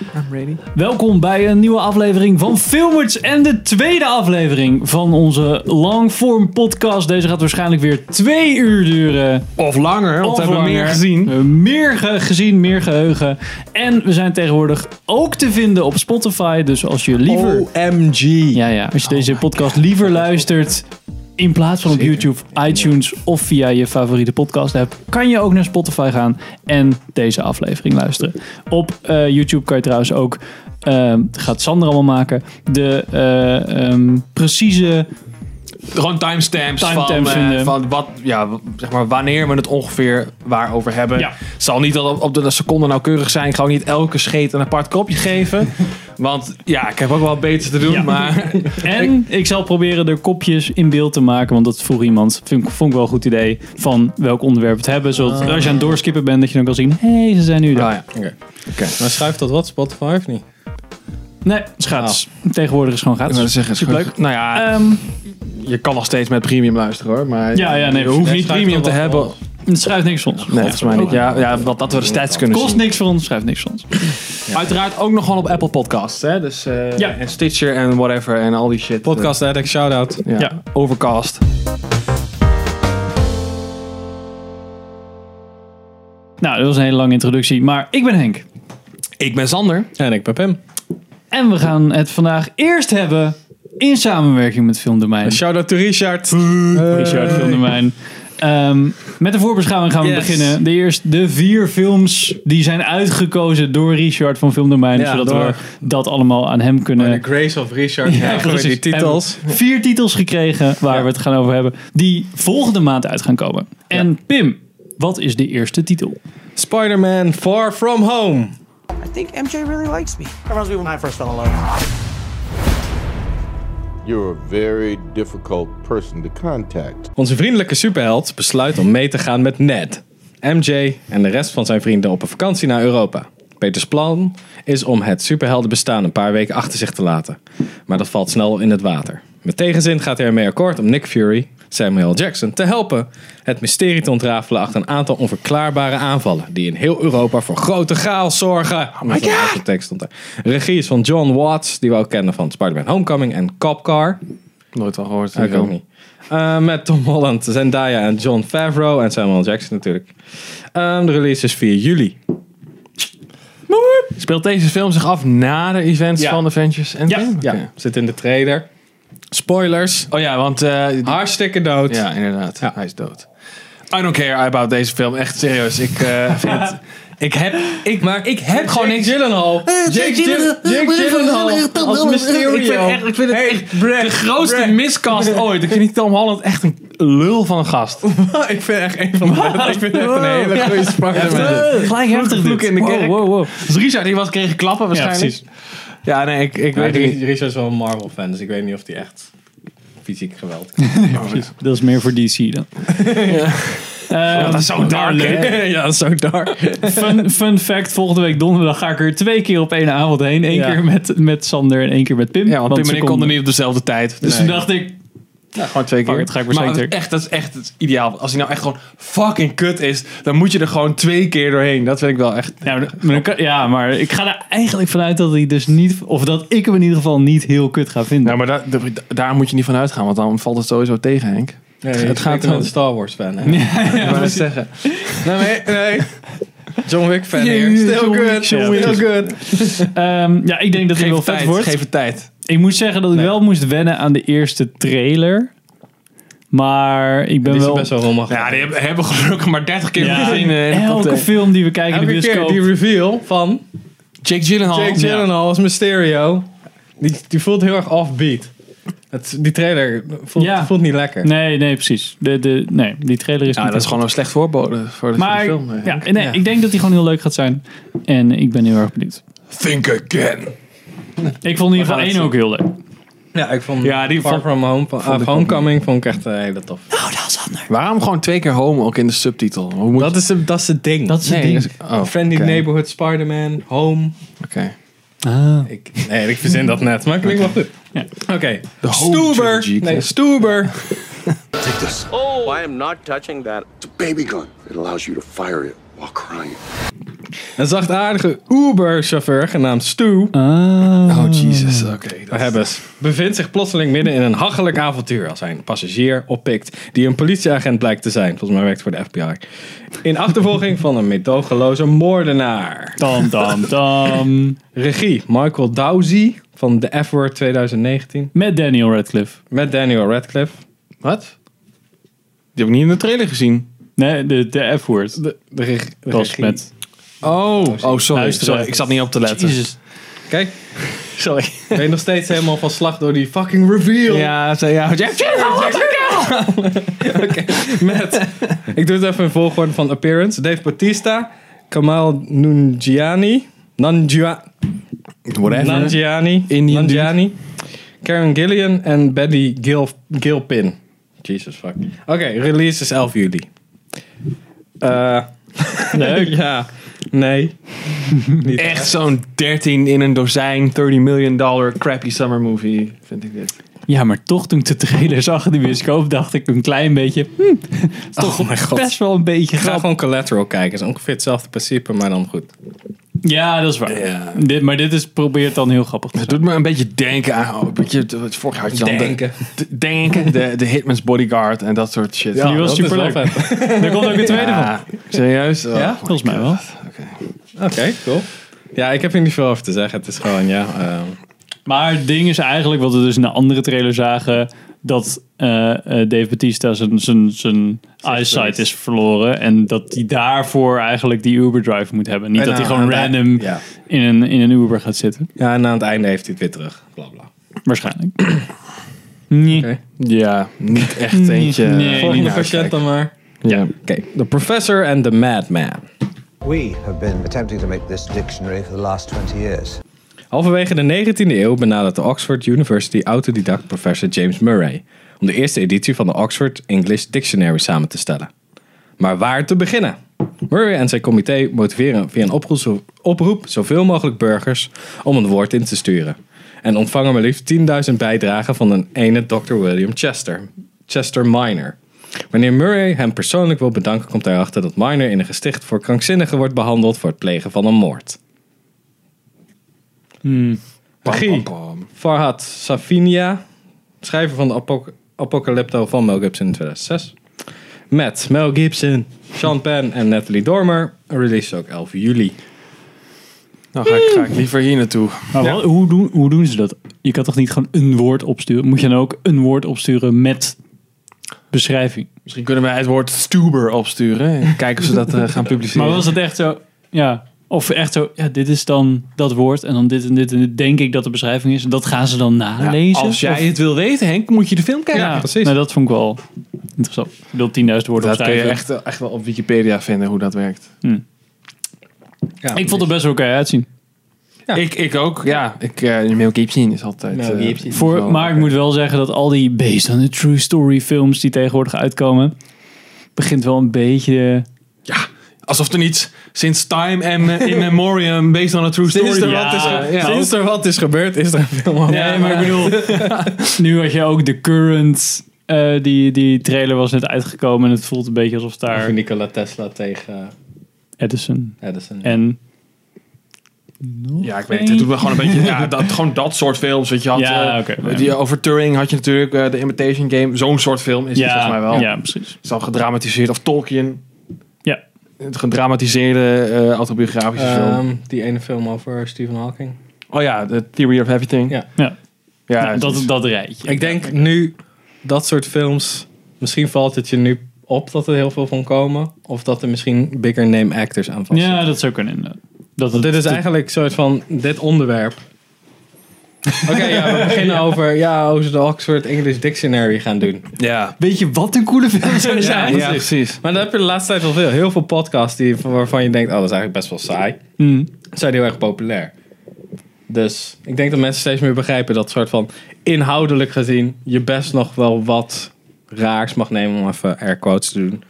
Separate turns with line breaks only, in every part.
I'm ready.
Welkom bij een nieuwe aflevering van Filmers en de tweede aflevering van onze Langform podcast. Deze gaat waarschijnlijk weer twee uur duren.
Of langer, want
Of
we hebben
langer.
meer gezien.
We hebben Meer ge- gezien, meer geheugen. En we zijn tegenwoordig ook te vinden op Spotify. Dus als je
Oh.
liever,
OMG.
ja, ja, Oh als je deze podcast liever luistert in plaats van op
Zeker.
YouTube, iTunes of via je favoriete podcast app, kan je ook naar Spotify gaan en deze aflevering luisteren. Op eh, YouTube kan je trouwens ook, ehm, gaat Sander allemaal maken, de eh, ehm, precieze
Gewoon timestamps,
Timestamps
van, eh,
vinden.
van wat, ja, w- zeg maar wanneer we het ongeveer waarover hebben.
Ja.
Het zal niet al op- op de seconde nauwkeurig zijn. Ik ga ook niet elke scheet een apart kopje geven. want ja, ik heb ook wel beter te doen.
Ja.
Maar
En ik zal proberen er kopjes in beeld te maken, want dat vroeg iemand. Vind, ik- vond ik wel een goed idee van welk onderwerp we het hebben. Zodat als je aan het doorskippen bent, dat je dan kan zien, hé, hey, ze zijn nu daar.
Nou ja.
Maar schuift dat wat? Spotify of niet?
Nee, het is gratis. Tegenwoordig is het gewoon gratis. Superleuk.
Nou ja,
Ehm,
je kan nog steeds met premium luisteren hoor. Maar
Ja, ja, nee,
je hoeft
nee,
niet
schuift
premium
wel
te
wat
hebben.
van.
het schrijft niks voor ons.
Nee, volgens mij niet. Ja, ja, wat dat we de stats kunnen zien.
Kost niks voor ons, schrijft niks voor ons.
Uiteraard ook nog gewoon op Apple Podcasts. Hè? Dus, eh,
Ja.
En Stitcher en whatever en al die shit.
Podcast Addict, shout-out.
Eh, ja.
Ja.
Overcast.
Nou, dat was een hele lange introductie, maar ik ben Henk.
Ik ben Sander.
En ik ben Pim.
En we gaan het vandaag eerst hebben in samenwerking met Filmdomein.
Shout-out to Richard.
Richard Filmdomein. Ehm, met de voorbeschouwing gaan we
Yes.
beginnen. De, eerst, de vier films die zijn uitgekozen door Richard van Filmdomein.
Ja,
zodat
door. Oh,
we dat allemaal aan hem kunnen...
The grace of Richard.
Ja,
Ja,
precies.
precies. Die titels.
Hebben we Vier titels gekregen waar we het gaan over hebben. Die volgende maand uit gaan komen. En Pim, wat is de eerste titel?
Spider-Man Far From Home.
I think MJ really likes me. That reminds me when I first fell in love.
You're a very difficult person to contact.
Onze vriendelijke superheld besluit om mee te gaan met Ned, MJ en de rest van zijn vrienden op een vakantie naar Europa. Peters plan is om het superheldenbestaan een paar weken achter zich te laten. Maar dat valt snel in het water. Met tegenzin gaat hij ermee akkoord om Nick Fury, Samuel Jackson, te helpen het mysterie te ontrafelen achter een aantal onverklaarbare aanvallen die in heel Europa voor grote chaos zorgen. Oh my tekst stond er. Regie is van John Watts, die we ook kennen van Spider-Man Homecoming en Cop Car.
Nooit al gehoord.
Ja, ik ook niet. Ah, Eh, met Tom Holland, Zendaya en John Favreau en Samuel Jackson natuurlijk. Ehm, de release is 4 juli.
Speelt deze film zich af na de events
Ja.
van Avengers Endgame?
Ja,
Oké.
zit in de trailer. Spoilers.
Oh ja, want... eh, die-
Hartstikke dood.
ja, inderdaad. Hij is dood. I don't care about deze film. Echt serieus. Ik eh, vind... Ik heb, ik, maar ik heb gewoon niks... Eh,
Gyllenhaal. Jake Gyllenhaal. Jake Gyllenhaal. Als Mysterio.
Ik vind, echt, ik vind het
Hey,
echt
Brad,
de grootste
Brad.
miscast ooit. Ik vind die Tom Holland echt een lul van een gast.
ik vind echt een van de... Ik vind echt een hele goede Spider-Man.
Gelijk heftig
vloek Eh, in de kerk.
Wow, wow, wow.
Dus Richard, die was kreeg klappen waarschijnlijk.
precies.
Ja, nee, ik, ik
Maar
weet het niet.
Richard is wel een Marvel-fan, dus ik weet niet of hij echt fysiek geweld
Dat is meer voor DC dan. Ehm,
Oh, Dat is zo dark, hè?
ja, dat is zo dark.
fun, fun fact, volgende week donderdag ga ik er twee keer op één avond heen. Eén
Ja.
keer met, met Sander en één keer met Pim.
Ja, want, Pim
ze
en ik konden niet op dezelfde tijd. Dus
Dus toen dacht ik,
gewoon twee keer.
Fuck it, ga ik
maar
waarschijnlijk
het- echt, dat is echt het ideaal. Als hij nou echt gewoon fucking kut is, dan moet je er gewoon twee keer doorheen. Dat vind ik wel echt...
nou, maar dan kan- ja, maar ik ga er eigenlijk vanuit dat hij dus niet, of dat ik hem in ieder geval niet heel kut ga vinden.
Nou, maar daar- daar- daar moet je niet van uitgaan, want dan valt het sowieso tegen, Henk.
het gaat
gewoon-
om een Star Wars-fan, hè?
Ja, maar zeggen.
Nee, nee, nee. John Wick fan
Jee,
hier. Still
John Wick,
good.
John
Still
Wick.
good.
Ehm, ja, ik denk dat
Geef
hij wel
het
vet
tijd,
wordt.
geef het tijd.
Ik moet zeggen dat ik wel moest wennen aan de eerste trailer. Maar ik ben
Die is
wel...
best wel rommelig.
Ja, die hebben, hebben gelukkig maar 30 keer
Ja,
gezien. eh, in de Oh, top
elke
ten.
film die we kijken in de
Elke keer
bioscoop.
die reveal van
Jake Gyllenhaal.
Jake
Ja.
Gyllenhaal als Mysterio. Die, die voelt heel erg offbeat. Het, die trailer voelt,
Ja.
voelt niet lekker.
Nee, nee, precies. De, de, nee, die trailer is
Ja,
niet
dat is gewoon een slecht voorbode voor de
Maar
film. eh.
ja, nee, ik denk dat hij gewoon heel leuk gaat zijn. En ik ben heel erg benieuwd.
Think again.
Ik vond in ieder geval
gaan
één ook heel leuk.
Ja, ik vond
Ja, die
Far
vond-
From home, van,
vond ik
Homecoming vond ik echt een hele tof.
Waarom gewoon twee keer home ook in de subtitel? Hoe moet
Dat is, de- dat is het ding.
Dat is het
Nee,
ding.
dat is- oh,
Friendly
oké.
Neighborhood, Spider-Man, Home.
Oké.
Ik, nee, ik verzin dat net, maar klinkt wel goed. Oké.
De Home
Stuber.
trilogy.
Nee, Stuber.
Oh, I am not touching that.
It's a baby gun. It allows you to fire it while crying.
Een zachtaardige Uber-chauffeur genaamd Stu
Ah.
Oh, Jesus. Oké. dat-
Hebbes bevindt zich plotseling midden in een hachelijk avontuur als hij een passagier oppikt die een politieagent blijkt te zijn. Volgens mij werkt voor de FBI. In achtervolging van een medogeloze moordenaar.
Tam, tam, tam.
Regie Michael Dowsey van The F-Word 2019
Met Daniel Radcliffe.
met Daniel Radcliffe.
Wat? Die heb ik niet in de trailer gezien.
Nee, de, de F-word.
De, de reg- de
Dat was
regie.
met...
Oh, oh sorry.
Luister
sorry.
even.
Ik zat niet op te letten.
Jezus.
Kijk,
Sorry.
ben je nog steeds helemaal van slag door die fucking reveal.
Ja, ze, ja.
Met, ik doe het even in volgorde van appearance. Dave Bautista, Kamal Nungiani, Nangia,
Whatever.
Nanjiani.
Indian
Nanjiani. Karen Gillian en Betty Gil, Gilpin. Jesus fuck. Oké, release is 11 juli. Eh
Leuk.
ja. Nee. Niet
Echt zo'n 13 in een dozijn, 30 million dollar crappy summer movie, vind ik dit.
Ja, maar toch toen ik de trailer zag in de bioscoop, dacht ik een klein beetje... hm, toch
Oh mijn god.
best wel een beetje
Ik ga
grappig.
gewoon Collateral kijken. Het is ongeveer hetzelfde principe, maar dan goed.
Ja, dat is waar.
Ja.
Dit, maar dit is, probeert dan heel grappig te
Het doet me een beetje denken aan, oh, een beetje, het vorig jaar had je dan de-
Denken.
de- denken, de, de Hitman's Bodyguard en dat soort shit.
Die was
dat is wel
superleuk. Er komt ook een tweede van.
Ja, serieus? Oh,
Ja?
Volgens mij wel.
Oké, cool. Ja, ik heb hier niet veel over te zeggen. Het is gewoon, ja... ehm,
Maar het ding is eigenlijk wat we dus in de andere trailer zagen. Dat eh, eh, Dave Batista zijn, zijn, zijn eyesight is verloren. En dat hij daarvoor eigenlijk die Uber drive moet hebben. Niet
En
dat hij
aan-
gewoon
aan de-
random
ja.
in, een, in een Uber gaat zitten.
ja, Eh, en aan het einde heeft hij het weer terug. Bla, bla.
Waarschijnlijk. Nee.
Oké.
Ja, niet echt eentje.
Nee,
Ja,
Volgende
niet
patiënt dan maar.
Ja.
Oké, The Professor and the Madman.
We have been attempting to make this dictionary for the last 20 years.
Halverwege de 19e eeuw benadert de Oxford University autodidact professor James Murray om de eerste editie van de Oxford English Dictionary samen te stellen. Maar waar te beginnen? Murray en zijn comité motiveren via een oproep, zo- oproep zoveel mogelijk burgers om een woord in te sturen. En ontvangen maar liefst 10.000 bijdragen van een ene Dr. William Chester, Chester Minor. Wanneer Murray hem persoonlijk wil bedanken, komt hij erachter dat Minor in een gesticht voor krankzinnigen wordt behandeld voor het plegen van een moord. Regie. Farhad Safinia, schrijver van de apoc- Apocalypto van Mel Gibson in 2006. Met Mel Gibson, Sean Penn en Natalie Dormer. Release ook 11 juli.
Nou ga ik, ga ik liever hier naartoe.
Maar wat- hoe, doen, hoe doen ze dat? Je kan toch niet gewoon een woord opsturen? Moet je dan ook een woord opsturen met beschrijving?
Misschien kunnen wij het woord stuber opsturen en kijken of ze dat eh, gaan publiceren.
Maar was het echt zo? Ja. Of echt zo, ja, dit is dan dat woord en dan dit en dit en dit denk ik dat de beschrijving is. En dat gaan ze dan
Ja,
nalezen.
Als
Of-
jij het wil weten, Henk, moet je de film kijken.
ja,
precies.
precies. Nou, dat vond ik wel interessant. Ik bedoel, 10.000 woorden
Dat kun je
opschrijven.
echt, eh, echt wel op Wikipedia vinden hoe dat werkt.
Ik vond het best wel oké uitzien.
Ik, ik ook, ja. Ik, uh, Mel Gibson is altijd...
Mel
eh,
Gibson.
is
Voor,
wel-
maar ik moet wel zeggen dat al die based on a true story films die tegenwoordig uitkomen, begint wel een beetje...
Ja, alsof er niets sinds Time and eh, In Memoriam based on a true story...
Sinds er,
Ja,
wat is, ge-
ja.
sinds er wat is gebeurd, is er veel over.
Oh, Nee, maar ik bedoel, nu had je ook The Current, eh, die, die trailer was net uitgekomen en het voelt een beetje alsof
Over
daar
Nikola Tesla tegen eh,
Edison
Edison.
en
Ja, ik weet het. Het doet me gewoon een beetje... Ja, dat, gewoon dat soort films. Weet je, had,
Ja,
eh,
oké, ja.
die, over Turing had je natuurlijk eh, The Imitation Game. Zo'n soort film is het volgens mij wel.
Ja, precies.
Is al gedramatiseerd. Of Tolkien.
Ja.
Het gedramatiseerde eh, autobiografische film.
Ehm, die ene film over Stephen Hawking.
Oh ja, The Theory of Everything.
Ja.
Ja.
Ja, dus-
Nou,
het
dat,
is-
dat rijtje.
Ik denk nu dat soort films. Misschien valt het je nu op dat er heel veel van komen. Of dat er misschien bigger name actors aan vastzitten.
Ja, dat zou kunnen. inderdaad. Dat het,
Dit is
dat-
eigenlijk een soort van dit onderwerp. Oké, ja, we beginnen over ja, hoe ze de Oxford English Dictionary gaan doen.
ja.
Weet je wat een coole film zou zijn?
Ja, precies.
Maar dan heb je de laatste tijd wel veel. Heel veel podcasts die, waarvan je denkt, oh, dat is eigenlijk best wel saai. Zijn heel erg populair. Dus ik denk dat mensen steeds meer begrijpen dat soort van inhoudelijk gezien je best nog wel wat raars mag nemen om even air quotes te doen.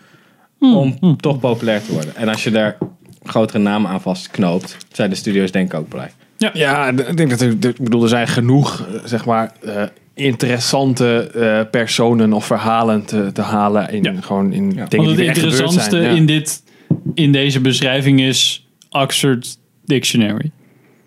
Om toch populair te worden. En als je daar grotere namen aan vastknoopt, zijn de studio's denk ik ook blij.
Ja, d- ik denk dat er, d- ik bedoel, er zijn genoeg, eh, zeg maar, eh, interessante eh, personen of verhalen te, te halen in
Ja.
gewoon in dingen
Want
die
het
er echt gebeurd
interessantste
zijn. Ja.
in, dit, in deze beschrijving is... Oxford Dictionary.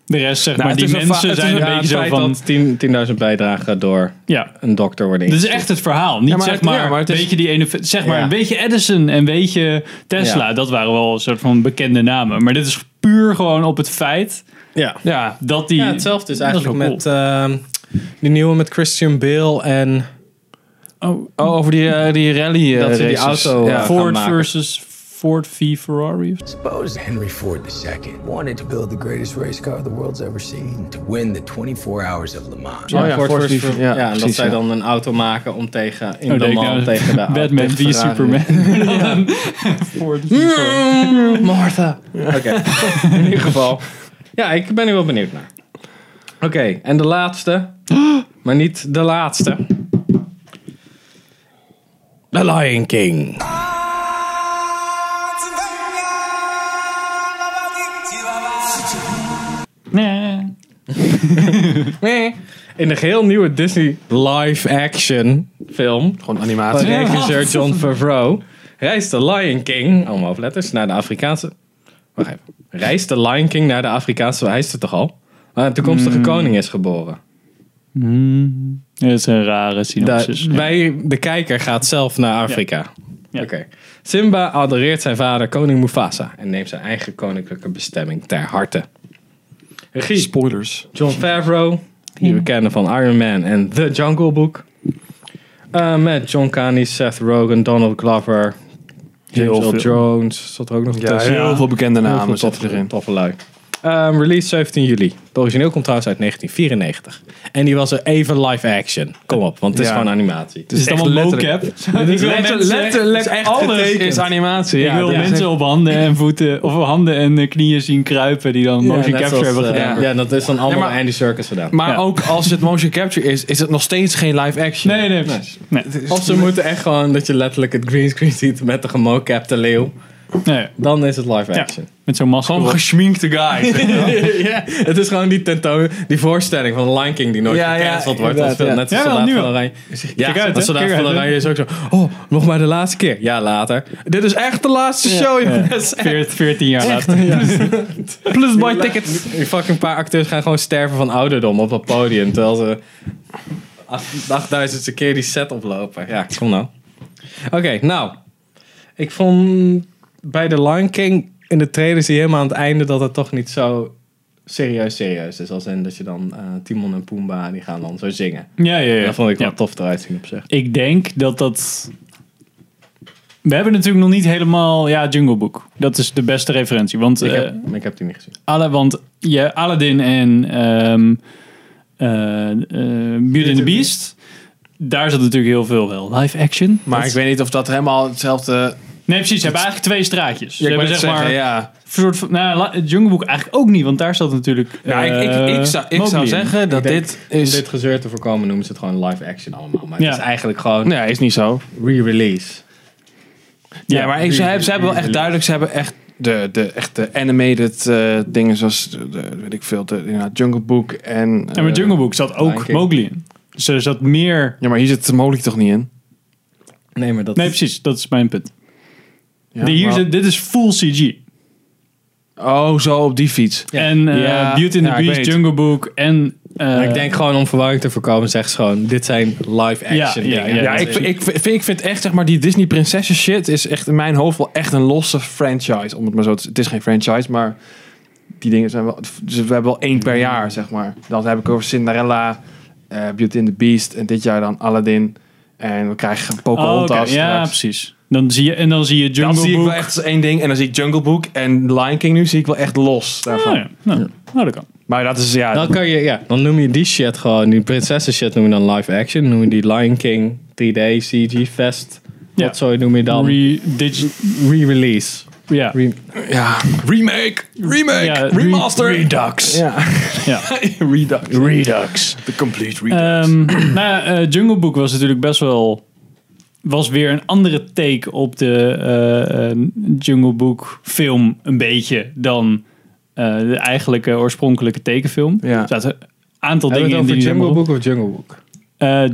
De rest, zeg maar,
Nou, het
die
is een va-
mensen
het is
zijn
een-
een
ja,
het
beetje zo
feit
van...
dat 10 10.000 bijdragen door
Ja,
een dokter worden
dit is
ingestuurd.
echt het verhaal. Niet
maar
zeg
het-
maar,
ja, maar het is-
weet je die ene, zeg maar,
Ja.
weet je Edison en weet je Tesla.
Ja.
Dat waren wel een soort van bekende namen. Maar dit is puur gewoon op het feit
Ja.
Ja,
dat die...
Ja, hetzelfde is
Dat
eigenlijk
wel
met ehm, die nieuwe met Christian Bale en
oh, over die, eh, die rally eh,
Dat ze die
races.
auto, eh,
ja.
voor-
Ford
gaan maken.
versus Ford v Ferrari. of zo.
Suppose Henry Ford II wanted to build the greatest race car the world's ever seen to win the 24 Hours of Le Mans.
Oh ja,
Ford
Ford
versus-
versus-
ja,
ja,
en dat
precies,
zij
ja.
dan een auto maken om tegen in
Oh,
de
denk ik
man
nou,
tegen de auto-
Batman
tegen
v
Ferrari.
Superman. Ford v Ferrari.
Mm, Martha. Oké, in ieder geval. Ja, ik ben er wel benieuwd naar. Oké, en de laatste, maar niet de laatste. The Lion King.
Nee.
In een geheel nieuwe Disney live-action film
Gewoon animatie.
van regisseur John Favreau reist de Lion King, allemaal hoofdletters, naar de Afrikaanse... Wacht even. Reist de Lion King naar de Afrikaanse... Hij is er toch al? Waar een toekomstige koning is geboren.
Dat is een rare
Da-
synopsis.
wij, de kijker gaat zelf naar Afrika.
Ja.
Oké. Simba adoreert zijn vader koning Mufasa en neemt zijn eigen koninklijke bestemming ter harte. Regie
Spoilers.
John Favreau, die we kennen van Iron Man en The Jungle Book. Eh, met John Candy, Seth Rogen, Donald Glover, James
Heel
Earl
veel.
Jones. Zat er ook nog
Ja,
tussen.
heel veel bekende
Heel veel
namen
toffe,
zitten erin.
toffe lui. Ehm, release 17 juli. Het origineel komt trouwens uit 1994. En die was er even live action. Kom op, want het is
Ja.
gewoon animatie. Dus
Is het
echt
allemaal mocap?
letterlijk-
Ik wil Dus mensen- het is echt
alles
getekend.
is animatie.
Ik
ja,
wil
dit is
mensen op handen en voeten, of op handen en eh, knieën zien kruipen die dan motion
net
capture
zoals,
hebben
eh,
gedaan.
gedaan.
Ja, dat is dan allemaal
Ja, maar-
Andy Circus gedaan.
Maar
Ja.
ook als het motion capture is, is het nog steeds geen live action.
Nee, nee, precies. Nee.
of ze moeten echt gewoon dat je letterlijk het greenscreen ziet met de gemocapte leeuw.
Nee.
Dan is het live
Ja.
action.
Met zo'n masker.
Gewoon
op.
geschminkte guy.
ja, het is gewoon die tentoon, die voorstelling van Lion King die nooit
Ja, ja,
gecanceld wordt. Dat
inderdaad,
is
ja.
net als
Ja, wel,
Soldaat
nu
van
wel.
Oranje. Ja,
uit,
dat
hè.
Soldaat
Kijk
van
uit, hè.
Oranje is ook zo. Oh, nog maar de laatste keer. Ja, later. Dit is echt de laatste show, jongens.
Veert- 14 jaar later. Plus buy tickets.
Die fucking paar acteurs gaan gewoon sterven van ouderdom op dat podium. Terwijl ze 8000ste keer die set oplopen. Ja, kom nou. Oké, nou. Ik vond bij The Lion King in de trailer zie je helemaal aan het einde dat het toch niet zo serieus serieus is. Als in dat je dan eh, Timon en Pumbaa die gaan dan zo zingen.
Ja, ja, ja.
Dat vond ik wel
Ja.
tof eruit zien op zich.
Ik denk dat dat... We hebben natuurlijk nog niet helemaal... Ja, Jungle Book. Dat is de beste referentie. Want,
Ik
eh,
heb, ik heb die niet gezien.
alle, want je Aladdin en ehm eh, eh, Beauty and the Beast... Daar zat natuurlijk heel veel wel. Live action.
maar ik weet niet of dat helemaal hetzelfde...
Nee, precies. Ze hebben eigenlijk twee straatjes. Ze
ik
hebben
wou net
zeg maar...
zeggen, ja.
soort van, nou, la- het Jungle Book eigenlijk ook niet, want daar staat natuurlijk.
Nou, ik, ik,
eh,
ik zou, ik
Mowgli
zou
in.
zeggen dat
denk-
dit is...
Om dit gezeur te voorkomen noemen ze het gewoon live action allemaal. Maar
Ja.
het is eigenlijk gewoon
Nee, is niet zo.
re-release.
Ja, maar ik, ze, hebben, ze hebben wel echt
Release.
duidelijk... Ze hebben echt de, de, echt de animated eh, dingen zoals... De, de- weet ik veel, de, inderdaad Jungle Book en...
En met
eh,
Jungle Book zat
Lion
ook
King.
Mowgli in. Dus er zat meer.
Ja, maar hier zit Mowgli toch niet in?
Nee, maar dat
Nee,
is-
precies. Dat is mijn punt.
Ja,
De- hier
maar-
zit- dit is full CG.
Oh, zo op die fiets.
En eh,
Ja,
Beauty and the
ja, ik
Beast,
weet.
Jungle Book en. eh,
Maar ik denk gewoon om verwarring te voorkomen, zeg ze gewoon, dit zijn live action
Ja, ja,
dingen.
ja.
Ja, ik, ik, vind, ik vind echt, zeg maar, die Disney prinsessen shit is echt in mijn hoofd wel echt een losse franchise. Om het maar zo te Het is geen franchise, maar die dingen zijn wel... Dus we hebben wel één per jaar, zeg maar. Dan heb ik over Cinderella, eh, Beauty and the Beast en dit jaar dan Aladdin. En we krijgen
oh,
Pocahontas
oké, Ja,
straks.
precies. Dan zie je, en dan zie je
Dan
Jungle
zie ik
Book.
wel echt als één ding. En dan zie ik Jungle Book en Lion King nu zie ik wel echt los daarvan.
Oh, ja. Nou, nou, dat kan.
Maar dat is, ja...
Dan, kan je, ja, dan noem je die shit gewoon, die prinsessen shit noem je dan live action. Noem je die Lion King 3D, CG, Fest,
Ja.
wat zo noem je dan?
Re, digi,
Re-release.
ja.
Re-
ja. Remake! Remake!
Ja, re-
remaster! Redux! Ja.
ja.
Redux. Redux. The complete Redux.
Ehm, nou ja, eh, Jungle Book was natuurlijk best wel. Was weer een andere take op de eh, eh, Jungle Book film, een beetje dan eh, de eigenlijke oorspronkelijke tekenfilm.
Ja.
Er zaten een aantal
Hebben we
dingen in die
het over Jungle
Book. Eh,
Book of Jungle Book?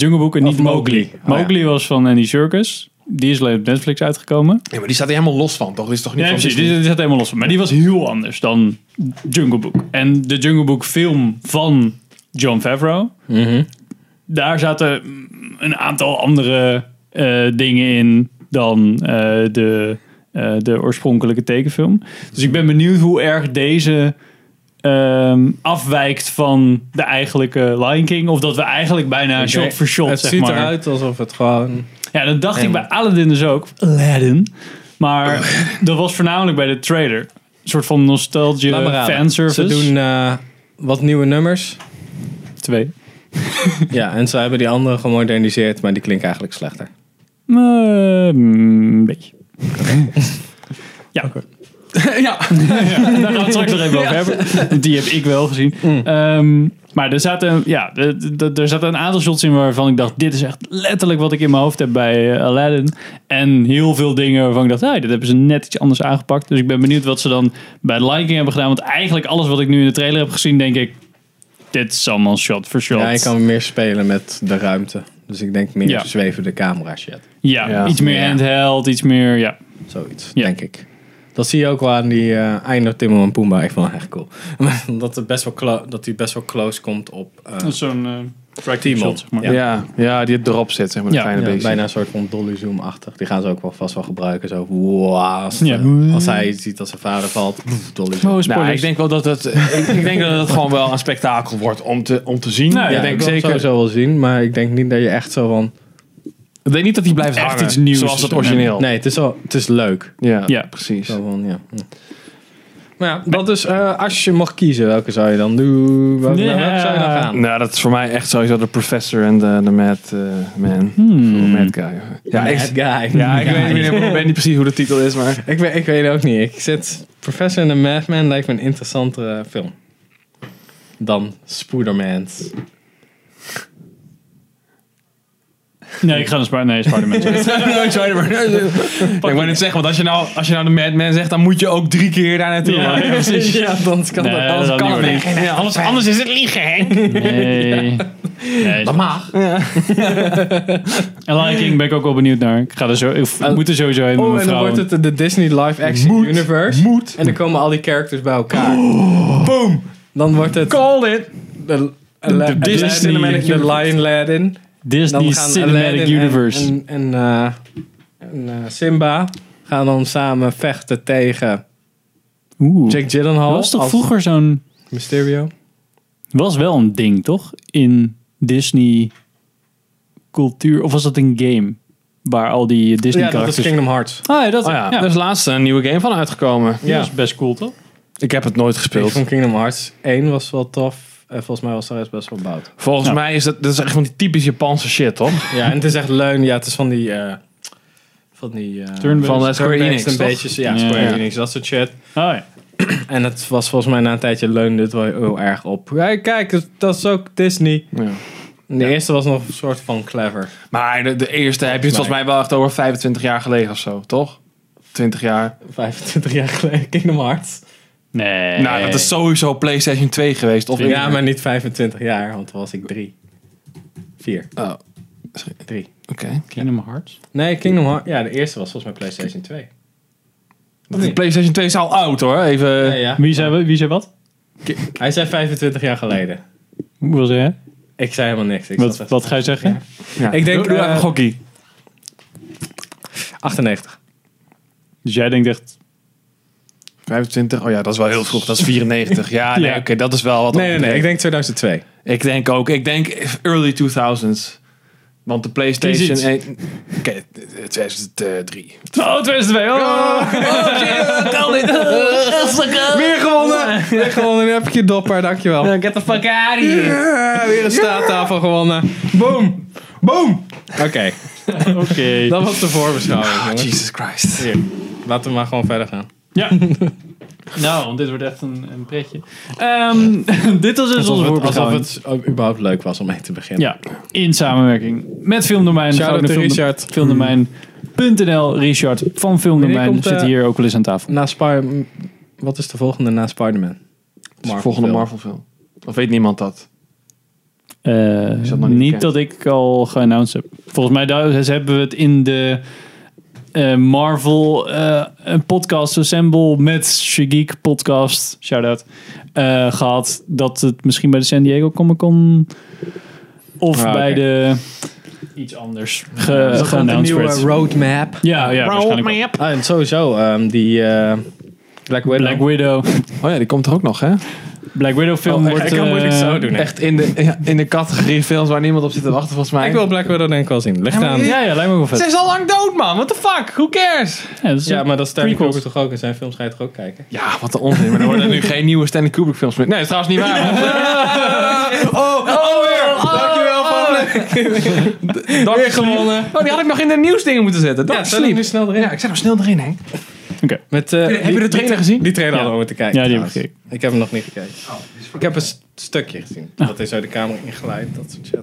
Jungle Book en
Of
niet Mowgli.
Mowgli. Oh
Mowgli was van Andy Circus. Die is alleen op Netflix uitgekomen.
Nee, maar die staat er helemaal los van, toch? Dit is toch niet
Nee,
van
precies. Die,
Disney?
die zat helemaal los van. Maar die was heel anders dan Jungle Book. En de Jungle Book film van John Favreau.
Mhm.
Daar zaten mm, een aantal andere eh, dingen in dan eh, de, eh, de oorspronkelijke tekenfilm. Dus ik ben benieuwd hoe erg deze ehm, afwijkt van de eigenlijke Lion King. Of dat we eigenlijk bijna shot for shot,
Het
zeg
ziet
maar.
eruit alsof het gewoon...
Ja, dat dacht ik bij Aladdin dus ook. Aladdin. Maar dat was voornamelijk bij de trailer. Een soort van nostalgie
Laat maar raden.
Eh, fanservice.
Ze doen eh, wat nieuwe nummers.
twee.
Ja, en ze hebben die andere gemoderniseerd, maar die klinken eigenlijk slechter.
Eh, mm, een beetje. ja. ja. daar gaan we het straks nog even over hebben. Want Die heb ik wel gezien.
Mm.
Ehm, maar er zaten, ja, er- er- er zaten een aantal shots in waarvan ik dacht... dit is echt letterlijk wat ik in mijn hoofd heb bij eh, Aladdin. En heel veel dingen waarvan ik dacht... Hey, dit hebben ze net iets anders aangepakt. Dus ik ben benieuwd wat ze dan bij The Lion King hebben gedaan. Want eigenlijk alles wat ik nu in de trailer heb gezien, denk ik... dit is allemaal shot for shot.
Ja, je kan meer spelen met de ruimte. Dus ik denk meer
Ja.
zwevende camera shit.
Ja,
Ja.
iets meer
Ja.
handheld, iets meer... Ja.
Zoiets,
Ja.
denk ik. Dat zie je ook wel aan die eh Eino, Timon en Pumbaa. Ik vond het echt cool. dat, het best wel clo- dat die best wel close komt op eh,
Zo'n...
Timon.
shot, zeg maar.
Ja.
Ja, ja, die het erop zit, zeg maar.
Ja,
een kleine
Ja,
beetje.
bijna een soort van dolly zoom-achtig. Die gaan ze ook wel vast wel gebruiken. Zo, wow, als,
Ja.
als hij ziet dat zijn vader valt, pff, dolly zoom.
Oh,
Nou,
spoilers.
ik denk wel dat het, ik, ik denk dat het gewoon wel een spektakel wordt om te, om te zien.
Nou,
ik
ja,
denk
wil het
zeker.
sowieso wel zien, maar ik denk niet dat je echt zo van...
Ik denk niet dat die blijft
Echt
hangen,
iets nieuws
zoals het
is.
origineel.
Nee, het is, wel, het is leuk.
Ja,
Ja.
precies.
Zo van, ja. hm. Maar ja, dat is, eh, als je mocht kiezen, welke zou je dan doen? Welke,
Ja.
welke zou je dan gaan?
Nou, dat is voor mij echt sowieso de professor en de, de mad eh, man.
Hmm.
Of mad guy. Ja,
Bad
ik,
guy.
ja, ik weet, ik weet niet- ik weet niet precies hoe de titel is, maar...
Ik weet, ik weet ook niet. Ik zit Professor and the Madman lijkt me een interessantere film. Dan Spoedermans.
Nee, ik ga naar Spider- nee, Spider-Man. sorry.
Nooit Spider-Man. Ik wou net zeggen, want als je, nou, als je nou de Mad Man zegt, dan moet je ook drie keer daar naartoe.
Ja, ja, precies.
Ja, dan kan
Nee,
dat.
dat kan niet.
Ja, anders, anders is het liegen, hè?
Nee. nee dat
mag.
En Lion King ben ik ook wel benieuwd naar. Ik, ga er zo, ik moet er sowieso heen met
Oh,
mijn
en dan
vrouw.
wordt het de Disney live action universe. En dan komen al die characters bij elkaar. Boom! Dan wordt het... Call it! De,
Disney
de Disney Cinematic
Universe.
De Lion Aladdin.
Disney Dus Cinematic
Aladdin en-
Universe.
En, en, eh, en, eh, Simba gaan dan samen vechten tegen
Oeh.
Jake Gyllenhaal.
dat was toch
als
vroeger zo'n...
Mysterio.
was wel een ding, toch? In Disney cultuur. Of was dat een game? Waar al die Disney
Ja, dat is
karakters...
Kingdom Hearts.
Ah, ja, dat,
Oh
ja.
ja, er is laatst een nieuwe game van uitgekomen.
Ja.
dat is best cool, toch?
Ik heb het nooit
Ik
gespeeld.
vond Kingdom Hearts 1 was wel tof. En volgens mij was de rest best wel bout.
Volgens
Ja.
mij is dat, dat is echt van die typisch Japanse shit, toch?
Ja, en het is echt leun. Ja, het is van die... eh, van die... eh,
Turn-based.
Van eh, Square
turn-based
Enix,
Een
toch?
beetje, ja,
Ja.
Square
Ja.
Enix, dat soort shit.
Ah, ja.
En het was volgens mij na een tijdje leunde het wel heel erg op. Ja, kijk, het- dat is ook Disney.
Ja.
En De eerste was nog een soort van clever.
Maar de, de eerste heb je het volgens mij wel echt over 25 jaar geleden of zo, toch? 20 jaar.
25 jaar geleden, Kingdom Hearts.
Nee.
Nou, dat is sowieso PlayStation 2 geweest. Of
Ja, maar niet 25 jaar, want toen was ik drie. Vier.
Oh, oké.
Drie.
Kingdom Hearts.
Nee, Kingdom Hearts. Ja, de eerste was volgens mij PlayStation 2.
De PlayStation 2 is al oud hoor. Even.
Ja, ja.
Wie zei, wie zei wat?
Hij zei 25 jaar geleden.
Hoe was hij?
Ik zei helemaal niks. Ik, zat
Wat,
echt-
wat ga je zeggen?
ik denk
Doe, doe even
eh,
een gokkie.
98.
Dus jij denkt echt...
25, oh ja, dat is wel heel vroeg. Dat is 94. Ja, nee,
Ja.
oké, dat is wel wat.
Nee, nee, nee. Ik denk 2002.
Ik denk ook, ik denk early 2000s. Want de PlayStation
Kies iets.
1... Oké, 2003.
Oh, 2002! Oh!
Weer gewonnen! Weer gewonnen. Nu heb ik je dopper, dankjewel.
Get the fuck out of here!
Ja, weer een staattafel gewonnen. Boom! Boom! Oké,
Oké.
dat was de
Ah,
voorbeschouwing. jongens.
Jesus Christ.
Hier, laten we maar gewoon verder gaan.
Ja. nou, want dit wordt echt een, een pretje. Ehm, dit was dus onze
Alsof het, alsof
voorbeschouwing.
het ook überhaupt leuk was om mee te beginnen.
Ja, in samenwerking met Filmdomein.
Shout-out
Ga ook naar
to
Filmdo-
Richard.
Filmdomein.nl, Richard van Filmdomein
Wanneer komt,
zit
eh,
hier ook wel eens aan tafel.
Na Spider... Wat is de volgende na Spider-Man? Marvel
Volgende
film.
Marvel film. Of weet niemand dat?
Eh,
dat nog
niet Eh,
niet bekend?
dat ik al geannounced heb. Volgens mij daar- ze hebben we het in de eh, Marvel eh, een podcast assemble met Shigik podcast, shout-out, eh, gehad. Dat het misschien bij de San Diego Comic Con of
Ah,
bij
oké.
de iets anders ge,
Is dat een
geannounced
nieuwe
werd.
roadmap?
Ja, ja waarschijnlijk wel.
Ah, en sowieso, ehm, die eh, Black Widow.
Black Widow.
Oh ja, die komt er ook nog, hè?
Black Widow film
Oh,
wordt...
ik kan moeilijk
eh,
zo doen. hè.
Echt in de, ja, in de categorie films waar niemand op zit te wachten, volgens mij.
Ik wil Black Widow denk ik wel zien. Ligt aan.
Ja, ja, lijkt me wel
Ze
vet.
is al lang dood, man. What the fuck? Who cares?
Ja, dat is
Ja, maar dat is Stanley
prequels.
Kubrick toch ook? In zijn films ga je toch ook kijken?
Ja, wat een onzin. Maar er worden nu geen nieuwe Stanley Kubrick films meer. Nee, dat is trouwens niet waar. oh, oh, weer. Dankjewel, Van Dank gewonnen. Oh, die had ik nog in de nieuwsdingen moeten zetten. Dat
Ja,
is
zet hem
slim.
nu snel erin.
Ja, ik zet hem snel erin, Henk.
Oké.
Met, eh,
Heb je
die-
de trailer
die-
gezien?
Die trailer
Ja.
hadden we moeten kijken.
Ja, die heb ik
trouwens. Ik heb hem nog niet gekeken. ik heb een st- stukje gezien. Dat is uit de kamer ingeleid, dat soort shit.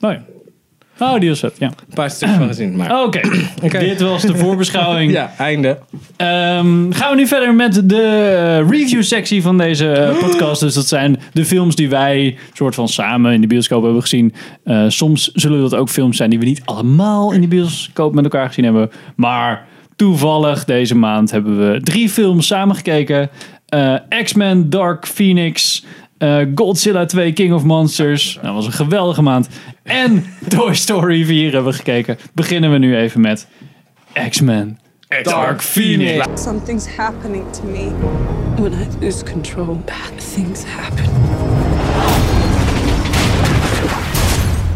Oh, ja. oh, die was vet, ja.
Een paar stukjes van gezien, maar...
Oké, dit was de voorbeschouwing.
Ja, einde.
Ehm, gaan we nu verder met de eh, review-sectie van deze eh, podcast. Dus dat zijn de films die wij soort van samen in de bioscoop hebben gezien. Eh, soms zullen dat ook films zijn die we niet allemaal in de bioscoop met elkaar gezien hebben. Maar toevallig deze maand hebben we drie films samengekeken. Eh, X-Men, Dark Phoenix, eh, Godzilla 2, King of Monsters. Nou, dat was een geweldige maand. En Toy Story 4 hebben we gekeken. Beginnen we nu even met X-Men. Dark Phoenix.
Something's happening to me. When I lose control, bad things happen.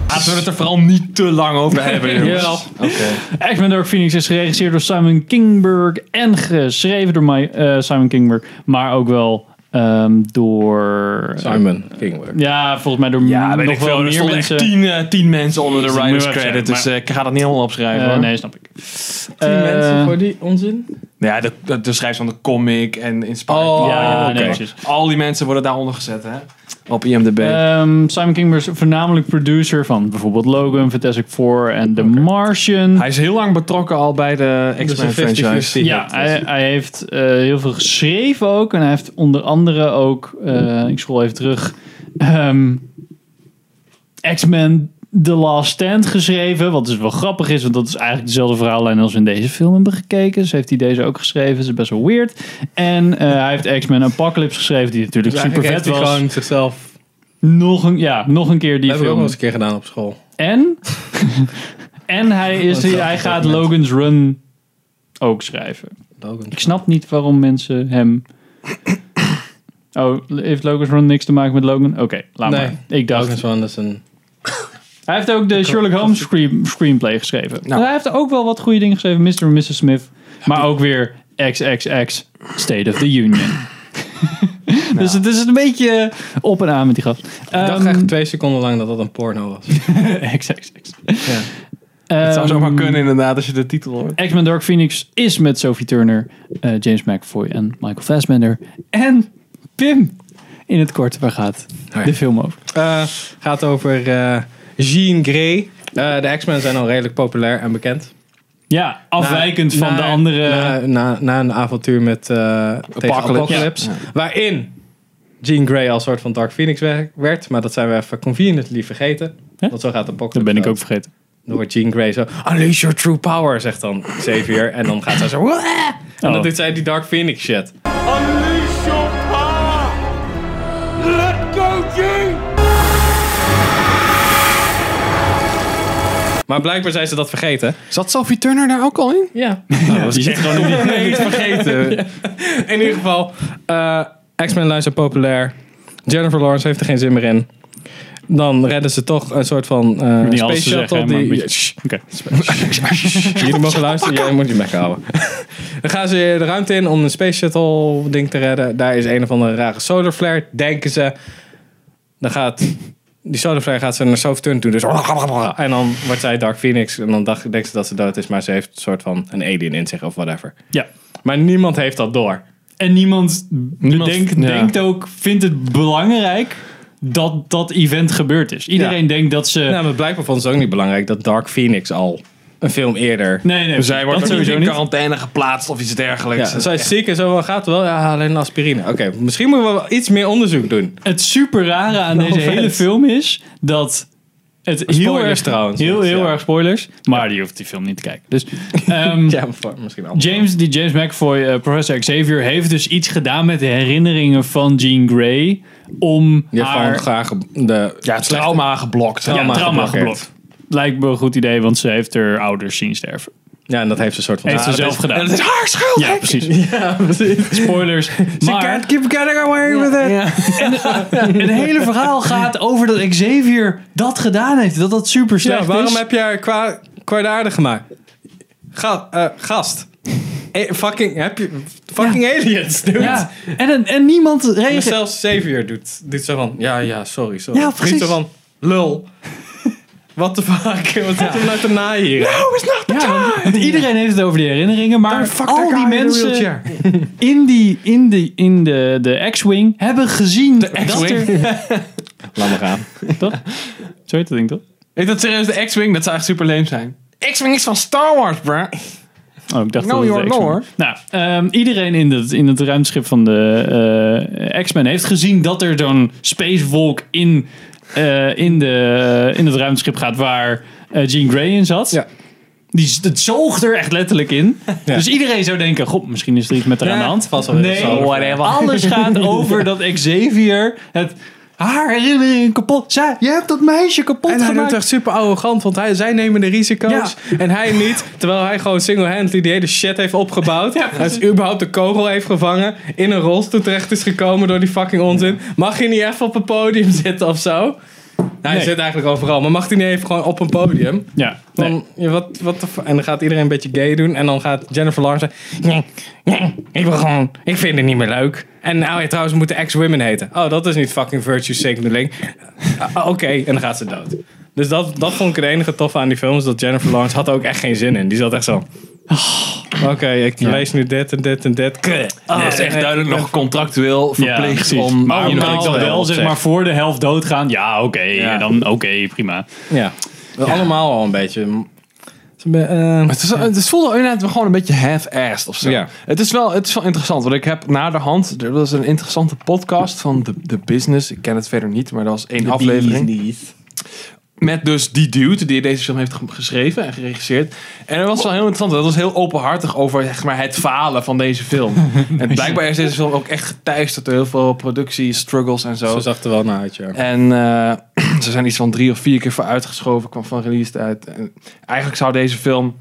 Laten we het er vooral niet te lang over hebben, jongens.
Jawel. X-Men Dark Phoenix is geregisseerd door Simon Kingberg en geschreven door Mi- eh, Simon Kingberg, maar ook wel ehm, door...
Simon Kingwork.
Ja, volgens mij door
Ja, weet
nog
ik
wel
veel. Er
meer
stonden echt
mensen.
tien, eh, tien mensen onder de
Dat moet je
writers
wel even
credit.
zeggen,
Dus
maar-
eh, ik ga dat niet helemaal opschrijven,
Eh,
hoor.
nee, snap ik.
Tien
Eh,
mensen voor die onzin?
Ja, de, de, de schrijvers van de comic en Inspired.
Oh,
By.
ja,
oké.
nee, precies.
Al die mensen worden daaronder gezet, hè? Op IMDb.
Ehm, Simon Kingberg is voornamelijk producer van bijvoorbeeld Logan, Fantastic Four en The Martian.
hij is heel lang betrokken al bij de X-Men
een 50-50
franchise.
Ja,
Dat is-
hij, hij heeft eh, heel veel geschreven ook. En hij heeft onder andere ook, eh, ik scroll even terug, ehm, X-Men The Last Stand geschreven. Wat dus wel grappig is, want dat is eigenlijk dezelfde verhaallijn als we in deze film hebben gekeken. Dus heeft hij deze ook geschreven. Dat is best wel weird. En eh, hij heeft X-Men Apocalypse geschreven, die natuurlijk
Dus
super
eigenlijk
vet
heeft
was.
hij gewoon zichzelf...
Nog, een, ja, nog een keer die
Dat heb ik
film.
ook nog eens een keer gedaan op school.
En, en hij, is,
Wat een
hij gaat
moment.
Logan's Run ook schrijven.
Logan.
Ik snap niet waarom mensen hem. Oh, heeft Logan's Run niks te maken met Logan? Oké, laat
Nee.
maar. Ik dacht.
Logan's Run is een...
Hij heeft ook de Sherlock Holmes screen- screenplay geschreven.
Nou.
Hij heeft ook wel wat goede dingen geschreven, Mr. en Mrs. Smith. Maar ook weer XXX State of the Union. dus het is een beetje op en aan met die gast.
Ik dacht
Ehm,
echt twee seconden lang dat dat een porno was.
XXX.
Ja.
Het zou zomaar
Ehm,
kunnen, inderdaad, als je de titel hoort.
X-Men Dark Phoenix is met Sophie Turner, eh, James McAvoy en Michael Fassbender. En Pim. In het kort, waar gaat de film over?
Eh, gaat over eh, Jean Grey. Eh, de X-Men zijn al redelijk populair en bekend.
Ja, afwijkend
Na-
van de
na-
andere...
Na, na, na een avontuur met eh tegen
Apocalypse.
Apocalypse. Waarin Jean Grey als soort van Dark Phoenix wer- werd. Maar dat zijn we even conveniently vergeten.
Hè?
Want zo gaat Apocalypse.
dat ben ik
ook.
ook vergeten.
Dan wordt Jean Grey zo... Unleash your true power, zegt dan Xavier. en dan gaat zij zo... "Wah!" En
Oh.
dan doet zij die Dark Phoenix shit. Maar blijkbaar zijn ze dat vergeten.
Zat Sophie Turner daar ook al in?
Ja. Nou, dat is echt gewoon niet vergeten. In ieder geval, eh, X-Men lijn zijn populair. Jennifer Lawrence heeft er geen zin meer in. Dan redden ze toch een soort van eh
niet alles
space
te zeggen,
shuttle.
hè, maar een
die,
beetje-
Shh,
Oké.
jullie mogen luisteren, jij moet je bek houden. Dan gaan ze de ruimte in om een space shuttle ding te redden. Daar is een of andere rare solar flare, denken ze. Dan gaat die solar flare gaat ze naar Sophie Turner toe. Dus en dan wordt zij Dark Phoenix. En dan dacht, denkt ze dat ze dood is, maar ze heeft een soort van een alien in zich of whatever.
Ja.
Maar niemand heeft dat door.
En niemand, bedenkt-
ja.
denkt ook, vindt het belangrijk dat dat event gebeurd is. Iedereen
Ja.
denkt dat ze...
Nou, maar blijkbaar vonden ze ook niet belangrijk dat Dark Phoenix al een film eerder.
nee, nee,
Dus Zij
dat
wordt ook
sowieso
in
niet.
quarantaine geplaatst of iets dergelijks.
Ja, zij is ziek en zo, wel gaat wel. Ja, alleen aspirine. Oké, misschien moeten we wel iets meer onderzoek doen.
Het super rare aan deze hele film is dat Het heel
Spoilers
erg,
trouwens,
Heel,
dus,
heel
ja.
erg spoilers. Maar die hoeft die film niet te kijken. Dus, ehm,
Ja, voor- misschien wel.
James, die James McAvoy, eh, professor Xavier, heeft dus iets gedaan met de herinneringen van Jean Grey. Om
Je hebt gewoon
haar
graag de
Ja, trauma geblokt.
ja,
trauma
trauma
geblokkeerd.
geblokt. Lijkt me een goed idee, want ze heeft haar ouders zien sterven.
Ja, en dat heeft ze een soort van.
Heeft ze
Ah, dat
zelf gedaan.
Het is haar schuld!
Ja, precies. Spoilers. Maar eh,
keep getting away with it.
het hele verhaal gaat over dat Xavier dat gedaan heeft. Dat dat super slecht
Ja, waarom
is.
heb je haar kwa kwaadaardig gemaakt? Ga, eh, gast. Eh, fucking, heb je, fucking aliens, dude.
Ja. En, en, en niemand
En
reageert.
zelfs Xavier doet, doet zo van, ja, ja, sorry, sorry.
Ja,
Niet
precies.
zo van, lul. What the fuck? Wat zit er nou te naaien hier?
Ja, want- want iedereen heeft het over die herinneringen, maar al die mensen in, die, in, die, in de, de X-Wing hebben gezien dat
X-Wing.
er...
Laat maar gaan.
Dat, zo heet dat ding toch?
Is dat serieus de X-Wing? Dat zou echt super leem zijn. X-Wing is van Star Wars, bruh.
Oh, ik dacht
Know
dat het
your
de X-Men
lore.
was. Nou, ehm, iedereen in het, in het ruimteschip van de eh, X-Men heeft gezien dat er zo'n spacewalk in, eh, in, de, in het ruimteschip gaat waar eh, Jean Grey in zat.
Ja.
Die, z- dat zoog er echt letterlijk in. Dus iedereen zou denken, god, misschien is er iets met haar aan de hand.
vast wel weer
nee,
zo'n-
whatever. alles gaat over dat Xavier het, haar herinneringen kapot... Zij, je hebt dat meisje kapot
En hij doet
gemaakt.
echt super arrogant, want hij, zij nemen de risico's en hij niet. Terwijl hij gewoon single-handedly die hele shit heeft opgebouwd. hij is überhaupt de kogel heeft gevangen, in een rolstoel terecht is gekomen door die fucking onzin. Mag hij niet even op een podium zitten of zo? Nou, hij
Nee.
zit eigenlijk overal, maar mag hij niet even gewoon op een podium?
Ja, nee.
Dan, ja, wat, wat de fu- en dan gaat iedereen een beetje gay doen. En dan gaat Jennifer Lawrence zeggen... Nee, nee, ik wil gewoon... Ik vind het niet meer leuk. En nou, ja, trouwens, we moeten ex-women heten. Oh, dat is niet fucking virtue signaling. Ah, ah, Oké, en dan gaat ze dood. Dus dat, dat vond ik het enige toffe aan die films. Dat Jennifer Lawrence had er ook echt geen zin in. Die zat echt zo...
Oh.
Oké, ik lees nu dit en dit en dit. Ah,
Dat is echt duidelijk nog contractueel verplicht
precies.
om...
Maar
om
omdat ik dan wel zeg maar voor de helft doodgaan. Ja, oké.
Ja.
Dan oké, prima.
Ja, allemaal al een beetje...
Maar Het, is, het voelde inderdaad gewoon een beetje half-assed of zo.
Ja.
Het, is wel, het is wel interessant, want ik heb naderhand... Er was een interessante podcast van The, The Business. Ik ken het verder niet, maar dat was één aflevering. Met dus die dude die deze film heeft ge- geschreven en geregisseerd. En dat was wel heel interessant. Dat was heel openhartig over zeg maar, het falen van deze film. en blijkbaar is deze film ook echt geteisterd door heel veel productie, struggles en zo.
Zo zag het er wel naar uit, ja.
En eh, ze zijn iets van drie of vier keer voor uitgeschoven, kwam van release uit. En eigenlijk zou deze film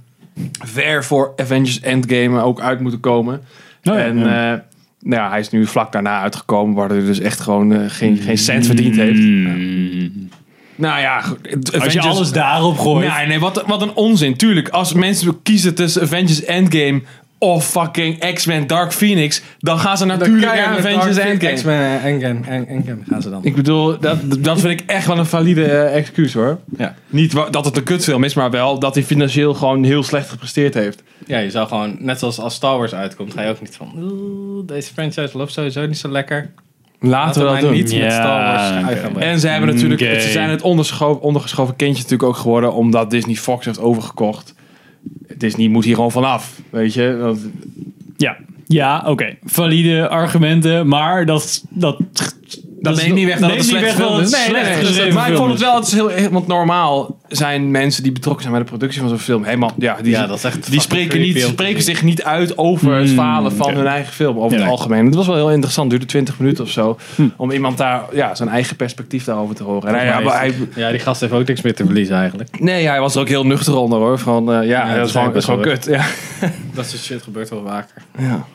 ver voor Avengers Endgame ook uit moeten komen.
Oh ja,
en
ja.
eh, nou ja, hij is nu vlak daarna uitgekomen, waardoor hij dus echt gewoon eh, geen, geen cent verdiend heeft. Nou ja, goed,
Mm. Als je
Avengers-
alles daarop gooit.
Nee, nee, wat, wat een onzin. Tuurlijk, als mensen kiezen tussen Avengers Endgame of fucking X-Men Dark Phoenix, dan gaan ze natuurlijk naar Avengers Endgame.
X-Men en Endgame, en- Endgame gaan ze dan.
Ik bedoel, dat, dat vind ik echt wel een valide eh, excuus hoor.
Ja.
Niet wa- dat het een kutfilm is, maar wel dat hij financieel gewoon heel slecht gepresteerd heeft.
Ja, je zou gewoon, net zoals als Star Wars uitkomt, ga je ook niet van. "Oeh, Deze franchise loopt sowieso niet zo lekker.
Laten,
Laten
we
we
dat
mij
doen.
niet
Ja,
met Star Wars uit
oké.
gaan brengen.
En ze hebben natuurlijk,
Oké.
ze zijn het ondergeschoven, ondergeschoven kindje natuurlijk ook geworden, omdat Disney Fox heeft overgekocht. Disney moet hier gewoon vanaf, weet je. Want,
Ja, ja oké. Valide argumenten, maar dat... Dat, dat,
dat neemt niet weg dat het een slechte film is. Nee, nee, nee, dus dat- maar ik vond het wel, het is heel, heel- want normaal zijn mensen die betrokken zijn bij de productie van zo'n film helemaal, ja, die,
Ja, dat is echt
die
fucking
spreken,
creepy
niet,
om te
spreken
zien.
zich niet uit over het falen van
oké.
hun eigen film over
Ja,
het
nee.
algemeen. Het was wel heel interessant, duurde 20 minuten of zo, om iemand daar, ja, zijn eigen perspectief daarover te horen. En hij,
Maar
Nou hij,
is- ja, die gast heeft ook niks meer te verliezen eigenlijk.
nee, hij was er ook heel nuchter onder hoor, van, eh, ja, dat
dat
is gewoon,
is
dat is gewoon
best
kut, ja.
Dat soort shit gebeurt wel vaker.
Ja.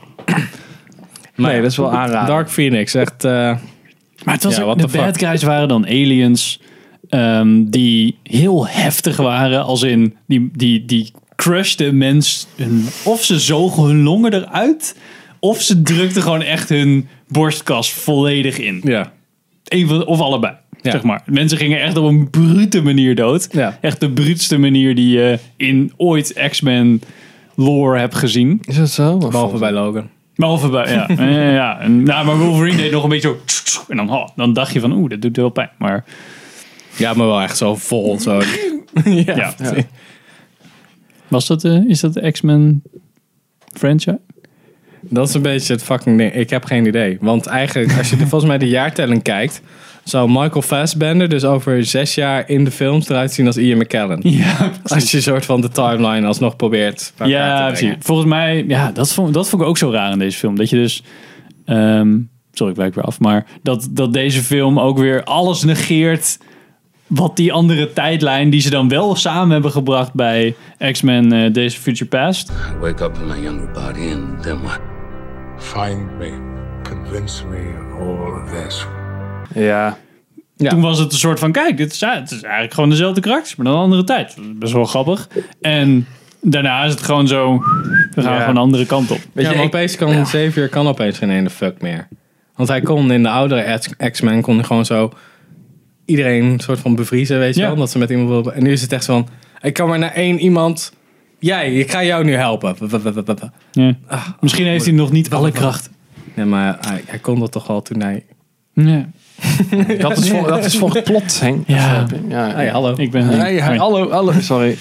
nee, dat is wel aanraden.
Dark Phoenix, echt. eh,
Ah. Maar het was
Ja,
ook-
what
de
the fuck.
bad guys waren dan aliens ehm, die heel heftig waren. Als in, die, die, die crushten mensen. Of ze zogen hun longen eruit, of ze drukten gewoon echt hun borstkas volledig in.
ja.
Eén van, of allebei.
Ja.
Zeg maar. Mensen gingen echt op een brute manier dood.
Ja.
Echt de bruutste manier die je in ooit X-Men lore hebt gezien.
Is dat zo? Of-
Behalve bij Logan.
Behalve bij, ja. ja, ja, ja. En, nou, maar Wolverine deed nog een beetje zo. En dan, oh, dan dacht je van, oeh, dat doet wel pijn. Maar
Ja, maar wel echt zo vol. Zo.
ja. Was dat, eh, is dat de X-Men franchise?
Dat is een beetje het fucking ding. Ik heb geen idee. Want eigenlijk, als je de- volgens mij de jaartelling kijkt, zou Michael Fassbender dus over zes jaar in de films eruit zien als Ian McKellen.
Ja,
Als je een soort van de timeline alsnog probeert. bij elkaar
ja
te brengen.
precies. Volgens mij, ja, dat vond, dat vond ik ook zo raar in deze film. Dat je dus, ehm, sorry, ik wijk weer af, maar dat, dat deze film ook weer alles negeert wat die andere tijdlijn die ze dan wel samen hebben gebracht bij X-Men eh Days of Future Past.
Wake up in a younger body and then what?
Find me. Convince me of all of this.
Ja.
Ja.
Toen was het een soort van, kijk, dit is, het is eigenlijk gewoon dezelfde karakters, maar dan een andere tijd. Dat is Best wel grappig. En daarna is het gewoon zo, we
Ja.
gaan gewoon een andere kant op.
Weet
Ja,
je,
maar
opeens kan Xavier kan opeens geen ene fuck meer. Want hij kon in de oudere X- X-Men kon hij gewoon zo iedereen een soort van bevriezen, weet je
Ja.
wel. Dat ze met iemand wil... En nu is het echt zo van, ik kan maar naar één iemand... Jij, ik ga jou nu helpen.
Ja.
Ah,
Misschien heeft hij nog niet alle krachten.
Nee, maar hij, hij kon dat toch al toen hij...
Ja.
Dat is, vol, dat is volgens plot, Henk.
Ja.
Ja.
Hey, hallo.
Ik ben
Hey, hey, hallo, hallo. Sorry.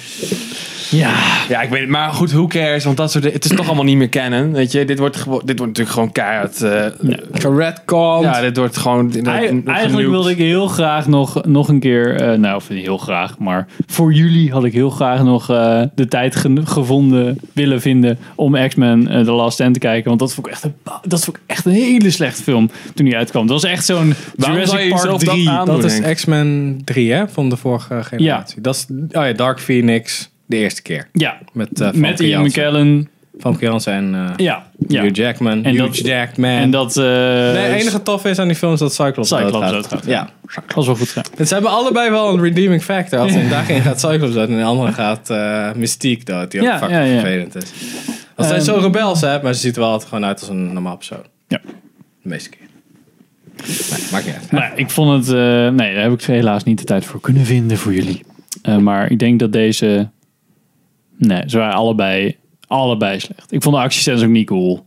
Ja.
Ja, ik weet het. Maar goed, who cares? Want dat soort dingen- Het is toch allemaal niet meer kennen. Weet je, dit wordt, gewo- dit wordt natuurlijk gewoon keihard. eh,
Redcon.
Ja, dit wordt gewoon... dit wordt
Ei-
genuked.
Eigenlijk wilde ik heel graag nog, nog een keer, eh, nou of niet heel graag, maar voor jullie had ik heel graag nog eh, de tijd gen- gevonden, willen vinden om X-Men eh, The Last Stand te kijken. Want dat vond, ik echt een, ba- dat vond ik echt een hele slechte film toen die uitkwam. Dat was echt zo'n
Waarom zou je
Jurassic Park
jezelf dat
3.
aan-
Dat is
Denk
X-Men 3, hè? Van de vorige generatie. Dat is, oh ja, Dark Phoenix. De eerste keer.
ja,
Met, eh
met
Famke
Ian
Jansen.
McKellen.
Famke Jansen en eh,
Ja, ja.
Hugh Jackman.
En
Hugh
dat-
Jackman.
En dat eh
Nee, het enige tof is aan die film is dat Cyclops,
Cyclops
doodgaat.
doodgaat,
Ja.
was wel goed gedaan.
En ze hebben allebei wel een redeeming factor. Als in dag één gaat Cyclops dood en in de andere gaat eh, Mystique dood. Die ook
Ja,
fucking
ja, ja.
vervelend is. Als zij
Ehm,
zo rebels hè, maar ze ziet er wel altijd gewoon uit als een normaal persoon.
Ja.
De meeste keer. Nee, maakt niet uit.
Maar ja, ik vond het. eh, nee, daar heb ik helaas niet de tijd voor kunnen vinden voor jullie. Eh, maar ik denk dat deze. Nee, ze waren allebei, allebei slecht. Ik vond de actiescènes ook niet cool.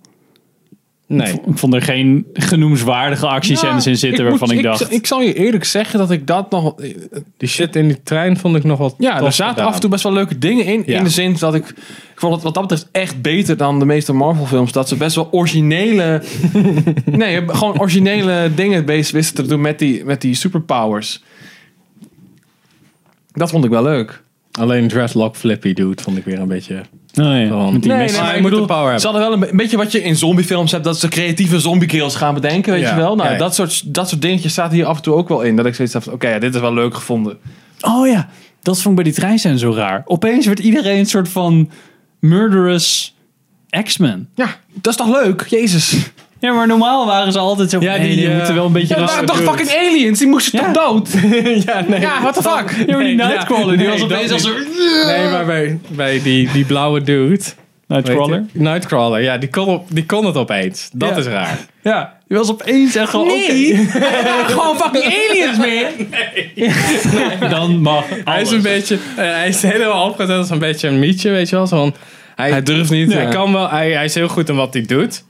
Nee.
Ik vond er geen genoemswaardige
Nou,
actiescènes in zitten waarvan
moet-
ik dacht.
Ik, zal je eerlijk zeggen dat ik dat nog...
Die shit in die trein vond ik nog wel
Ja,
tof
er zaten
gedaan.
af en toe best wel leuke dingen in.
Ja.
In de zin dat ik... Ik vond het wat dat betreft echt beter dan de meeste Marvel films. Dat ze best wel originele... nee, gewoon originele dingen bezig wisten te doen met die, met die superpowers. Dat vond ik wel leuk.
Alleen Dreadlock Flippy dude vond ik weer een beetje...
Oh ja,
Gewoon-
met die
Nee,
mes-
nee. maar je moet de power hebben.
Ze hadden wel een be- een beetje wat je in zombiefilms hebt... dat ze creatieve zombiekills gaan bedenken, weet
Ja.
je wel. Nou,
Ja, ja.
Dat, soort, dat soort dingetjes zaten hier af en toe ook wel in. Dat ik zoiets dacht, oké, ja, dit is wel leuk gevonden.
Oh ja, dat vond ik bij die treinscène zo raar. Opeens werd iedereen een soort van murderous X-Men.
Ja, dat is toch leuk? Jezus.
Ja, maar normaal waren ze altijd zo.
Ja,
Ja, die,
die, eh,
moeten wel een beetje.
Ja, dat
raar
waren toch
doen.
fucking aliens? Die moesten
Ja.
toch dood?
ja, nee.
Ja, what the fuck?
Ja, maar die
Nee,
Nightcrawler,
ja.
die
Nee,
was
dat
opeens als
niet.
een.
Nee, maar bij, bij die, die blauwe dude...
Nightcrawler.
Weet je? Nightcrawler, ja, die kon, op, die kon het opeens. Dat
Ja.
is raar.
Ja, die was opeens echt gewoon.
Nee, gewoon fucking aliens, man.
Dan mag.
Hij is een beetje, eh, hij is helemaal opgezet als een beetje een mietje, weet je wel. Zo van, hij,
Hij durft niet,
Hij,
ja.
kan wel, hij, hij is heel goed in wat hij doet.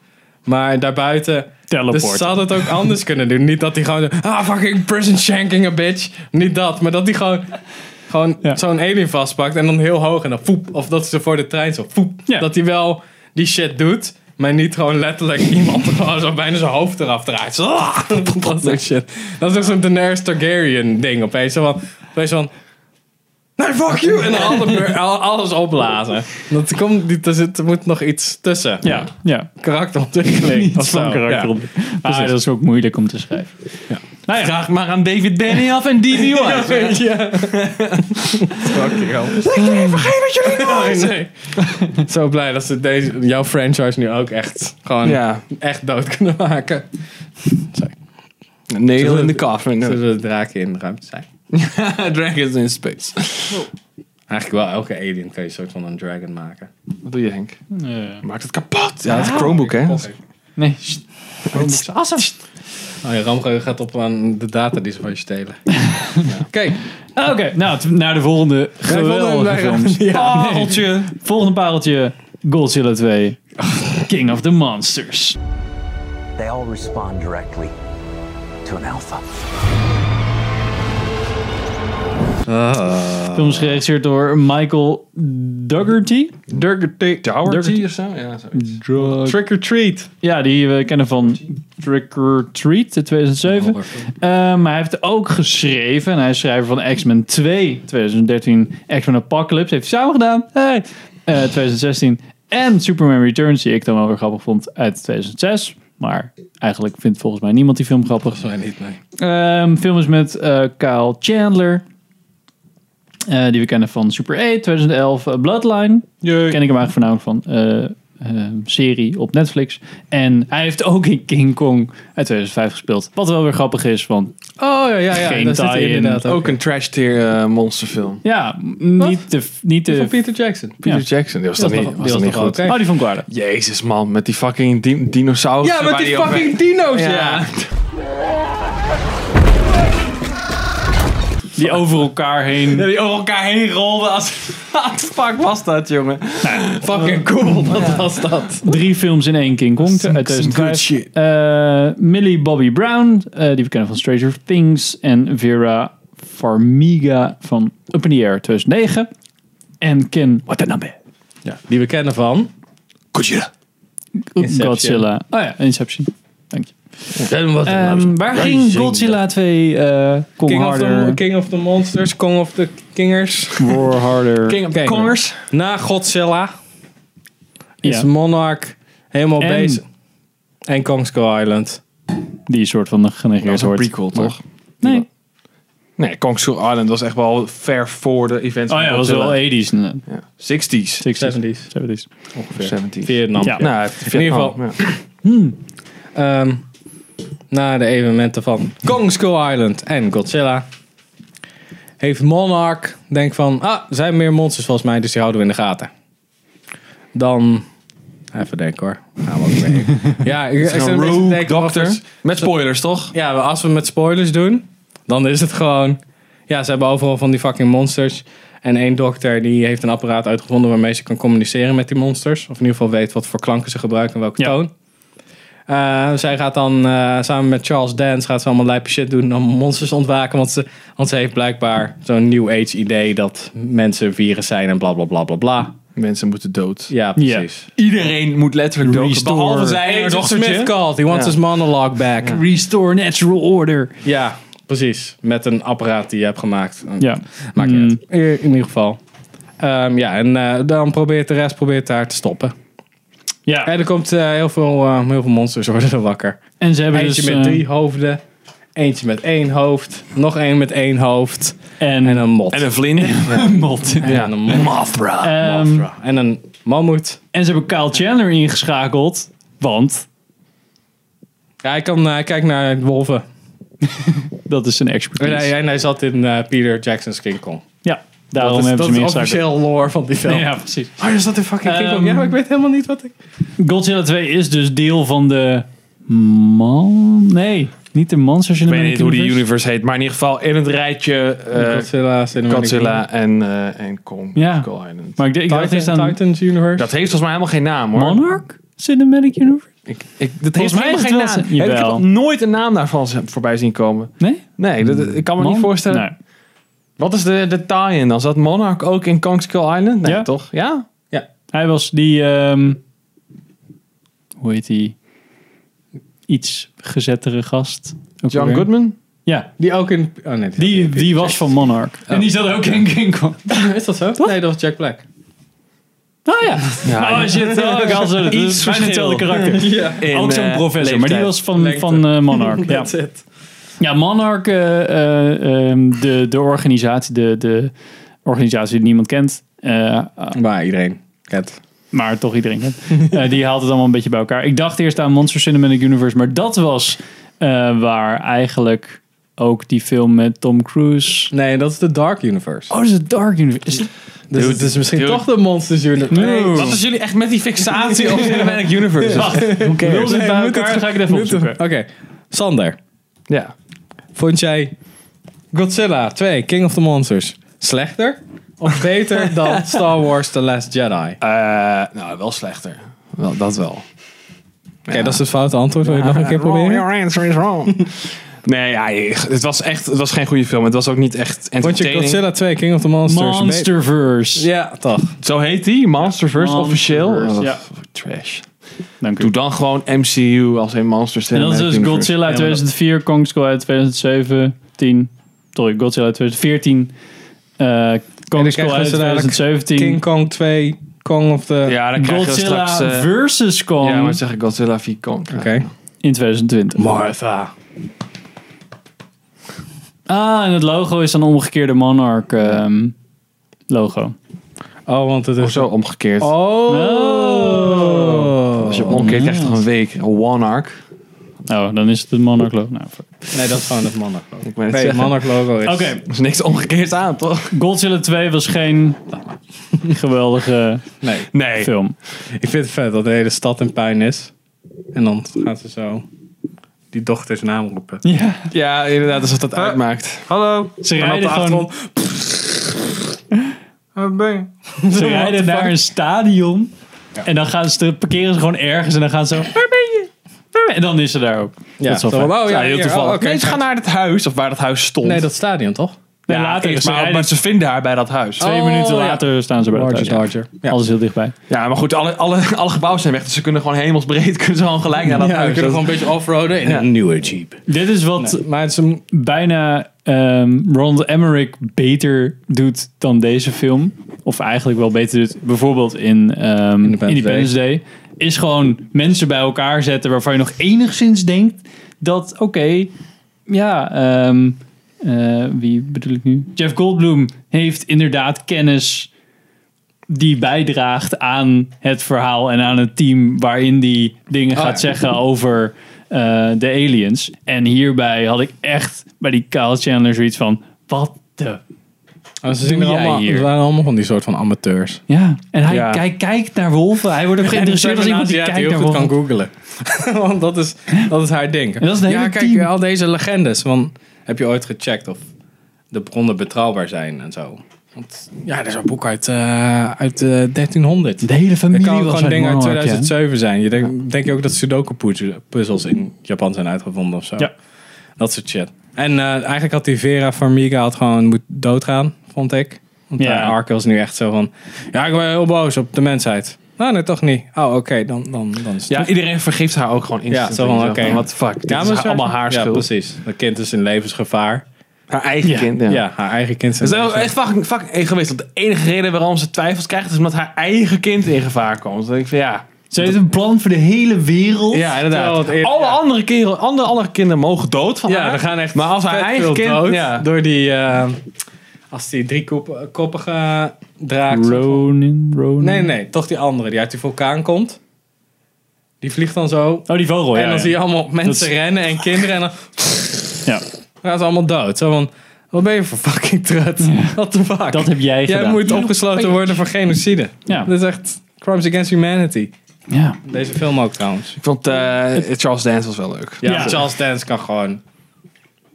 Maar daarbuiten...
Teleport.
Dus ze hadden het ook anders kunnen doen. Niet dat hij gewoon... zo, Ah, fucking prison shanking a bitch. Niet dat, maar dat hij gewoon... Gewoon
Ja.
zo'n alien vastpakt en dan heel hoog en dan foep. Of dat ze voor de trein zo foep.
Ja.
Dat hij wel die shit doet, maar niet gewoon letterlijk iemand gewoon zo bijna zijn hoofd eraf draait. Zo, ah, dat soort shit. Dat is ook zo'n Daenerys Targaryen ding opeens. Zo van, opeens van... Nee, fuck you! En dan alle beur- al- alles opblazen. Dat komt, niet- er, zit, er moet nog iets tussen.
Ja, ja.
Karakterontwikkeling. of
Iets
zo.
van karakter
Ja.
op. Ah, dat is ook moeilijk om te schrijven. Nou ja.
Vraag maar aan David Benioff en D.B. Weiss.
Ja. Fucking hell. Nee. Zo blij dat ze deze, jouw franchise nu ook echt, gewoon
Ja,
echt dood kunnen maken.
nail in the coffin.
Zullen de draken in de ruimte zijn?
Dragons in space.
Eigenlijk wel, elke alien kan je een soort van een dragon maken.
Wat doe je, Henk?
Eh,
Maakt het kapot. Ja, dat is Chromebook, hè?
nee. sst.
Oh ja, Ramco gaat op aan de data die ze van je stelen. Kijk,
Oké, nou, t- naar de volgende
eh,
geweldige films.
Oh.
Pareltje.
Volgende pareltje. Godzilla 2. King of the Monsters.
They all respond directly to an alpha.
Film is geregisseerd door Michael Dougherty.
Durger Dougherty of zo? Ja, zoiets. Trick or treat.
Ja, die we kennen van Trick or Treat uit 2007. Eh, maar hij heeft ook geschreven. En hij is schrijver van X-Men 2 2013. X-Men Apocalypse heeft hij samen gedaan. Hey. Eh, 2016. En Superman Returns, die ik dan wel weer grappig vond, uit 2006. Maar eigenlijk vindt volgens mij niemand die film grappig.
Wij niet, nee.
Ehm film is met eh, Kyle Chandler. Eh, die we kennen van Super 8, 2011. eh, Bloodline. Ken ik hem eigenlijk voornamelijk van. eh, eh, serie op Netflix. En hij heeft ook in King Kong uit 2005 gespeeld. Wat wel weer grappig is, want
Oh ja, ja, ja.
Geen
daar zit hij
tie-in.
inderdaad Ook een trash tier eh, monsterfilm.
ja, m- niet de... Niet de
Van Peter Jackson.
Peter
Ja.
Jackson, die was
Die
toch
was
niet,
nog-
was toch
die was
niet
nog
goed?
oké. Oh, die van Guarda.
Jezus man, met die fucking di dinosaurus.
Ja, met die fucking dino's, ja.
Die over elkaar heen...
die over elkaar heen rolden als... Wat de fuck was dat, jongen? fucking cool, wat was dat?
Drie films in één King Kong uit 2005.
good shit.
Eh, Millie Bobby Brown, eh, die we kennen van Stranger Things. En Vera Farmiga van Up in the Air 2009. En Ken Watanabe.
Ja. Die we kennen van... Inception.
Godzilla. Oh ja, Inception. Dank je.
wat
Ehm, waar ging Godzilla 2 eh Kong
King of,
Harder,
the, King of the Monsters, Kong of the Kingers.
Roar Harder.
King of
Kijk,
Kongers.
Na Godzilla is
Ja,
Monarch helemaal
En-
bezig. En Kong Skull Island.
die soort van
Dat
genegeerd
was een
wordt.
prequel, toch?
Nee.
Nee, Kong Skull Island was echt wel ver voor de events.
Oh ja,
van
dat was
Godzilla.
wel eh, 80s. inderdaad.
60s.
60s.
70s.
70s.
70s.
Vietnam.
Ja.
Nou, in ieder
Vietnam,
geval. Ja.
Ehm, na de evenementen van Kong Skull Island en Godzilla heeft Monarch denk van ah er zijn meer monsters volgens mij dus die houden we in de gaten. Dan even denken hoor. Gaan we ook mee. ja, ik, ik
Zo'n
zit een beetje te
rogue
denken, wat
doctor.
is-
Met spoilers, toch?
Ja, maar als we met spoilers doen, dan is het gewoon. Ja, ze hebben overal van die fucking monsters. En één dokter die heeft een apparaat uitgevonden waarmee ze kan communiceren met die monsters. Of in ieder geval weet wat voor klanken ze gebruiken en welke
Ja.
toon. Eh, zij gaat dan eh, samen met Charles Dance gaat ze allemaal lijpe shit doen om monsters ontwaken. Want ze, want ze heeft blijkbaar zo'n New Age idee dat mensen virus zijn en bla bla bla bla bla.
Mensen moeten dood.
Ja, precies.
Iedereen moet letterlijk dood.
Restore.
Behalve zij
Hey,
en
Dr.
dochtertje.
Smith called. He wants
Ja.
his monologue back. Ja.
Restore natural order.
precies. Met een apparaat die je hebt gemaakt.
Ja.
Maakt
Mm.
niet uit. In, in ieder geval. Ehm, ja, en eh, dan probeert de rest probeert haar te stoppen.
Ja.
En er komt eh, heel, veel, eh, heel veel monsters worden er wakker.
En ze hebben
Eentje
dus...
met
eh,
drie hoofden. Eentje met één hoofd. Nog één met één hoofd.
Mm. En,
En een mot.
En een vlinder.
mot.
Ja, en een mot.
Ehm,
Mothra. En een mammoet.
en ze hebben Kyle Chandler ingeschakeld. Want
Ja, hij, kan, eh, hij kijkt naar wolven.
dat is zijn
En
expertise.
hij, en hij zat in eh, Peter Jackson's King Kong.
Ja, daarom
Dat is,
hebben
dat
ze
is
hem ingeschakeld.
officieel lore van die film.
Ja, precies.
Oh, is dat in fucking King Kong?
Ehm,
Ja, maar ik weet helemaal niet wat ik...
Godzilla 2 is dus deel van de... Man... Nee, niet de Monsters
Ik weet niet
Cinematic
hoe die
Universe.
universe heet. Maar in ieder geval in het rijtje eh,
Godzilla, Cinematic
Godzilla en, eh, en Kong.
Ja.
Skull Island.
Maar ik, denk- ik dacht
Universe.
eerst
Titan,
aan...
Titans Universe.
Dat heeft volgens mij helemaal geen naam hoor.
Monarch Cinematic Universe?
Ik, ik, dat
Volgens
heeft
mij
helemaal
is
geen
het wel
naam.
zijn-
Heb ik heb
Jawel.
nog nooit een naam daarvan z- voorbij zien komen.
Nee?
Nee, dat, dat- ik kan me niet voorstellen.
Nee.
Wat is de, de tie-in dan? Zat Monarch ook in Kong Skull Island? Nee,
Ja.
toch? Ja?
Hij was die... ehm, hoe heet die? Iets gezettere gast. Ook
John
alweer.
Goodman?
Ja,
Die ook in... Oh nee,
die, die was van Monarch. En die zat ook in King Kong.
Is dat zo? Nee, dat was Jack Black.
Oh ja. oh shit. Oh, ik had het. Iets
Iets
van hetzelfde
verschil.
karakter.
In,
ook zo'n
eh,
professor. Maar
leeftijd.
die was van,
Lengte.
van eh, Monarch. ja. ja, Monarch, eh, eh, ehm, de, de organisatie, de, de organisatie die niemand kent. eh,
Maar iedereen kent.
maar toch iedereen kent. Eh, die haalt het allemaal een beetje bij elkaar. Ik dacht eerst aan Monster Cinematic Universe, maar dat was eh, waar eigenlijk ook die film met Tom Cruise.
Nee, dat is de Dark Universe.
Oh, dat is het Dark Universe. Is-
dus het is misschien
dude.
toch de Monsters Universe. Nee,
Wat is jullie echt met die fixatie op Cinematic Universe?
Wacht, hoe cares?
Nee,
het bij
moet
elkaar?
het-
Ga ik het even
moet het-
opzoeken.
Oké, Sander.
Ja.
Vond jij Godzilla 2, King of the Monsters, slechter of beter dan Star Wars The Last Jedi? Oké,
Eh, nou, wel slechter. Wel, dat wel.
dat is het foute antwoord. Wil je het nog een keer proberen?
Your answer is wrong. Nee, ja, het was echt het was geen goede film. Het was ook niet echt
Vond je
entertaining.
Godzilla 2, King of the Monsters?
Monsterverse.
be- Ja, toch.
Zo heet die, Monsterverse
Ja,
officieel.
Monsterverse,
Oh,
ja.
Trash.
Dank u.
Doe dan gewoon MCU als een Monsters.
En dat is dus Godzilla uit
Ja, maar dat-
2004, Kong Skull uit 2007, 10. Sorry, Godzilla uit 2014. eh
En
Kong Skull
dan krijgen
uit
ze dadelijk
2017.
King Kong 2, Kong of the...
Ja, dan krijgen we
Godzilla
straks... eh,
versus Kong
ja, maar zeg ik Godzilla v. Kong. Ja.
Oké.
in 2020.
Martha.
Ah, en het logo is dan omgekeerde Monarch ehm, logo.
Oh, want het
Of
is...
zo omgekeerd.
Oh.
Als je hem omkeert, krijg je toch een week. Een one-arc.
Oh, dan is het het Monarch logo. Nou, fuck.
Nee, dat is gewoon het Monarch logo.
Ik ben het
Nee, het
zeggen.
Monarch logo is...
Oké,
Er is niks omgekeerd aan, toch?
Godzilla 2 was geen geweldige
Nee.
Nee.
film.
Ik vind het vet dat de hele stad in puin is. En dan gaat ze zo die dochters naam roepen.
Ja,
Ja, inderdaad, alsof dat
Ah,
uitmaakt.
Hallo.
ze
En op de
rijden gewoon
achtergrond... Waar ben je?
Ze rijden naar een stadion. En dan gaan ze, parkeren ze gewoon ergens en dan gaan ze zo... Waar ben je? Waar ben je?" En dan is ze daar ook.
Ja,
dat is wel
zo,
fijn.
oh, ja,
heel
hier,
toevallig.
oh, oké.
Nee, ze gaan naar het huis, of waar dat huis stond.
Nee, dat stadion toch?
En
ja,
later,
eerst
ze
maar,
rijden
maar ze vinden haar bij dat huis.
twee
Oh,
minuten
ja.
later staan ze bij het
Larger,
huis. Ja.
larger. Ja.
Alles heel dichtbij.
Ja, maar goed, alle, alle, alle gebouwen zijn weg, dus ze kunnen gewoon hemelsbreed kunnen ze gewoon gelijk naar dat
Ja, we
huis.
kunnen gewoon
Dat-
een beetje offroaden in
Ja.
een nieuwe Jeep.
Dit is wat
Maar het is een...
bijna ehm Ronald Emmerich beter doet dan deze film. Of eigenlijk wel beter doet. Bijvoorbeeld in ehm,
Independence
Independence Day. Is gewoon mensen bij elkaar zetten waarvan je nog enigszins denkt dat, oké, ja, ehm, eh, wie bedoel ik nu? Jeff Goldblum heeft inderdaad kennis die bijdraagt aan het verhaal en aan het team waarin die dingen
Ah,
gaat zeggen over eh, de aliens. En hierbij had ik echt bij die Kyle Chandler zoiets van, wat de...
Oh, ze zien
Doe
er
jij
allemaal,
hier?
er waren allemaal van die soort van amateurs.
Ja, en hij,
Ja.
hij kijkt naar wolven. Hij wordt ook geïnteresseerd als iemand die
Ja,
kijkt naar
heel goed
wolven.
kan googelen. Want dat is, dat is haar ding.
En dat is het
ja,
hele
kijk,
team.
al deze legendes. Want heb je ooit gecheckt of de bronnen betrouwbaar zijn en zo? Want, ja, dat is een boek uit, eh, uit eh, 1300.
De hele
Het
familie
kan ook
was
gewoon
uit
dingen uit
Monarch, ja.
2007 zijn. Je denk, denk je ook dat Sudoku-puzzels
Mm.
in Japan zijn uitgevonden of zo?
Ja.
Dat soort shit. En eh, eigenlijk had die Vera Farmiga had gewoon moet doodgaan, vond ik. Want
Ja.
ja. Arkel is nu echt zo van... Ja, ik ben heel boos op de mensheid. Nou, nee, toch niet. Oh, oké, dan, dan, dan is het
Ja,
goed.
iedereen vergeeft haar ook gewoon instant.
Ja, zo van,
Zo
oké.
van, What the fuck, dit
maar
is
ze-
haar- allemaal haar
Ja,
schuld.
precies. Dat kind is in levensgevaar.
Haar eigen kind, ja.
Ja, haar eigen kind is in
Dus dat is
levensgevaar.
echt fucking, fucking egoïst. Want de enige reden waarom ze twijfels krijgt, is omdat haar eigen kind in gevaar komt. Dan denk ik van, ja...
Ze heeft een plan voor de hele wereld.
Ja, inderdaad.
Terwijl het eerder-
alle,
ja.
andere kerel, andere, andere kinderen mogen dood van haar.
Ja, er gaan echt
maar als haar
vet
eigen
veel
kind...
dood
ja.
door die... eh, als die driekoppige draak...
Ronin, Ronin.
Nee, nee, toch die andere die uit die vulkaan komt. Die vliegt dan zo.
Oh, die vogel, ja.
en dan
ja.
zie je allemaal mensen
is-
rennen en kinderen. En dan
Ja.
gaan ze allemaal dood. Zo van, wat ben je voor fucking trut? What the fuck?
Dat heb jij
Jij
gedaan.
moet
Ja.
opgesloten worden voor genocide.
Ja.
Dat is echt crimes against humanity.
Ja.
Deze film ook trouwens.
Ik vond eh, Charles Dance was wel leuk.
Ja,
Ja.
Charles Dance kan gewoon...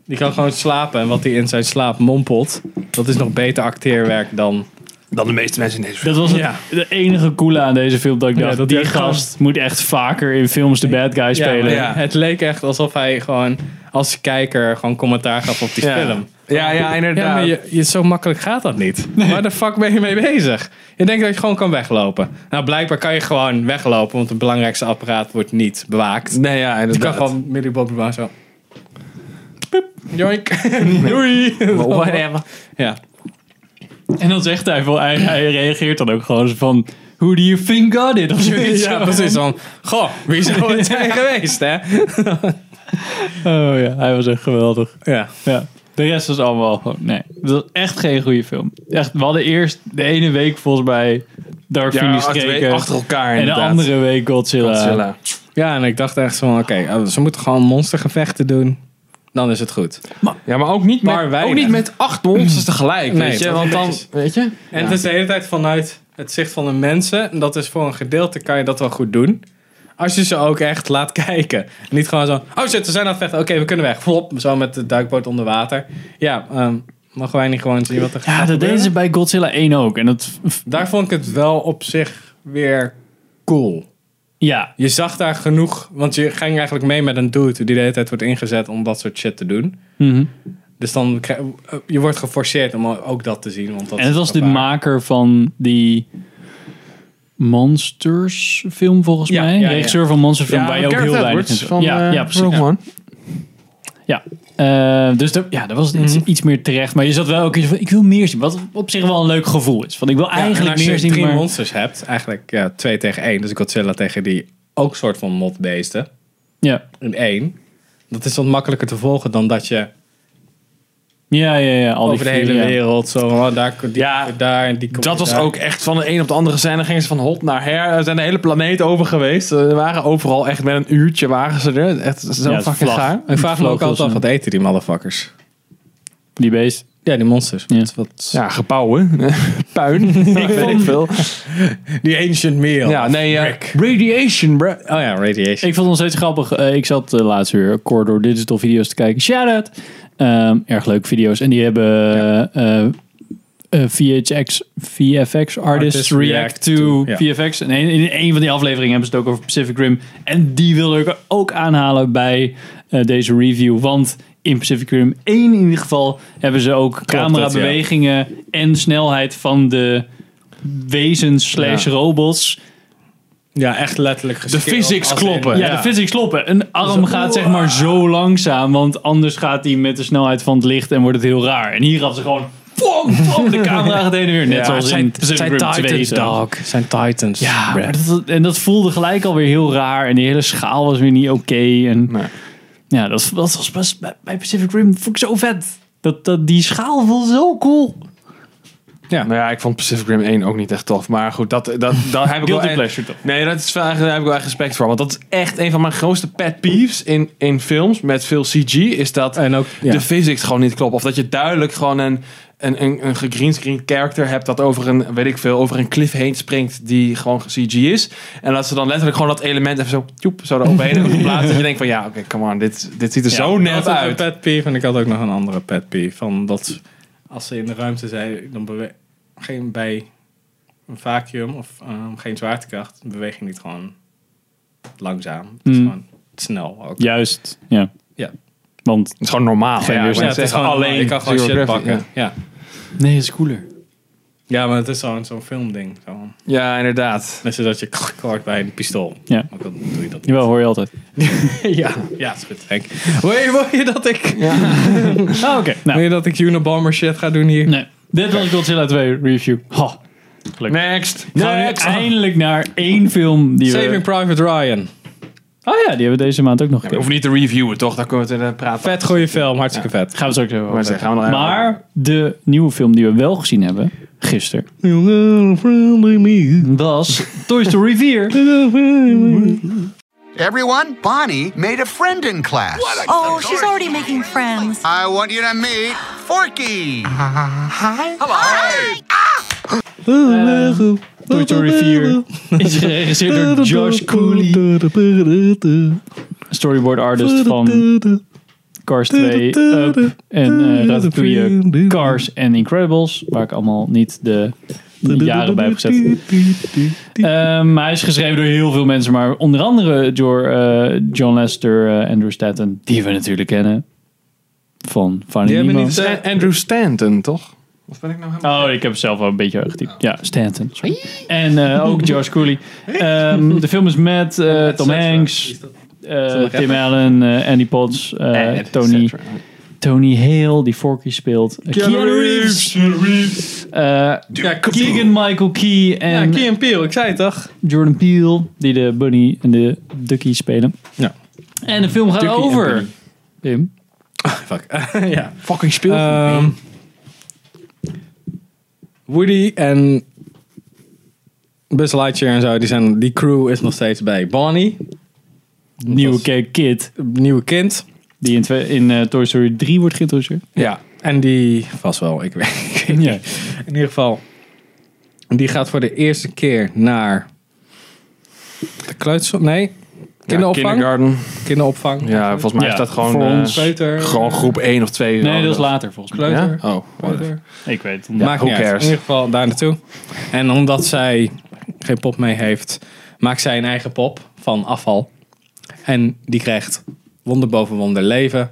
Die kan gewoon slapen. En wat hij in zijn slaap mompelt... dat is nog beter acteerwerk dan...
Dan de meeste mensen in deze film.
Dat was het,
Ja.
de enige coole aan deze film dat ik dacht,
Ja, dat
die
hij echt
gast moet echt vaker in films de bad guy spelen.
Ja, Het leek echt alsof hij gewoon... als kijker gewoon commentaar gaf op die
Ja.
film.
Ja, ja, inderdaad.
Ja, maar je, je, zo makkelijk gaat dat niet. Waar de fuck ben je mee bezig? Je denkt dat je gewoon kan weglopen. Nou, blijkbaar kan je gewoon weglopen, want het belangrijkste apparaat wordt niet bewaakt.
Nee, ja,
je kan
inderdaad.
gewoon midden in Bobby Brown zo. Piep, joink, doei.
Whatever.
Ja.
En dan zegt hij, wel, hij, hij reageert dan ook gewoon zo van, who do you think got it? Of zoiets.
ja, precies. Dan, goh, wie zou het zijn geweest, hè?
Oh ja, hij was echt geweldig.
Ja.
Ja. De rest was allemaal gewoon, nee. Dat was echt geen goede film. Echt, we hadden eerst de ene week volgens mij Dark
Ja,
Phoenix
achter-
gekeken.
achter elkaar
en de
inderdaad.
andere week Godzilla.
Godzilla.
ja, en ik dacht echt zo van, oké, oh, ze moeten gewoon monstergevechten doen. Dan is het goed.
Ja, maar ook niet,
Maar
met, ook
weinig.
niet met acht monsters tegelijk,
Nee,
weet je.
dat
Want
is
dan,
netjes.
weet je...
En het is de hele tijd vanuit het zicht van de mensen. En dat is voor een gedeelte kan je dat wel goed doen. Als je ze ook echt laat kijken. Niet gewoon zo, oh shit, we zijn aan het vechten. Oké, we kunnen weg. Flop, zo met de duikboot onder water. Ja, ehm, mogen wij niet gewoon zien wat er
Ja,
gaat
dat deden ze
gebeuren?
bij Godzilla 1 ook. En dat,
Daar vond ik het wel op zich weer cool.
Ja,
Je zag daar genoeg, want je ging eigenlijk mee met een dude die de hele tijd wordt ingezet om dat soort shit te doen.
Mhm.
Dus dan krijg, je wordt geforceerd om ook dat te zien. Want dat
en het
is
was de
gevaar.
maker van die Monsters film volgens
Ja,
mij.
ja, ja.
Regisseur van Monsters film,
Ja,
waar je ook heel
Gareth
weinig in
Edwards
zag.
van
ja,
eh,
ja, precies.
Rogue
Ja.
One.
Ja, Eh, dus daar- ja, daar was het iets,
Mhm.
iets meer terecht. Maar je zat wel ook in zo van, ik wil meer zien. Wat op zich wel een leuk gevoel is. Want ik wil
Ja, en
eigenlijk
als
meer
je
zien,
drie
maar...
monsters hebt, eigenlijk ja, twee tegen één. Dus Godzilla tegen die ook soort van motbeesten
Ja.
in één. Dat is wat makkelijker te volgen dan dat je
Ja, ja, ja. Al die
over de
vier,
hele
ja.
wereld zo oh, daar die,
Ja,
daar en die komt
Dat was
daar.
ook echt van de een op de andere scène. Gingen ze van hot naar her. Er zijn de hele planeet over geweest. Ze waren overal echt met een uurtje waren ze er. Echt zo
Ja, het
fucking
vlag.
gaar.
Ik vraag me ook
Vogels,
altijd af,
ja.
wat eten die motherfuckers?
Die beest.
Ja, die monsters.
Ja.
Wat, wat-
Ja, gepouwen. Puin. ik weet ik veel.
Die ancient meal.
Ja, nee. eh,
Rick.
radiation, bro.
Oh ja, radiation.
Ik vond het nog steeds grappig. Eh, ik zat eh, laatst weer Corridor Digital video's te kijken. Shout-out! Ehm, erg leuke video's. En die hebben eh, eh, VHX, VFX artists
Artists
react,
react
to,
to, ja.
VFX. En een- in een van die afleveringen hebben ze het ook over Pacific Rim. En die wilde ik ook aanhalen bij eh, deze review. Want in Pacific Rim 1 in ieder geval hebben ze ook camerabewegingen en snelheid van de wezens slash
Ja.
robots...
Ja, echt letterlijk
De physics kloppen.
Ja, de physics kloppen. Een arm gaat zeg maar zo langzaam, want anders gaat hij met de snelheid van het licht en wordt het heel raar. En hier gaf ze gewoon... Pom, pom, de camera gaat heen en weer. Net
Ja,
zoals
het zijn-
in
het zijn
Pacific Rim 2.
Titans,
zelfs.
dog.
zijn titans.
Ja,
bruh.
maar dat, en dat voelde gelijk alweer heel raar. En die hele schaal was weer niet oké. en
Nee.
ja, dat, dat was best, bij- bij Pacific Rim vond ik zo vet. Dat, dat, die schaal voelde zo cool.
Nou ja, ik vond Pacific Rim 1 ook niet echt tof. Maar goed, dat, dat, daar heb ik wel...
Guilty
echt-
pleasure toch?
Nee, dat is, wel- daar heb ik wel echt respect voor. Want dat is echt een van mijn grootste pet peeves in, in films met veel CG. Is dat
En ook, ja.
de physics gewoon niet klopt. Of dat je duidelijk gewoon een, een, een, een gegreenscreen character hebt dat over een, weet ik veel, over een cliff heen springt die gewoon CG is. En dat ze dan letterlijk gewoon dat element even zo, joep, zo eroverheen hebben geplaatst. En je denkt van ja, oké, come on, dit, dit ziet er zo
Ik
net
had ook
uit.
Een pet peeve en ik had ook nog een andere pet peeve. Van dat ze- als ze in de ruimte zijn, dan bewe- geen bij een vacuüm of ehm, geen zwaartekracht, beweging niet gewoon langzaam. Het is
Mm.
gewoon snel ook.
Juist, ja.
Ja.
Want...
Het is gewoon normaal.
Geen
Ja,
weerstand.
ik wou
Ja, het is
zeggen,
gewoon alleen. Je kan gewoon
zero
shit
gravity,
pakken. Ja. Ja.
Nee, dat is cooler.
maar het is zo'n zo'n filmding. Zo.
Ja. ja, inderdaad.
Net zoals dat je kort hoort bij een pistool.
Ja.
Ook dan doe je dat niet.
Jawel, hoor je altijd.
Ja, ja is goed, Henk. Wil je, wil je dat ik,
Ah, oké. Nou,
wil je dat ik Unabomber shit ga doen hier?
nee. Dit was Godzilla 2 review. Ha.
Next.
Gaan we nu
Next.
eindelijk naar één film die
Saving
we...
Private Ryan.
Oh ja, die hebben we deze maand ook nog
We
gekeken.
hoeven niet te reviewen, toch? Daar kunnen we het in eh, praten.
Vet goede film, hartstikke vet.
Gaan we het ook zo over
Maar zeg,
hebben.
gaan we nog even-
Maar de nieuwe film die we wel gezien hebben, gisteren, was Toy Story 4.
Everyone, Bonnie made a friend in class.
Oh, she's already making friends.
I want you to meet Forky.
Toy Story 4 is geregisseerd door Josh Cooley. Storyboard artist van Cars 2, Up en eh Ratatouille, eh, Cars en Incredibles. Waar ik allemaal niet de jaren bij heb gezet. Ehm, maar hij is geschreven door heel veel mensen, maar onder andere door eh, John Lester, eh, Andrew Stanton, die we natuurlijk kennen van Finding
hebben
Nemo.
niet, eh,
Sta- Andrew Stanton, toch? Of ben ik nou helemaal...
Oh, ik heb het zelf al een beetje getypt. Ja, Stanton. sorry. En eh, ook Josh Cooley. Ehm, de film is met eh, Tom Hanks, eh, Tim Allen, eh, Andy Potts, eh,
Eh, et
Tony,
cetera.
Tony Hale, die Forky speelt. eh, Keanu, Reeves. eh,
Ja,
Keegan Michael Key en
Key en Peele, ik zei het toch?
Jordan Peele, die de Bunny en de Ducky spelen.
Ja.
En de film gaat
Ducky en
over.
Bunny.
Pim.
Fuck. ja.
Fucking speel.
Ehm, Woody en Buzz Lightyear en zo, die, zijn, die crew is nog steeds bij Bonnie,
Nieuwe Ke- kid,
nieuwe kind.
die in, twee- in eh, Toy Story 3 wordt geïntroduceerd.
Ja, en die vast wel, ik weet, ik weet
Ja.
niet. In ieder geval, die gaat voor de eerste keer naar de kleuterschool, nee, kinderopvang.
kindergarten.
kinderopvang.
Ja, volgens mij
Ja,
is dat gewoon,
voor
eh,
ons. Kleuter.
gewoon groep 1 of 2.
Nee, dat is later volgens mij.
Kleuter.
Ja? Oh, whatever.
Kleuter.
Ik weet het.
Maakt
who
niet uit.
cares?
In ieder geval daar naartoe. En omdat zij geen pop mee heeft, maakt zij een eigen pop van afval. En die krijgt wonder boven wonder leven.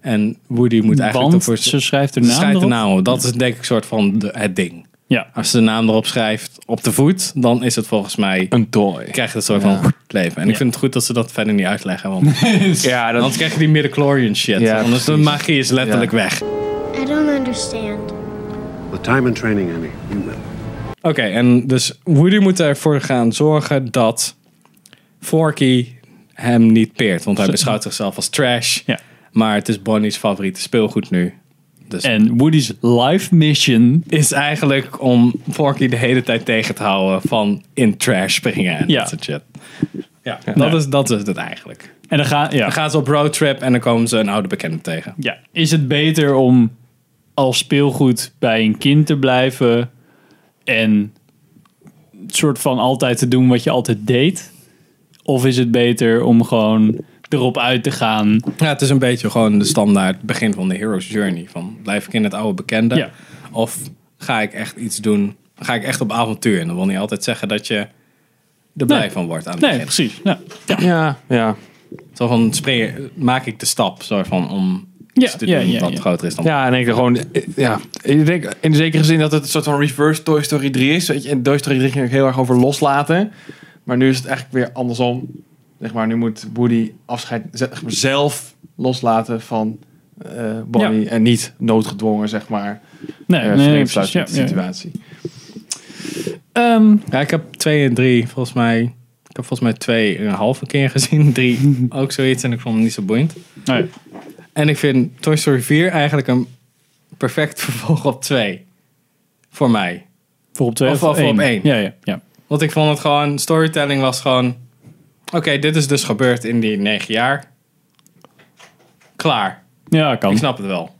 En Woody moet eigenlijk
Want
ervoor-
ze schrijft haar naam
schrijft
erop.
naam op. Dat is denk ik een soort van de- het ding.
Ja.
Als ze de naam erop schrijft op de voet, dan is het volgens mij...
Een toy.
krijgt het soort van leven. En ik vind het goed dat ze dat verder niet uitleggen. Want
Ja, dat
anders krijg je die midichlorian shit.
Ja,
anders de
precies.
magie is letterlijk
Ja.
weg.
I don't understand.
With time and training, Annie, you will.
Oké, en dus Woody moet ervoor gaan zorgen dat Forky hem niet peert. Want hij beschouwt zichzelf als trash. Maar het is Bonnie's favoriete speelgoed nu. Dus
en Woody's life mission
is eigenlijk om Forky de hele tijd tegen te houden van in trash springen en
Ja.
dat soort shit. Ja, dat,
Ja.
Is, dat is het eigenlijk.
En dan, ga, ja.
Dan gaan ze op roadtrip en dan komen ze een oude bekende tegen.
Ja, is het beter om als speelgoed bij een kind te blijven en het soort van altijd te doen wat je altijd deed? Of is het beter om gewoon erop uit te gaan?
Ja, het is een beetje gewoon de standaard begin van de hero's journey. Van blijf ik in het oude bekende?
Ja.
Of ga ik echt iets doen? Ga ik echt op avontuur? En dat wil niet altijd zeggen dat je er blij van wordt aan het
Nee,
begin.
precies. Ja.
Ja, ja.
Zo van spring, maak ik de stap zo van om iets te doen
ja, ja,
wat
ja.
groter is dan.
Ja, en ik denk gewoon, ja, ik denk in zekere zin dat het een soort van reverse Toy Story 3 is. Weet je, in Toy Story 3 ging ik heel erg over loslaten. Maar nu is het eigenlijk weer andersom. Zeg maar, nu moet Woody afscheid zeg maar, zelf loslaten van eh Bonnie. En niet noodgedwongen, zeg maar.
Nee,
eh,
nee, nee,
vreemdsluitend
precies, ja, ja, ja.
situatie.
Ehm,
Ja, ik heb twee en drie volgens mij. Ik heb volgens mij twee en een halve keer gezien. Drie ook zoiets en ik vond hem niet zo boeiend.
nee.
En ik vind Toy Story 4 eigenlijk een perfect vervolg op 2. Voor mij.
Voor op twee
Of-
of,
of op
één.
één.
Ja, ja, ja.
Want ik vond het gewoon, storytelling was gewoon... Oké, dit is dus gebeurd in die negen jaar. Klaar.
Ja, kan.
Ik snap het wel.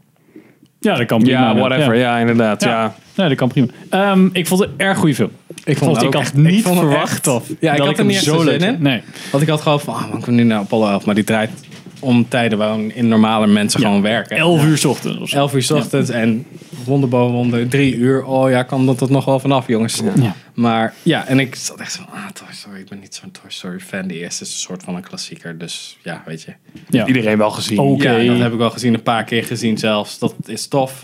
Ja, dat kan prima.
Ja, whatever. Ja, inderdaad. Ja.
Nee, dat kan prima. Ehm, ik vond het een erg goede film. Ik
vond het
ik
ook
had
echt- ik
niet
vond het echt-
verwacht of
Ja, ik
dat
had er
hem
niet echt
zo
zin
leuk
in.
vond. Nee.
Want ik had gewoon van, oh, man, kom nu naar Apollo 11. Maar die draait om tijden waarom in normale mensen gewoon werken.
11 uur 's ochtends of zo.
11 uur 's ochtends en wonder boven wonder, drie uur. Oh ja, kan dat er nog wel vanaf, jongens.
Ja.
Maar ja, en ik zat echt zo van, ah, Toy Story, ik ben niet zo'n Toy Story fan. De eerste is een soort van een klassieker, dus ja, Oh. weet je.
Ja.
Iedereen wel gezien.
Oké.
Ja, dat heb ik wel gezien, een paar keer gezien zelfs. Dat is tof.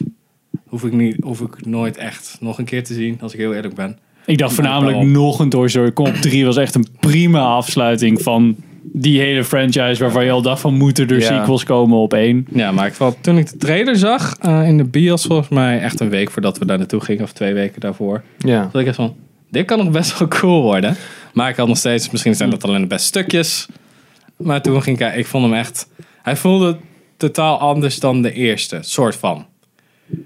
Hoef ik, niet, hoef ik nooit echt nog een keer te zien, als ik heel eerlijk ben.
Ik dacht voornamelijk
Wel.
nog een Toy Story. Kom op 3 was echt een prima afsluiting van die hele franchise waarvan je al dacht van moeten er
Ja.
sequels komen op één.
Ja, maar ik vond, toen ik de trailer zag eh, in de bios, volgens mij echt een week voordat we daar naartoe gingen, of twee weken daarvoor.
Ja.
Dat ik echt van, dit kan nog best wel cool worden. Maar ik had nog steeds, misschien zijn dat alleen de beste stukjes. Maar toen ging ik, ik vond hem echt, hij voelde totaal anders dan de eerste, soort van.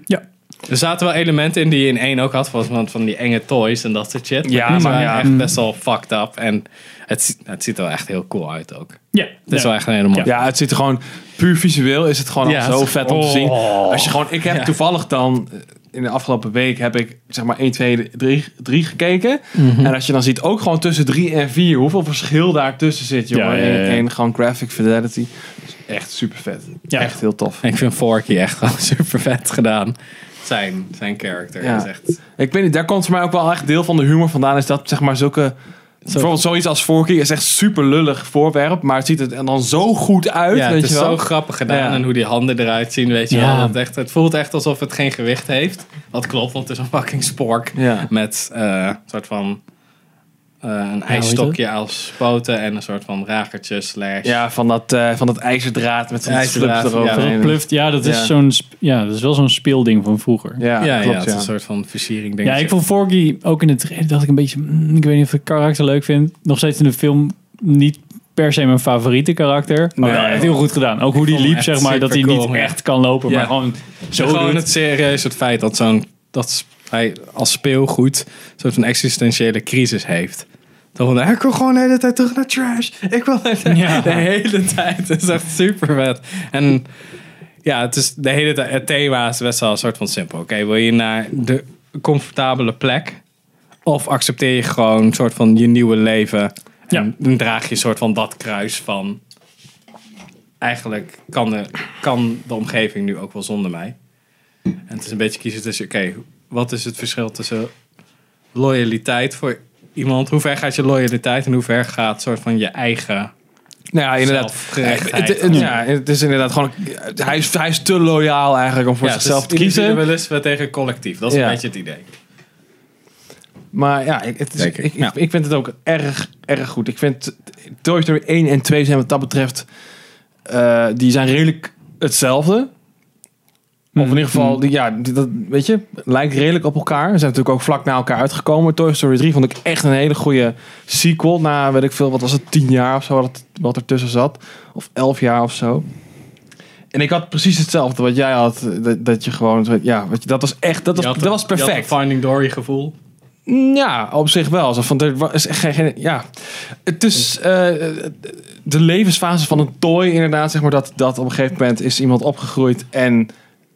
Ja.
Er zaten wel elementen in die je in één ook had, van, van die enge toys en dat soort shit.
Ja,
die
maar
waren
ja. Mm.
echt best wel fucked up. En het, zi- het ziet er wel echt heel cool uit ook.
Ja.
Het is wel echt een hele mooie.
Ja, het zit er gewoon puur visueel is het gewoon al
Ja,
zo
het is-
vet om te
oh.
zien. Als je gewoon, ik heb toevallig dan eh, in de afgelopen week heb ik zeg maar 1, 2, 3, 3 gekeken. En als je dan ziet ook gewoon tussen 3 en 4 hoeveel verschil daar tussen zit, jongen.
Ja, ja, ja, ja.
En, en gewoon graphic fidelity. Dus Echt super vet.
Ja.
Echt heel tof.
Ik vind Forky echt gewoon super vet gedaan. Zijn, zijn character
Ja.
is echt...
Ik weet niet, daar komt voor mij ook wel echt deel van de humor vandaan. Is dat zeg maar zulke. Bijvoorbeeld zoiets als Forky is echt super lullig voorwerp, maar het ziet er dan zo goed uit.
ja,
weet
het is
je wel.
zo grappig gedaan
Ja.
en hoe die handen eruit zien, weet je
Ja.
wel. Het, echt, het voelt echt alsof het geen gewicht heeft. Dat klopt, want het is een fucking spork
Ja.
met eh, een soort van eh, een
heet
ijsstokje als poten en een soort van rakertje slash...
Ja, van dat, eh, van dat ijzerdraad met zo'n
IJzerdraad,
ijzerdraad eroverheen.
ja.
Pluft, ja, dat is
Ja.
zo'n sp- ja, dat is wel zo'n speelding van vroeger.
Ja,
ja,
klopt.
ja, het is
ja.
een soort van versiering
Ja, ik vond Forky ook in de trailer dacht ik een beetje, mm, ik weet niet of ik het karakter leuk vind. Nog steeds in de film niet per se mijn favoriete karakter. Maar wel
Nee.
echt heel goed gedaan. Ook hoe die
vond hem
liep,
echt
zeg maar, dat hij
supercool,
niet
ja.
echt kan lopen,
Ja.
maar gewoon zo
gewoon
doet.
het serieus het feit dat zo'n dat hij als speelgoed een soort van existentiële crisis heeft. Dan van, ik wil gewoon de hele tijd terug naar trash. Ik wil de, hele-
Ja.
de hele tijd. Het is echt super vet. En ja, het is de hele tijd. Het thema is best wel een soort van simpel. Oké, wil je naar de comfortabele plek? Of accepteer je gewoon een soort van je nieuwe leven?
Ja.
En dan draag je een soort van dat kruis van. Eigenlijk kan de, kan de omgeving nu ook wel zonder mij. En het is een beetje kiezen tussen, oké, wat is het verschil tussen loyaliteit voor iemand, hoe ver gaat je loyaliteit en hoe ver gaat soort van je eigen.
Nou ja, inderdaad.
Zelfgerechtigheid.
Het- het- ja, het is inderdaad gewoon. Hij is, hij is te loyaal eigenlijk om voor
Ja, het is
zichzelf te kiezen.
individualisme tegen collectief. Dat is
Ja.
een beetje het idee.
Maar ja, ik- het is, ik,
Denk ik.
ik, ik vind het ook erg, erg goed. Ik vind Toy Story 1 en 2 zijn wat dat betreft... eh, die zijn redelijk hetzelfde. Of in ieder geval, die, ja, die- dat, weet je, lijkt redelijk op elkaar. Ze zijn natuurlijk ook vlak na elkaar uitgekomen. Toy Story 3 vond ik echt een hele goede sequel. Na, weet ik veel, wat was het, 10 jaar of zo, wat, het- wat ertussen zat. Of 11 jaar of zo. En ik had precies hetzelfde wat jij had. Dat, dat je gewoon, ja, weet je, dat was echt, dat was,
Je had
dat
een-
was
je had een
perfect.
Finding Dory gevoel.
Ja, op zich wel. Zo van, er wa- is geen, geen- ja. Het is eh, de levensfase van een toy inderdaad. Zeg maar, dat, dat op een gegeven moment is iemand opgegroeid en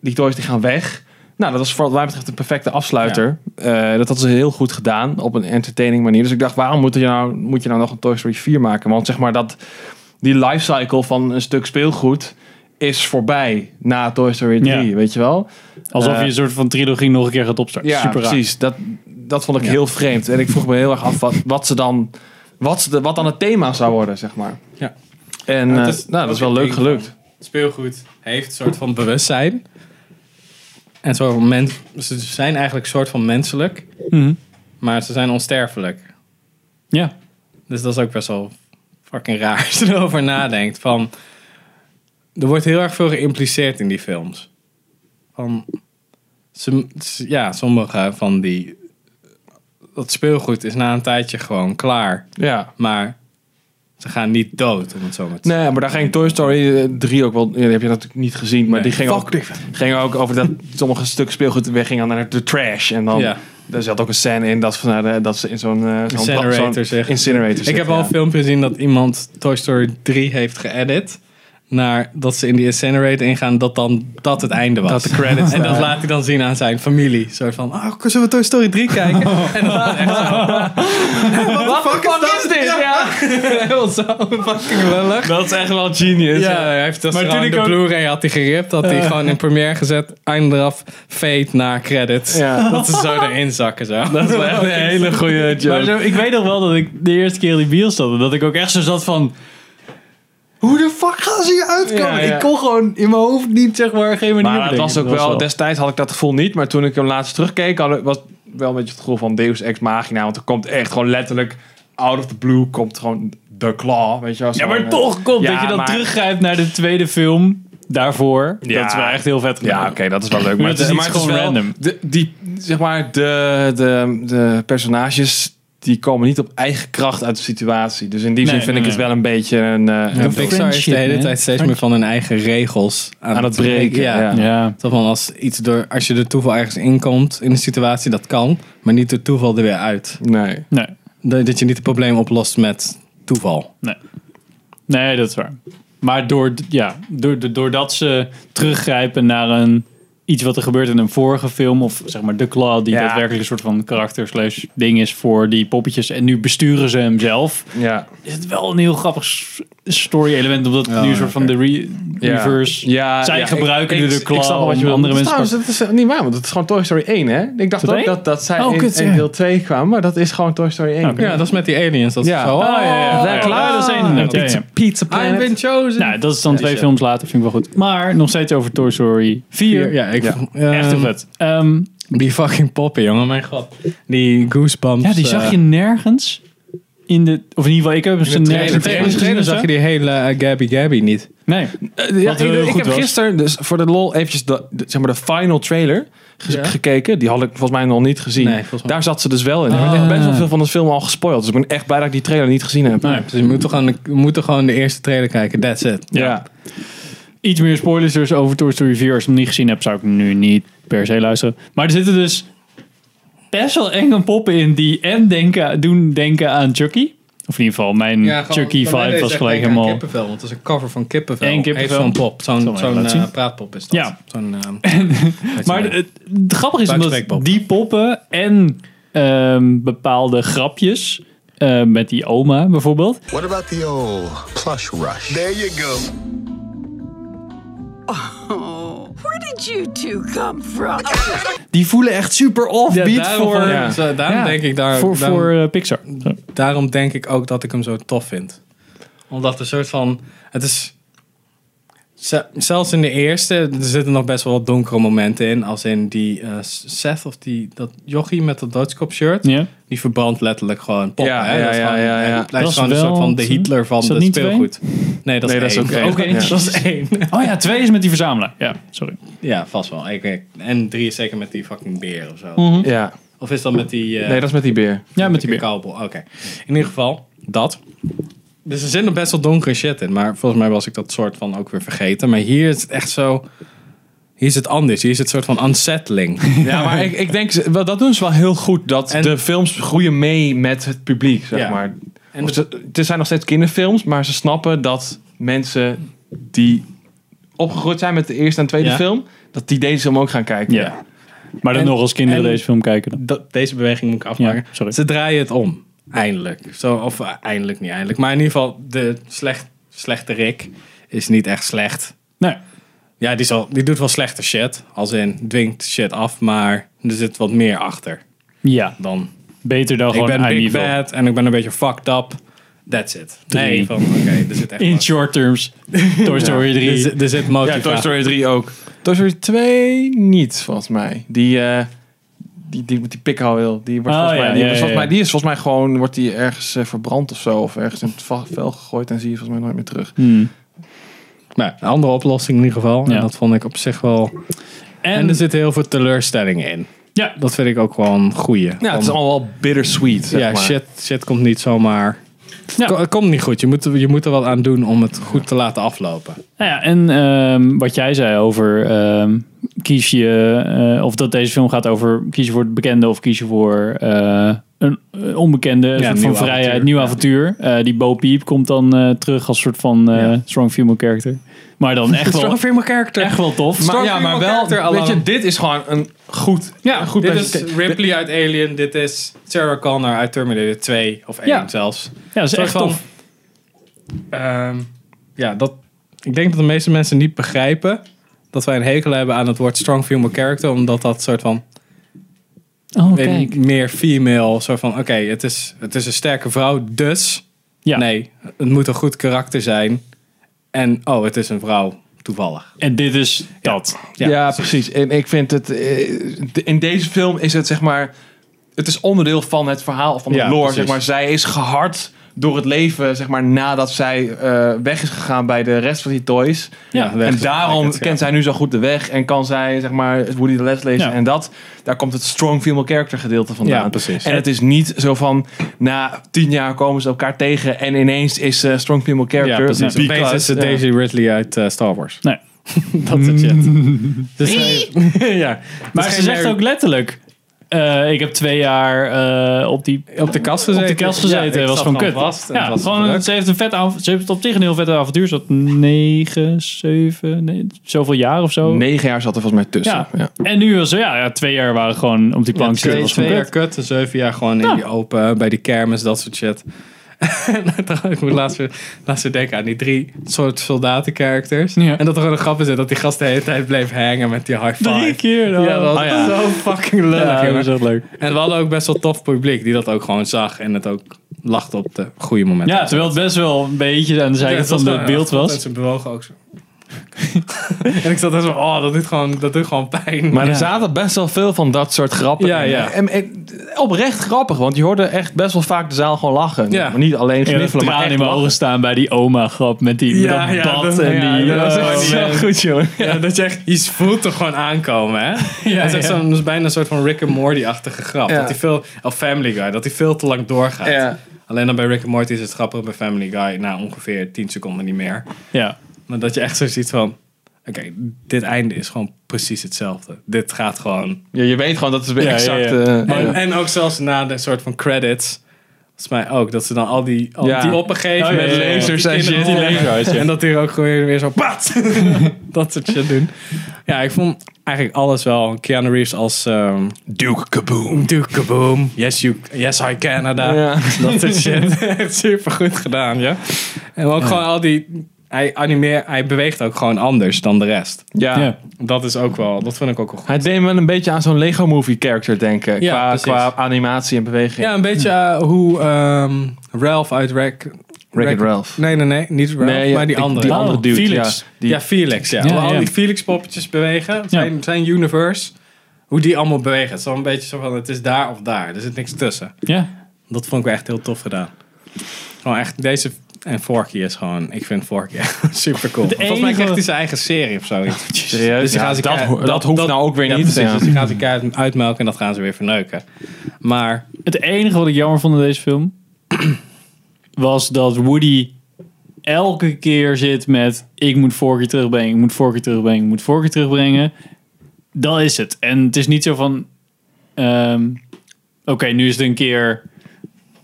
die toys die gaan weg. Nou, dat was voor wat mij betreft een perfecte afsluiter. Eh, dat had ze heel goed gedaan op een entertaining manier. Dus ik dacht, waarom moet je nou, moet je nou nog een Toy Story 4 maken? Want zeg maar dat die lifecycle van een stuk speelgoed is voorbij na Toy Story 3, weet je wel?
Alsof je
Eh,
een soort van trilogie nog een keer gaat opstarten.
ja,
Super raar.
precies. Dat, dat vond ik heel vreemd. En ik vroeg me heel erg af wat, wat ze dan... Wat, ze de, wat dan het thema zou worden, zeg maar.
Ja.
En
Maar het
eh, nou, dat is wel
ook
leuk
een ding
gelukt.
van, Speelgoed heeft een soort van bewustzijn. En soort van men, ze zijn eigenlijk soort van menselijk, maar ze zijn onsterfelijk.
Mhm. Ja.
Dus dat is ook best wel fucking raar als je erover nadenkt. Van, er wordt heel erg veel geïmpliceerd in die films. Van, ze- ze- ja, sommige van die... Dat speelgoed is na een tijdje gewoon klaar.
Ja.
Maar ze gaan niet dood, om het zo maar te
Nee, maar daar ging Toy Story eh, 3 ook wel... Ja, die heb je natuurlijk niet gezien, maar
Nee.
die ging
Fuck
ook, ging ook over dat sommige stuk speelgoed weggingen naar de trash. En dan...
Ja.
Er zat ook een scène in dat, ze naar de- dat ze in zo'n... eh, zo'n
Incinerator
zo'n
zegt.
Incinerator
Ik
zitten,
heb al
ja.
een filmpje gezien dat iemand Toy Story 3 heeft geëdit. Naar dat ze in die incinerator ingaan, dat dan dat het einde was.
Dat de credits
En dat
daar.
laat hij dan zien aan zijn familie. Zo van, oh, zullen we Toy Story 3 kijken? En dan was het echt zo.
Oh. Wat de fuck is dit? Ja.
Heel zo fucking lullig.
Dat is echt wel genius.
Ja, hij heeft dat
Maar
maar
toen
de
ik ook-
Blu-ray had hij geript. Had hij
Ja.
gewoon in première gezet. Einde eraf, fade na credits.
Ja.
Dat ze zo erin zakken zo.
Dat is wel echt een hele goede joke.
Maar zo, ik weet nog wel dat ik de eerste keer in die bios zat. en Dat ik ook echt zo zat van... Hoe de fuck gaan ze hier uitkomen?
Ja, ja.
Ik kon gewoon in mijn hoofd niet, zeg maar, geen manier
Maar het
bedenken.
was ook
Dat
wel, destijds had ik dat gevoel niet, maar toen ik hem laatst terugkeek, had, ik- was het wel een beetje het gevoel van Deus Ex Magina, want er komt echt gewoon letterlijk out of the blue komt gewoon de claw, weet je wel.
Ja,
zo'n,
maar
eh,
toch komt
ja,
dat je dan
maar-
teruggrijpt naar de tweede film daarvoor.
Ja.
Dat is wel echt heel vet
Ja,
gedaan.
oké, dat is wel leuk. Maar
Dat is iets
maar het
gewoon
wel-
random.
De, die, zeg maar, de, de, de personages, die komen niet op eigen kracht uit de situatie. Dus in die
Nee,
zin vind
nee,
ik het
nee.
wel een beetje een... eh,
Ja,
een
Pixar is de hele tijd steeds meer van hun eigen regels aan,
Aan het breken, ja.
Ja.
Zo van als, iets door, als je door toeval ergens inkomt in een situatie, dat kan. Maar niet door toeval er weer uit.
nee.
Nee,
Dat dat je niet het probleem oplost met toeval.
nee. Nee, dat is waar. Maar door, ja, door, door- doordat ze teruggrijpen naar een, iets wat er gebeurt in een vorige film, of zeg maar de Claw, die
Ja.
daadwerkelijk een soort van karakter slash ding is voor die poppetjes, en nu besturen ze hem zelf,
Ja.
is het wel een heel grappig s- story element, omdat het nu een soort van de re- reverse...
Ja,
Zij
ja,
gebruiken
ik-
de
ik-
claw
ik snap wel wat je
om
bedoelt.
andere
Dat is
mensen-
Trouwens, dat is niet waar, want het is gewoon Toy Story 1, hè? Ik dacht
dat
ook
één?
dat, dat zij
Oh,
in,
kut,
in
ja.
deel 2 kwamen, maar dat is gewoon Toy Story 1.
Oké.
Ja, dat is met die aliens. Dat
Ja.
is zo,
Oh,
oh,
ja, ja, ja.
Klaar.
Ja, dat is één inderdaad, ja, ja.
Pizza
I've been chosen.
Nou, dat is dan twee
shit.
films later, vind ik wel goed. Maar nog steeds over Toy Story 4.
ja, ik
Ja.
vond- ehm,
Echt een vet. Ehm,
Die fucking poppen, jongen. Mijn god. Die goosebumps.
ja, die
eh,
zag je nergens. In de, of in ieder geval, ik heb ze
in de trailer.
nergens.
In de trailer, zag je die hele eh, Gabby Gabby niet.
Nee.
Eh, ja,
Wat
ik,
heel
ik
goed
heb
was.
gisteren dus voor de lol eventjes de, de- zeg maar de final trailer ge-
Ja.
gekeken. Die had ik volgens mij nog niet gezien.
Nee, volgens mij-
Daar zat ze dus wel in. Er werd echt best wel veel van de film al gespoild. Dus ik ben echt blij dat ik die trailer niet gezien heb.
Nee.
Dus we moeten gewoon, we moeten gewoon de eerste trailer kijken. That's it.
Ja.
Iets meer spoilers dus over Toy Story 4. Als je hem niet gezien hebt, zou ik hem nu niet per se luisteren. Maar er zitten dus best wel enge poppen in die en denken, doen denken aan Chucky. Of in ieder geval, mijn Chucky-vibe Mm. was gelijk helemaal...
Kippenvel, want dat is een cover van Kippenvel.
Eén kippenvel.
Heeft zo'n pop. Zo'n
Zal maar
zo'n
laten
eh,
zien.
praatpop is dat.
Ja.
Zo'n, ehm,
Maar het, het, grappig is omdat
Buikspreekpop.
die poppen en ehm, bepaalde grapjes eh, met die oma bijvoorbeeld.
What about the old plush rush?
There you go.
Where did
did you two come from?
Die voelen echt super offbeat
Ja, daarom
voor...
vond ik hem zo- daarom denk ik daar-
Voor,
daarom-
voor eh, Pixar. Zo.
Daarom denk ik ook dat ik hem zo tof vind. Omdat een soort van. Het is. ze- Zelfs in de eerste er zitten nog best wel wat donkere momenten in. Als in die eh, Seth of die, dat jochie met dat doodskop shirt.
Ja.
Die verbrandt letterlijk gewoon pop.
Ja,
hè?
ja,
Dat is
ja,
gewoon,
ja, ja.
hij
Dat
blijft
is
gewoon een
wel
soort van de
twee?
Hitler van
Is dat
de
niet twee?
speelgoed. Nee, dat is,
Nee, dat is
één.
ook één.
Oké,
Ja.
Dat is één.
Oh ja, twee is met die verzamelaar. Ja, sorry.
Ja, vast wel. Ik, ik- en drie is zeker met die fucking beer of zo.
Mhm.
Ja.
Of is dat met die... eh,
Nee, dat is met die beer.
Ja, met die beer. Cowboy. Oké. In ieder geval, dat. Dus er zit nog best wel donkere shit in. Maar volgens mij was ik dat soort van ook weer vergeten. Maar hier is het echt zo... Hier is het anders. Hier is het soort van unsettling.
Ja, maar ik, ik denk, ze- wel, dat doen ze wel heel goed. Dat de films groeien mee met het publiek, zeg
Ja.
maar. Of ze- het zijn nog steeds kinderfilms, maar ze snappen dat mensen die opgegroeid zijn met de eerste en tweede
Ja.
film, dat die deze film ook gaan kijken.
Ja. Maar dan nog als kinderen deze film kijken. Dan.
Dat, deze beweging moet ik afmaken. Ze draaien het om. Eindelijk. Zo, of eh, eindelijk niet eindelijk. Maar in ieder geval, de slecht, slechte Rick is niet echt slecht.
Nee.
Ja, die, is al- die doet wel slechte shit. Als in, dwingt shit af. Maar er zit wat meer achter.
Ja.
Dan.
Beter dan
ik
gewoon
ben
I'm
big
evil.
bad en ik ben een beetje fucked up. That's it. Nee,
Drie.
van oké, er zit echt
In
wat.
short terms. Toy Story
Ja.
3.
Er
zit- er zit motivatie.
Ja, Toy Story 3 ook. Toy Story 2 niet, volgens mij. Die, eh die, die met die pikhoudel, die wordt
Oh,
volgens mij,
ja,
die,
ja,
is
ja,
volgens mij,
ja.
die is volgens mij gewoon, wordt die ergens eh, verbrand of zo, of ergens in het va- vel gegooid en zie je volgens mij nooit meer terug.
Hm.
Maar Nou, een andere oplossing in ieder geval.
Ja.
En dat vond ik op zich wel... En, er zit heel veel teleurstellingen in.
Ja.
Dat vind ik ook wel een goeie.
Ja, het is
Van-
allemaal wel bittersweet, zeg
ja,
maar.
shit, shit komt niet zomaar. Het
Ja.
ko- Het komt niet goed. Je moet, er- je moet er wat aan doen om het goed te laten aflopen.
Nou ja, en ehm, wat jij zei over ehm, kies je, eh, of dat deze film gaat over kies je voor het bekende of kies je voor eh, een eh, onbekende een soort van
nieuw
vrijheid,
avontuur.
nieuw avontuur. Eh, die Bo Peep komt dan eh, terug als soort van eh, strong female character. Maar dan echt wel,
Strong female character.
echt wel tof.
Maar, ja, maar wel, weet je, dit is gewoon een goed,
Ja,
een goed
dit is
presentatie.
Ripley uit Alien. Dit is Sarah Connor uit Terminator 2 of 1
Ja.
zelfs.
Ja, dat is
Soort
echt
van-
tof.
Ehm, ja, dat, ik denk dat de meeste mensen niet begrijpen dat wij een hekel hebben aan het woord strong female character, omdat dat soort van
Oh,
weet
kijk.
niet, meer female, soort van oké, het, is, het is een sterke vrouw, dus nee, het moet een goed karakter zijn. En oh, het is een vrouw, toevallig.
En dit is dat.
Ja, precies. En ik vind het eh, de- in deze film is het zeg maar, het is onderdeel van het verhaal van de
Ja,
lore.
precies.
Zeg maar, zij is gehard door het leven, zeg maar, nadat zij eh, weg is gegaan bij de rest van die toys.
Ja, weg
en
is
daarom
gegaan, ja.
kent zij nu zo goed de weg en kan zij zeg maar Woody de les lezen en dat. Daar komt het strong female character gedeelte vandaan.
Ja, precies.
En het is niet zo van na tien jaar komen ze elkaar tegen en ineens is eh, strong female character.
ja, precies. Opeens
because-
is het
ja.
Daisy Ridley uit eh, Star Wars.
Nee.
dat is het shit. Dus, eh, ja.
Maar ze zegt ook letterlijk. eh, ik heb twee jaar eh, op, die,
op de kast gezeten.
Op de kast
Ja, ik
gezeten.
zat
was gewoon
gewoon
kut.
vast en
ja,
het was
gewoon, een-
druk.
ze, heeft een vet av- ze heeft op zich een heel vet avontuur. Ze had negen, zeven, nee, zoveel jaar of zo.
Negen jaar zat er volgens mij tussen.
Ja. En nu was ze, ja, ja, twee jaar waren gewoon op die plank zitten.
twee,
was
twee
gewoon
jaar
kut.
kut, en zeven jaar gewoon in die open, eh, bij die kermis, dat soort shit. En trouwens, ik moet laatst weer, laatst weer denken aan die drie soort soldaten-characters. En dat er gewoon een grap is dat die gast de hele tijd bleef hangen met die high five.
Drie keer dan.
Ja, dat was
Oh ja.
zo fucking lullig.
Ja, dus dat
jongen.
was echt leuk.
En we hadden ook best wel tof publiek die dat ook gewoon zag en het ook lachte op de goede momenten.
Ja, terwijl het best wel een beetje aan de zijkant
het
van het beeld
En
was.
ze bewogen ook zo. en ik zat daar zo van, oh, dat doet gewoon, dat doet gewoon pijn.
Maar
Ja.
er zaten best wel veel van dat soort grappen.
Ja,
in.
ja.
En, en oprecht grappig, want je hoorde echt best wel vaak de zaal gewoon lachen.
Ja.
Maar niet alleen
En
gniffelen, maar
tranen in
echt
mijn
lachen.
ogen staan bij die oma-grap met die met
Ja,
dat
ja,
bad
dat-
en
ja, eh,
die...
dat was echt
oh,
zo
man.
Goed jongen.
Ja, dat je echt, je voelt toch gewoon aankomen, hè?
Ja,
dat, is echt
ja.
zo'n- dat is bijna een soort van Rick and Morty-achtige grap.
Ja.
Dat hij veel, of Family Guy, dat hij veel te lang doorgaat.
Ja.
Alleen dan bij Rick and Morty is het grappig, bij Family Guy na ongeveer 10 seconden niet meer.
Ja.
Maar dat je echt zo ziet van, oké, dit einde is gewoon precies hetzelfde. Dit gaat gewoon...
Ja, je weet gewoon dat het weer exact...
ja.
eh,
en,
ja.
en ook zelfs na de soort van credits... Volgens mij ook, dat ze dan al die, al
Ja.
die opgegeven
Oh, ja, ja, ja. Lasers en shit. Die lasers, ja.
En dat hier ook gewoon weer zo... Pat! dat soort shit doen. Ja, ik vond eigenlijk alles wel. Keanu Reeves als... ehm, Duke Kaboom. Duke Kaboom. Yes, you, yes I Canada.
Ja.
Dat soort shit. Echt super goed gedaan, ja. En ook gewoon al die... hij, animeert, hij beweegt ook gewoon anders dan de rest.
Ja.
Dat is ook wel, dat vind ik ook wel goed.
Hij deed me een beetje aan zo'n Lego Movie character denken.
Ja,
qua,
precies.
qua animatie en beweging.
Ja, een beetje eh, hoe ehm, Ralph uit Wreck...
Wreck-It Ralph.
Nee, nee, nee. Niet Ralph,
Nee, ja,
maar die
die-
andere. Oh,
die andere dude,
Felix.
ja. Die-
ja, Felix. Ja.
Ja,
hoe al
ja.
die Felix poppetjes bewegen. Zijn, zijn universe. Hoe die allemaal bewegen. Het is wel een beetje zo van, het is daar of daar. Er zit niks tussen.
Ja.
Dat vond ik wel echt heel tof gedaan. Gewoon echt, deze... En Forky is gewoon... Ik vind Forky echt super cool.
Het
Volgens mij
enige-
krijgt hij zijn eigen serie of zo.
Serieus?
Dus die
Ja,
gaan ze
dat
keihard-
ho- dat hoeft nou ook weer
ja,
niet.
Precies,
Ja.
Dus die gaan ze keihard uitmelken en dat gaan ze weer verneuken. Maar...
Het enige wat ik jammer vond in deze film... was dat Woody elke keer zit met... ik moet Forky terugbrengen, ik moet Forky terugbrengen, ik moet Forky terugbrengen. Dat is het. En het is niet zo van... ehm, Oké, nu is het een keer...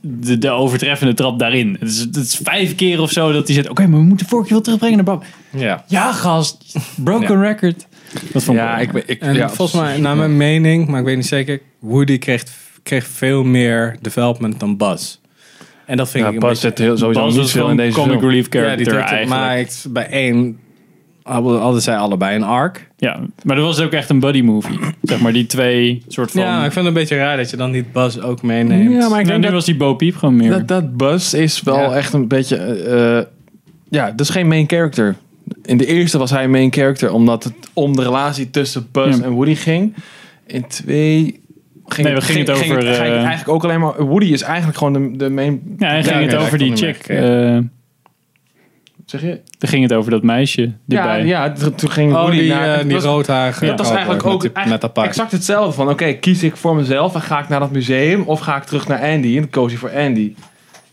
De, de overtreffende trap daarin. Het is, het is vijf keer of zo dat hij zegt... Oké, maar we moeten Forky wel terugbrengen naar Bob.
Ja.
Ja, gast. Broken record. Dat vond
ja, ik, ik,
En
ja,
volgens mij, naar mijn mening, maar ik weet niet zeker, Woody kreeg, kreeg veel meer development dan Buzz. En dat vind
Ja,
ik een
Buzz
beetje...
zit heel- sowieso
Buzz
niet
was
veel
gewoon
in deze
comic
film.
relief character
die trekt het,
eigenlijk.
Maar ik- bij één hadden hadden zij allebei een arc.
Ja, maar dat was ook echt een buddy movie. Zeg maar die twee soort van...
Ja, ik vind het een beetje raar dat je dan niet Buzz ook meeneemt.
Ja, maar ik
Nou,
denk
nu
dat,
was die Bo Peep gewoon meer.
dat, dat Buzz is wel
Ja.
echt een beetje... eh, eh, ja, dat is geen main character. In de eerste was hij een main character, omdat het om de relatie tussen Buzz
Ja.
en Woody ging. In twee... Ging,
Nee, we gingen het over,
ging
eh,
eigenlijk ook alleen maar... Woody is eigenlijk gewoon de, de main...
ja, en ging
Ja,
het
oké,
over
dat
die
kon ik
chick.
niet
eh
meer.
Zeg je?
dan ging het over dat meisje. Die
Ja,
bij.
ja, t- toen ging
Oh,
Woody
die,
naar...
eh,
het
die
was-
roodhaarige
dat was
cowboy
eigenlijk ook
met, die- met
eigenlijk
dat paard.
exact hetzelfde. Van oké, kies ik voor mezelf en ga ik naar dat museum of ga ik terug naar Andy? En dan koos hij voor Andy.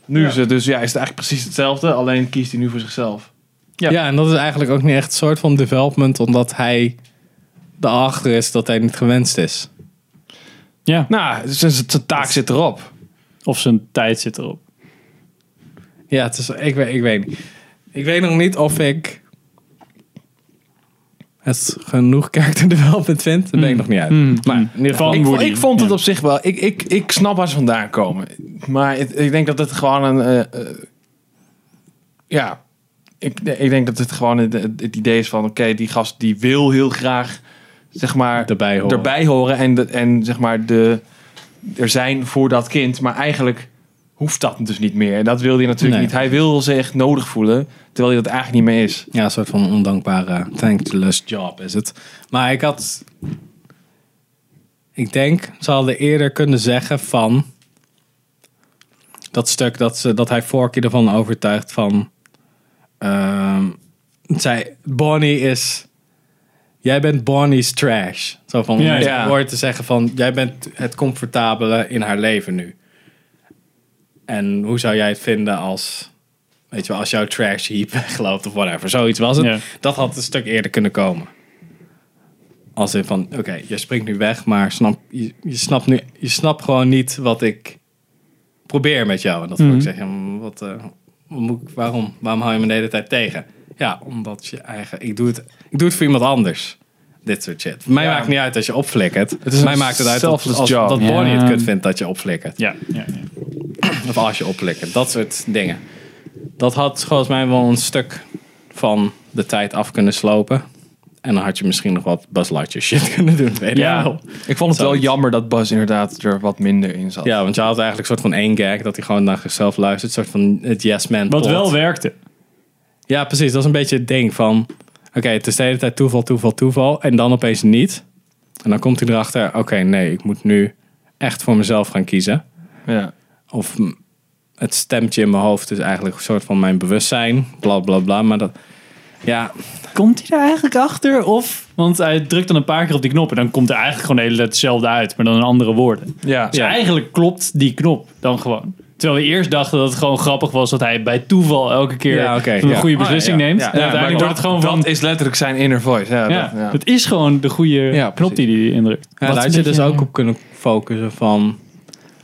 Nu is het dus ja, is het eigenlijk precies hetzelfde, alleen kiest hij nu voor zichzelf.
Ja. en dat is eigenlijk ook niet echt een soort van development, omdat hij erachter is dat hij niet gewenst is.
Ja,
Nou, zijn, zijn taak zit erop.
Of zijn tijd zit erop.
Ja, het is, ik, weet, ik weet niet. Ik weet nog niet of ik het genoeg character development vind. Dat ben ik nog niet uit. Maar in ieder geval,
Van
Ik, vo-
Woody.
ik vond het
Ja.
op zich wel. Ik, ik, ik snap waar ze vandaan komen. Maar het- ik denk dat het gewoon een. eh, eh, ja. Ik, ik denk dat het gewoon het, het- het idee is van: oké, die gast die wil heel graag. Zeg maar,
erbij horen.
erbij horen en, de, en zeg maar de, er zijn voor dat kind. Maar eigenlijk hoeft dat dus niet meer. En dat wil hij natuurlijk
Nee.
niet. Hij wil zich echt nodig voelen, terwijl hij dat eigenlijk niet meer is.
Ja, een soort van ondankbare, thankless job is het. Maar ik had... Ik denk, ze hadden eerder kunnen zeggen van... Dat stuk dat, ze, dat hij Forky ervan overtuigt van... ehm, zij, Bonnie is... Jij bent Bonnie's trash. Zo van, om
Ja,
het
ja.
woord te zeggen van... Jij bent het comfortabele in haar leven nu. En hoe zou jij het vinden als... Weet je wel, als jouw trash heap wegloopt of whatever. Zoiets was het.
Ja.
Dat had een stuk eerder kunnen komen. Als in van, oké, je springt nu weg, maar snap, je, je, snapt nu, je snapt gewoon niet wat ik probeer met jou. En dat wil
Mhm.
ik zeggen, wat, eh, wat moet ik- waarom, waarom hou je me de hele tijd tegen? Ja, omdat je eigen, ik doe het, ik doe het voor iemand anders. Dit soort shit. Mij
Ja.
maakt niet uit dat je opflikkert.
is
Mij
een
maakt het uit dat,
selfless
als,
job.
dat Bonnie
Ja.
het kut vindt dat je opflikkert.
Ja, ja, ja.
Of als je opflikkert. Dat soort dingen. Dat had volgens mij wel een stuk van de tijd af kunnen slopen. En dan had je misschien nog wat Buzz Lightyear shit kunnen doen. Weet ik wel.
Ik vond het wel
Zoiets.
jammer dat Buzz inderdaad er wat minder in zat.
Ja, want je had eigenlijk een soort van één gag dat hij gewoon naar zichzelf luistert. Een soort van het yes man
Wat
plot.
wel werkte.
Ja, precies. Dat is een beetje het ding van... Oké, het is de hele tijd toeval, toeval, toeval. En dan opeens niet. En dan komt hij erachter... Oké, nee, ik moet nu echt voor mezelf gaan kiezen.
Ja.
Of m- het stemtje in mijn hoofd is eigenlijk een soort van mijn bewustzijn. Bla, bla, bla. Maar dat... Ja,
Komt hij daar eigenlijk achter? Of? Want hij drukt dan een paar keer op die knop. En dan komt er eigenlijk gewoon de hele tijd hetzelfde uit. Maar dan in andere woorden.
Ja.
Dus eigenlijk klopt die knop dan gewoon. Terwijl we eerst dachten dat het gewoon grappig was dat hij bij toeval elke keer
Ja, oké,
een
ja.
goede beslissing
Ja, ja,
neemt.
ja.
en
Ja,
uiteindelijk
maar
wordt het gewoon
dat
van...
is letterlijk zijn inner voice. Ja,
ja,
dat, ja.
Het is gewoon de goede
Ja,
knop die hij indrukt.
Ja,
Wat
daar
een
had je dus
beetje-
ook op kunnen focussen van...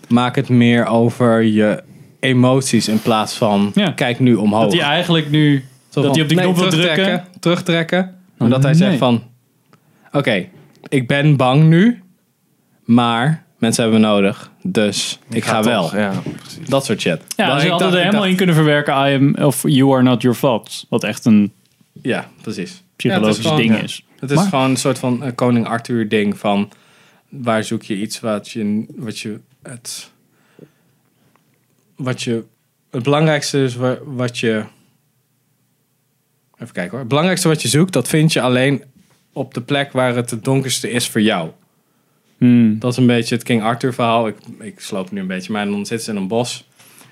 Maak het meer over je emoties in plaats van...
Ja.
Kijk nu omhoog.
Dat hij eigenlijk nu...
Zo
dat
van,
hij op die
nee,
knop wil
terugtrekken,
drukken. Oh,
Terugtrekken. Maar dat hij
nee.
zegt van... Oké, ik ben bang nu. Maar Mensen hebben me nodig, dus ik, ga,
ga
wel.
toch, ja,
dat soort shit.
Ja, ze
Dan Nou, ik
hadden
dacht-
er
ik
helemaal in kunnen verwerken. I am, of you are not your fault. Wat echt een
Ja, precies.
psychologisch
Ja, het
ding
gewoon-
is.
Het is
Maar-
gewoon een soort van eh, koning Arthur ding van waar zoek je iets wat je wat je het wat je het belangrijkste is wa- wat je even kijken hoor. Het belangrijkste wat je zoekt, dat vind je alleen op de plek waar het het donkerste is voor jou. Dat is een beetje het King Arthur verhaal. Ik, ik sloop nu een beetje, maar dan zitten ze in een bos.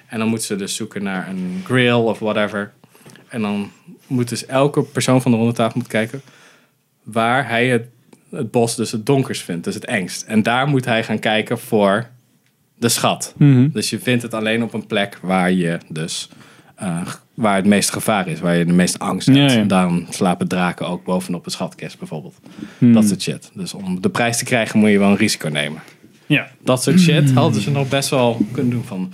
En dan moeten ze dus zoeken naar een grill of whatever. En dan moet dus elke persoon van de ronde tafel moet kijken waar hij het, het bos dus het donkers vindt, dus het engst. En daar moet hij gaan kijken voor de schat.
Mhm.
Dus je vindt het alleen op een plek waar je dus eh, waar het meeste gevaar is, waar je de meeste angst hebt.
Ja, ja.
Daarom slapen draken ook bovenop een schatkist bijvoorbeeld.
Hmm.
Dat soort shit. Dus om de prijs te krijgen moet je wel een risico nemen.
Ja.
Dat soort shit hadden ze nog best wel kunnen doen van...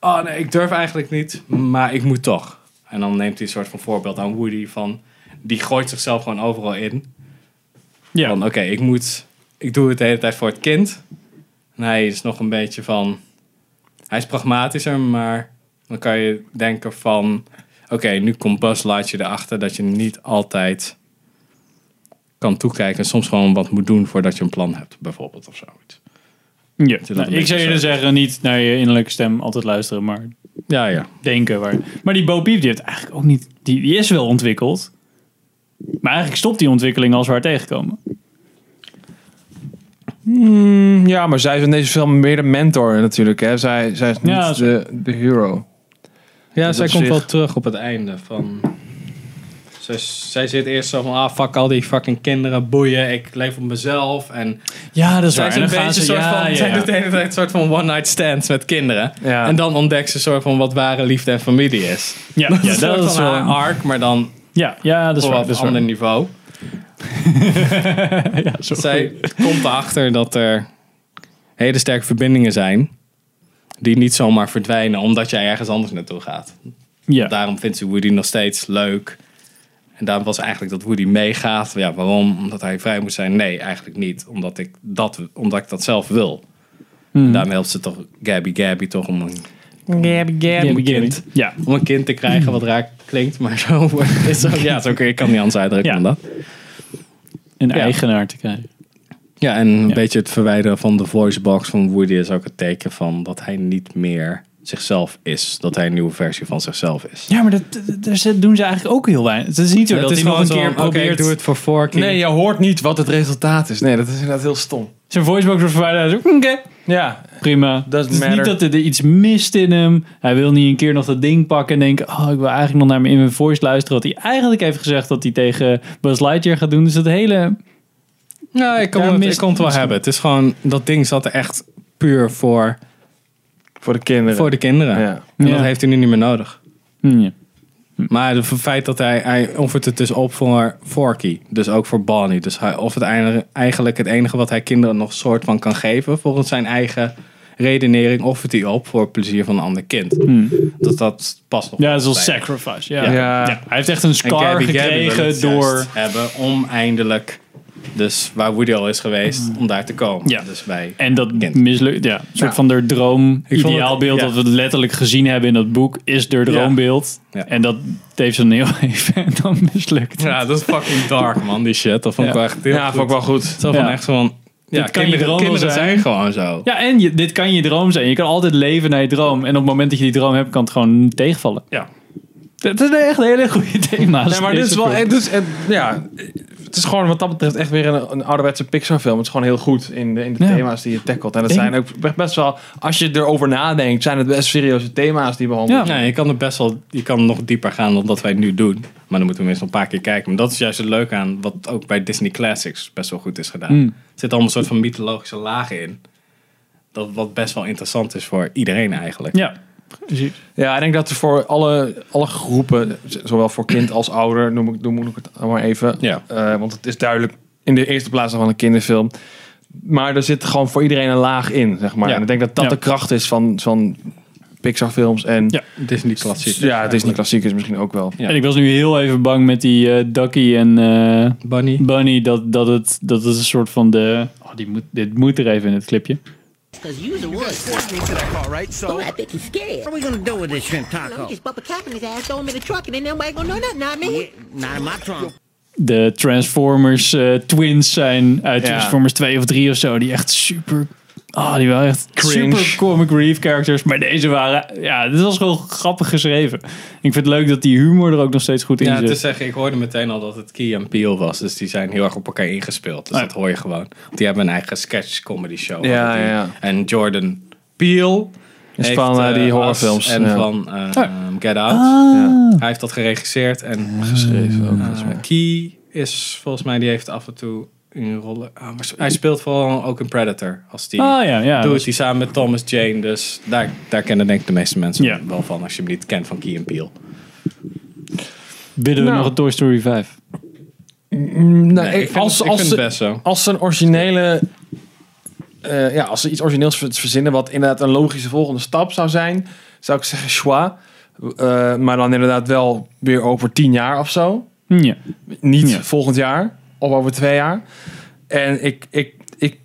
Oh nee, ik durf eigenlijk niet, maar ik moet toch. En dan neemt hij een soort van voorbeeld aan Woody van... Die gooit zichzelf gewoon overal in.
Ja.
Van oké, ik moet... Ik doe het de hele tijd voor het kind. En hij is nog een beetje van... Hij is pragmatischer, maar dan kan je denken van... Oké, nu komt Buzz Lightyear erachter dat je niet altijd kan toekijken. En soms gewoon wat moet doen voordat je een plan hebt, bijvoorbeeld of zoiets.
Ja,
een
nou, ik
beetje
zou
dus
jullie
zo.
zeggen, niet naar je innerlijke stem altijd luisteren, maar
ja, ja.
denken. Waar. Maar die Bo Peep, die heeft eigenlijk ook niet... Die, die is wel ontwikkeld, maar eigenlijk stopt die ontwikkeling als we haar tegenkomen.
Hmm, ja, maar zij is in deze film meer de mentor natuurlijk. Hè? Zij, zij is niet
Ja,
de, de hero.
Ja,
Dus
zij
op
komt
zich-
wel terug op het einde van. Zij, zij zit eerst zo van, ah fuck al die fucking kinderen, boeien, ik leef op mezelf. En
Ja, dat is
zij
waar.
is
En
een
dan gaan
beetje
ze-
soort
ja,
van,
ja,
zij
ja.
doet de hele tijd een soort van one night stands met kinderen.
Ja.
En dan ontdekt ze soort van wat ware liefde en familie is.
Ja, ja,
een
dat
soort
is
van
wel-
haar arc, maar dan
Ja, ja dat is
op
waar.
een
Dat is
ander
waar.
niveau.
Ja, zo
Zij
goed.
komt erachter dat er hele sterke verbindingen zijn. Die niet zomaar verdwijnen omdat jij ergens anders naartoe gaat.
Ja.
Daarom vindt ze Woody nog steeds leuk. En daarom was eigenlijk dat Woody meegaat. Ja, waarom? Omdat hij vrij moet zijn? Nee, eigenlijk niet. Omdat ik dat, omdat ik dat zelf wil.
Mhm.
Daarom helpt ze toch Gabby Gabby toch om een, om
Gabby,
een
Gabby.
kind,
Ja.
om een kind te krijgen. Wat raar klinkt, maar zo is het. Ja, zo, kun je- ik kan niet anders uitdrukken
Ja.
dan dat.
Een
Ja.
eigenaar te krijgen.
Ja, en een beetje het verwijderen van de voicebox van Woody is ook het teken van dat hij niet meer zichzelf is. Dat hij een nieuwe versie van zichzelf is.
Ja, maar dat, dat- dat- dat doen ze eigenlijk ook heel weinig. Het is niet zo oh,
Het
dat
is
hij nog een
gewoon
keer
zo, oké, ik
probeert...
doe het voor Forky.
Nee, je hoort niet wat het resultaat is. Nee, dat is inderdaad heel stom.
Zijn voicebox wordt verwijderd. Hij is ook, oké,
Ja,
prima. Het is
matter.
niet dat er iets mist in hem. Hij wil niet een keer nog dat ding pakken en denken... Oh, ik wil eigenlijk nog naar mijn in mijn voice luisteren. Wat hij eigenlijk heeft gezegd dat hij tegen Buzz Lightyear gaat doen. Dus dat hele...
Nou, ik kon,
Ja,
het,
mis-
ik kon het wel hebben. Het is gewoon, dat ding zat er echt puur voor,
voor de kinderen.
voor de kinderen.
Ja.
En
Ja.
dat heeft hij nu niet meer nodig.
Hm, ja.
Maar het feit dat hij, hij offert het dus op voor Forky. Dus ook voor Bonnie. Dus hij offert eindelijk- eigenlijk het enige wat hij kinderen nog soort van kan geven. Volgens zijn eigen redenering offert hij op voor het plezier van een ander kind.
Hm.
Dat, dat past nog
Ja,
wel
dat is wel
bij.
sacrifice. Ja.
Ja.
Ja, Hij heeft echt een
En
scar
Gabby Gabby wil
gekregen
het
door...
juist hebben om eindelijk, dus waar Woody al is geweest, om daar te komen.
Hmm. Ja.
Dus bij
En dat
Kind.
mislukt, ja. Een soort van door droom,
Ik vond het-
ideaalbeeld
ja.
dat we letterlijk gezien hebben in dat boek, is door droombeeld.
Ja.
En dat heeft zo'n heel even en dan mislukt. het.
Ja, dat is fucking dark, man, die shit. Dat vond ik
Ja.
wel echt heel
Ja,
goed.
vond ik wel goed.
Zo van
Ja.
echt zo van... Ja,
kan je
kinderen,
droom wel
kinderen
zijn.
zijn gewoon zo.
Ja, en je, dit kan je droom zijn. Je kan altijd leven naar je droom. En op het moment dat je die droom hebt, kan het gewoon tegenvallen.
Ja.
Dat is echt een hele goede thema's.
Nee, maar dit is wel. Het is, het, ja, het is gewoon wat dat betreft echt weer een, een ouderwetse Pixar-film. Het is gewoon heel goed in de, in de
Ja.
thema's die je tackelt. En dat
Denk-
zijn ook echt best wel, als je erover nadenkt, zijn het best serieuze thema's die behandeld
Ja, je kan er best wel, je kan nog dieper gaan dan dat wij nu doen. Maar dan moeten we meestal een paar keer kijken. Maar dat is juist het leuke aan wat ook bij Disney Classics best wel goed is gedaan.
Mm.
Er zit allemaal een soort van mythologische lagen in. Dat wat best wel interessant is voor iedereen eigenlijk.
Ja, precies.
Ja, ik denk dat er voor alle, alle groepen, z- zowel voor kind als ouder, noem ik, noem ik het maar even.
Ja.
Eh, want het is duidelijk in de eerste plaats van een kinderfilm. Maar er zit gewoon voor iedereen een laag in, zeg maar.
Ja.
En ik denk dat dat
Ja.
de kracht is van, van Pixar-films. En
Ja.
Disney Classics.
ja, het is niet klassiek, is misschien ook wel.
Ja.
En ik was nu heel even bang met die eh, Ducky en eh,
Bunny.
Bunny. Dat, dat, het, dat het een soort van de... Oh, die moet, dit moet er even in het clipje.
Cause you's a
You
wood.
got four drinks in that car, right? So-
Oh, I think he's scared.
What are we gonna do with this shrimp
Let me
taco?
just bump a cap in his ass, throw him in the truck, and then nobody gonna know nothing, I mean.
Not in my trunk.
De Transformers eh, twins zijn uit
Ja.
Transformers 2 of 3 of zo. Die echt super... Ah, die waren echt
Cringe.
super comic relief characters. Maar deze waren... Ja, dit was gewoon grappig geschreven. Ik vind het leuk dat die humor er ook nog steeds goed in
Ja,
zit.
te zeggen, ik hoorde meteen al dat het Key en Peele was. Dus die zijn heel erg op elkaar ingespeeld. Dus dat hoor je gewoon. Want die hebben een eigen sketch comedy show.
Oh Ja,
hadden die.
ja, ja.
En Jordan Peele
Is
heeft,
van, eh,
eh,
die
Us
horrorfilms,
En
ja. Oh. Ah.
van eh,
Ja.
Get Out.
Ja.
Hij heeft dat geregisseerd en
Dus, eh,
geschreven. Key is volgens mij, die heeft af en toe een rollen. ah, maar hij speelt vooral ook in Predator. Als
Oh,
die
Ah, ja, ja.
doet die samen met Thomas Jane. Dus daar, daar kennen denk ik de meeste mensen wel van. Als je hem niet kent van Key en Peele.
Bidden we
Nou.
nog een Toy Story 5?
Mm, nou,
Nee, ik vind
als,
het- ik
als
vind
ze,
het best zo.
Als ze een originele. eh, ja, als ze iets origineels ver- verzinnen, wat inderdaad een logische volgende stap zou zijn, zou ik zeggen schwa. Eh, maar dan inderdaad wel weer over tien jaar of zo.
Hm, Ja.
Niet volgend jaar of over twee jaar. En ik, ik, ik,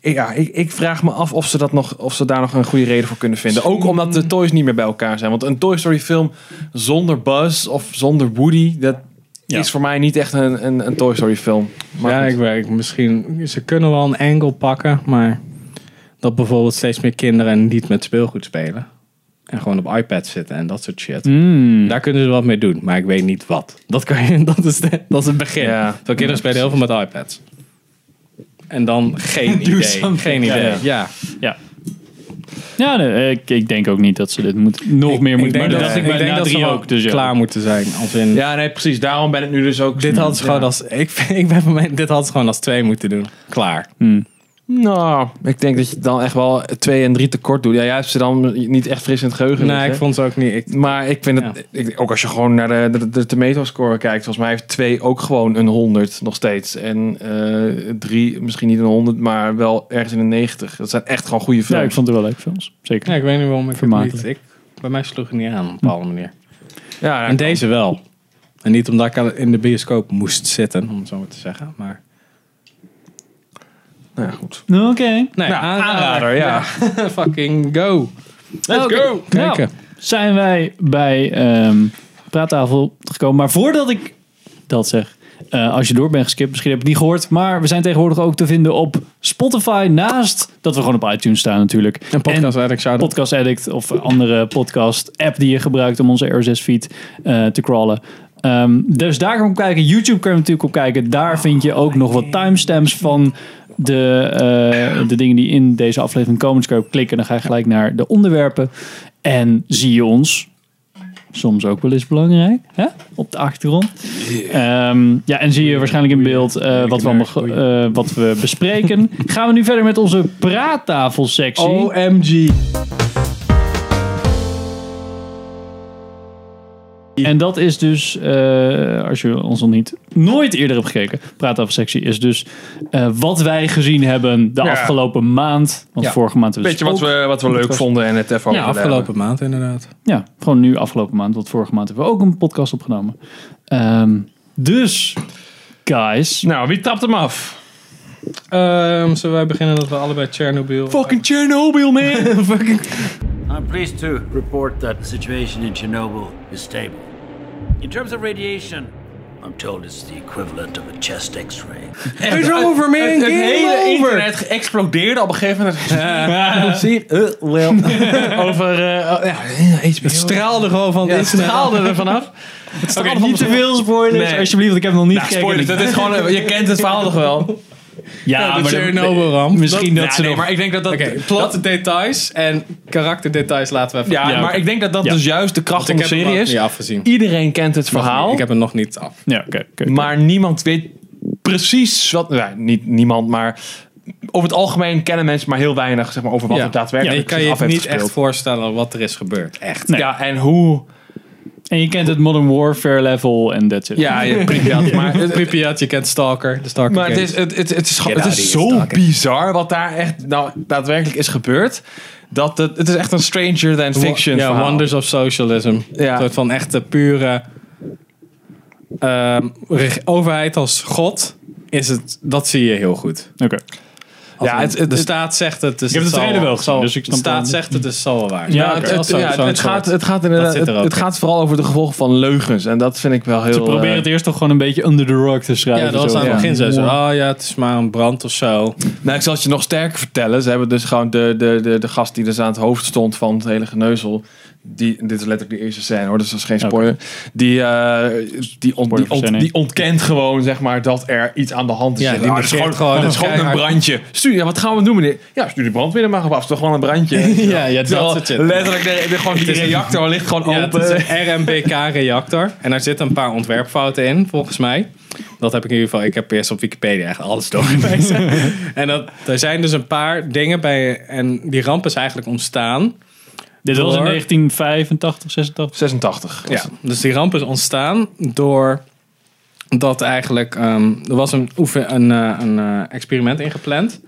ik- ja, ik, ik vraag me af of ze, dat nog, of ze daar nog een goede reden voor kunnen vinden. Ook omdat de toys niet meer bij elkaar zijn. Want een Toy Story film zonder Buzz of zonder Woody, dat is voor mij niet echt een, een, een Toy Story film.
ja, ik werk misschien. Ze kunnen wel een angle pakken, maar dat bijvoorbeeld steeds meer kinderen niet met speelgoed spelen. En gewoon op iPad zitten en dat soort shit. Daar kunnen ze wat mee doen, maar ik weet niet wat. Dat, kan je, dat, is, de- dat is het begin.
Ja.
Zo kinderen spelen heel veel met iPads. En dan geen
Do
idee.
something.
Geen
Ja,
idee.
ja.
Ja.
Ja. Ja, nee, ik, ik denk ook niet dat ze dit moet, nog meer
Ik
moeten.
denk
Maar dat
dat,
dacht ik
ik
bij
denk
na
dat ze
drie
wel
ook. Dus ja.
klaar moeten zijn. Als in,
Ja, nee, precies. Daarom ben ik nu dus ook.
dit had ze gewoon als. Ik, vind- ik ben van mij, dit had ze gewoon als twee moeten doen. Klaar.
Nou, ik denk dat je dan echt wel twee en drie tekort doet. Ja, jij hebt ze dan niet echt fris in het geheugen.
Nee,
liggen.
ik vond ze ook niet. Ik,
Maar ik vind het, ik, ook als je gewoon naar de, de, de tomato-score kijkt, volgens mij heeft twee ook gewoon een 100 nog steeds. En eh, drie misschien niet een 100, maar wel ergens in de 90. Dat zijn echt gewoon goede films.
Ja, ik vond het wel leuk films. Zeker.
Ja, ik weet niet waarom ik het niet...
Vermakelijk.
Ik, bij mij sloeg het niet aan op een bepaalde manier.
Ja,
en Hm. deze wel. En niet omdat ik al in de bioscoop moest zitten, om het zo maar te zeggen. Maar...
Nou ja, goed.
Oké.
Nee, Nou, aanrader, ja. Fucking go. Oh, Nou.
Let's
go. Kijken.
zijn wij bij ehm praattafel gekomen. Maar voordat ik dat zeg, eh, als je door bent geskipt, misschien heb je het niet gehoord. Maar we zijn tegenwoordig ook te vinden op Spotify. Naast dat we gewoon op iTunes staan natuurlijk. En
Podcast Addict zouden...
Podcast Addict of andere podcast app die je gebruikt om onze RSS feed eh, te crawlen. Ehm, dus daar kan je op kijken. YouTube kan je natuurlijk op kijken. Daar vind je ook nog wat timestamps van de, eh, de dingen die in deze aflevering komen. Dus kan je op klikken en dan ga je gelijk naar de onderwerpen. En zie je ons. Soms ook wel eens belangrijk. Hè? Op de achtergrond. Ehm, ja, en zie je waarschijnlijk in beeld eh, wat, we allemaal, ge- eh, wat we bespreken. Gaan we nu verder met onze praattafelsectie.
Oh, OMG.
En dat is dus, eh, als je ons nog niet nooit eerder hebt gekeken, praattafelsectie is dus eh, wat wij gezien hebben de
Ja.
afgelopen maand. Want
Ja.
vorige maand hebben dus
Beetje wat we, wat we leuk vonden en het even
Ja,
over
afgelopen maand inderdaad.
Ja, gewoon nu afgelopen maand, want vorige maand hebben we ook een podcast opgenomen. Ehm, dus, guys.
Nou, wie tapt hem af?
Ehm, zullen wij beginnen dat we allebei Chernobyl...
Fucking Chernobyl, man!
I'm pleased to report that the situation in Chernobyl is stable. In terms of radiation, I'm told it's the equivalent of a chest x-ray.
It's over, man! Het, het hele internet explodeerde op een gegeven moment. Ja. Zie je? Eh, wel. Over... eh, oh, ja, Het
straalde gewoon van...
het straalde er vanaf. Het
Oké, niet te veel spoilers, alsjeblieft, want ik heb hem nog niet
Nou,
gekeken.
spoilers, dat is gewoon, eh, je kent het verhaal toch wel?
Ja,
Ja, de
maar dan-
Chernobyl-ramp.
Misschien dat,
Ja,
ze
nee,
nog...
maar ik denk dat dat...
Plotdetails en karakterdetails laten we even...
Ja, maar ik denk dat dat
Ja.
dus juist de kracht
Want ik
van de
heb hem
serie
nog
is.
niet afgezien.
Iedereen kent het verhaal.
Ik heb hem nog niet af.
Ja, oké.
Maar niemand weet precies wat... Nou, niet niemand, maar... Over het algemeen kennen mensen maar heel weinig zeg maar, over wat
Ja.
er daadwerkelijk
Ja, je
zich
kan
af
je
heeft
niet
gespeeld.
echt voorstellen wat er is gebeurd. Echt.
Ja, en hoe...
En je kent het Modern Warfare level en that's it.
Ja, ja, Pripyat, maar-
Pripyat, je kent Stalker. De Stalker
Maar het
games.
is, het, het, het is, gewoon-
Get
het
out
is
of here,
zo
stalker.
bizar wat daar echt nou, daadwerkelijk is gebeurd. Dat het, het is echt een stranger than fiction
Ja,
verhaal.
Wonders of Socialism. Een soort van echte pure ehm, reg- overheid als god. Is het, dat zie je heel goed.
Oké.
Als
Ja,
een-
het- het-
de
het-
staat zegt het. Dus
Ik heb de
zal
trailer wel gezien,
zal-
dus ik snap
De staat
wel-
zegt het, dus het zal wel waar.
Ja,
zijn.
het,
Wel
het-
zo-
ja,
zo'n
het, gaat,
soort.
het, gaat,
Dat
inderdaad,
zit er
het,
ook
het
in.
gaat vooral over de gevolgen van leugens. En dat vind ik wel heel...
Ze proberen het eerst toch gewoon een beetje under the rug te schrijven.
eh, Ja, dat was
zo
aan het
van,
begin zo. Zo,
wow.
Oh ja, het is maar een brand of zo.
Nou, ik zal het je nog sterker vertellen. Ze hebben dus gewoon de, de, de, de gast die dus aan het hoofd stond van het hele geneuzel. Die, dit is letterlijk de eerste scène hoor, dus dat is geen spoiler. Die, eh, die, ont- die, ont- die ontkent gewoon zeg maar dat er iets aan de hand is.
Ja, die
Ah,
negeert
het is
gewoon
gewoon, het is
het
gewoon een
keihard.
brandje. Stuur, ja, wat gaan we doen meneer? Ja, stuur die brandweer maar op af. Het is toch gewoon een brandje.
Ja, ja, dat
Terwijl
soort shit.
Letterlijk, de, de- gewoon die
Het is een-
reactor ligt gewoon
Ja,
open.
het is een RMBK-reactor. En daar zitten een paar ontwerpfouten in, volgens mij. Dat heb ik in ieder geval. Ik heb eerst op Wikipedia echt alles doorgelezen. en dat, er zijn dus een paar dingen bij. En die ramp is eigenlijk ontstaan.
Dit was in 1985, 86?
86.
Ja, dus die ramp is ontstaan door dat eigenlijk ehm, er was een, oefen, een, eh, een eh, experiment ingepland.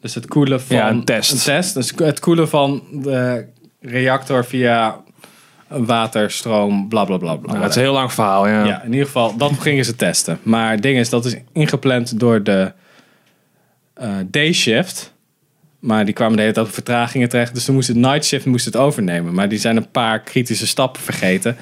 Dus het koelen van
Ja, een test.
Dus het koelen van de reactor via waterstroom, bla bla bla. bla.
Nou, het is een heel lang verhaal, ja.
Ja, in ieder geval, dat gingen ze testen. Maar het ding is, dat is ingepland door de eh, day-shift. Maar die kwamen de hele tijd op vertragingen terecht. Dus toen moest het night shift moest het overnemen. Maar die zijn een paar kritische stappen vergeten.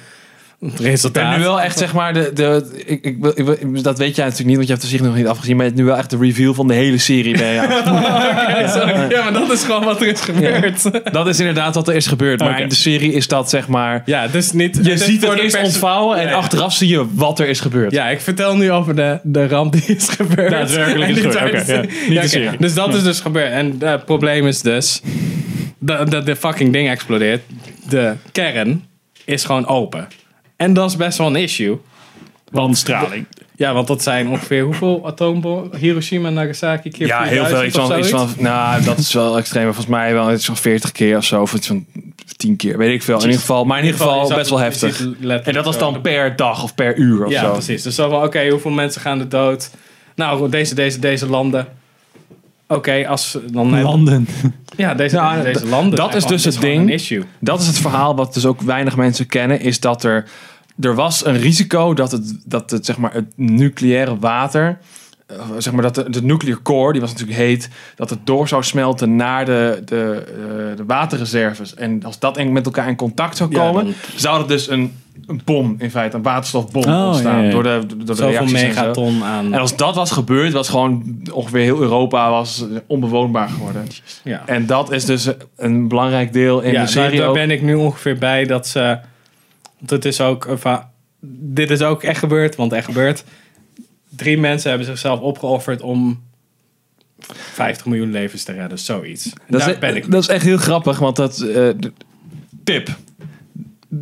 Het
Ik ben
resultaat...
nu wel echt, zeg maar, de, de, ik, ik, wil- ik, wil- ik- dat weet jij natuurlijk niet, want je hebt de serie nog niet afgezien. Maar je hebt nu wel echt de review van de hele serie bij jou.
Oké, sorry. ja, maar dat is gewoon wat er is gebeurd.
Dat is inderdaad wat er is gebeurd. Maar
Oké.
in de serie is dat, zeg maar...
Ja, dus niet...
Je
is
ziet
voor
het
de
eerst
pers-
ontvouwen en
Ja, ja.
achteraf zie je wat er is gebeurd.
Ja, ik vertel nu over de, de ramp die is gebeurd.
Daadwerkelijk
En
is
die
gebeurd,
tijdens-
oké, ja. Niet de
oké.
serie.
Dus dat
Ja.
is dus gebeurd. En eh, het probleem is dus... dat de, de fucking ding explodeert. De kern is gewoon open. En dat is best wel een issue.
Want straling.
Ja, want dat zijn ongeveer hoeveel atoombommen? Hiroshima en Nagasaki keer
Ja, heel veel. Iets van, iets van, nou, dat is wel extreem. maar Volgens mij wel iets van 40 keer of zo. Of iets van 10 keer. Weet ik veel. In ieder geval, maar in ieder geval best wel heftig. En dat was dan per dag of per uur of
ja,
zo.
precies. Dus zo van, oké, hoeveel mensen gaan er dood? Nou, deze, deze, deze landen. Oké, als dan...
Landen.
Ja, deze,
Nou,
deze,
d-
landen.
Dat
zijn
is
gewoon-
dus het
gewoon
ding.
een issue.
Dat is het verhaal wat dus ook weinig mensen kennen. Is dat er, er was een risico dat het, dat het, zeg maar, het nucleaire water... eh, Zeg maar dat de, de nuclear core, die was natuurlijk heet, dat het door zou smelten naar de, de, eh, de waterreserves. En als dat en- met elkaar in contact zou
Ja,
komen,
dan-
zou er dus een, een bom in feite, een waterstofbom
Oh,
ontstaan.
ja, ja.
Door de, door de
Zoveel
reacties en zo.
megaton aan-
En als dat was gebeurd, was gewoon ongeveer heel Europa was onbewoonbaar geworden.
Ja.
En dat is dus een belangrijk deel in
ja,
de serie.
daar, daar
ook.
ben ik nu ongeveer bij dat ze. want het is ook. een va- Dit is ook echt gebeurd, want echt gebeurd. Drie mensen hebben zichzelf opgeofferd om 50 miljoen levens te redden, zoiets.
dat,
daar
is, e-
ben ik.
dat is echt heel grappig, want dat. eh, d- tip.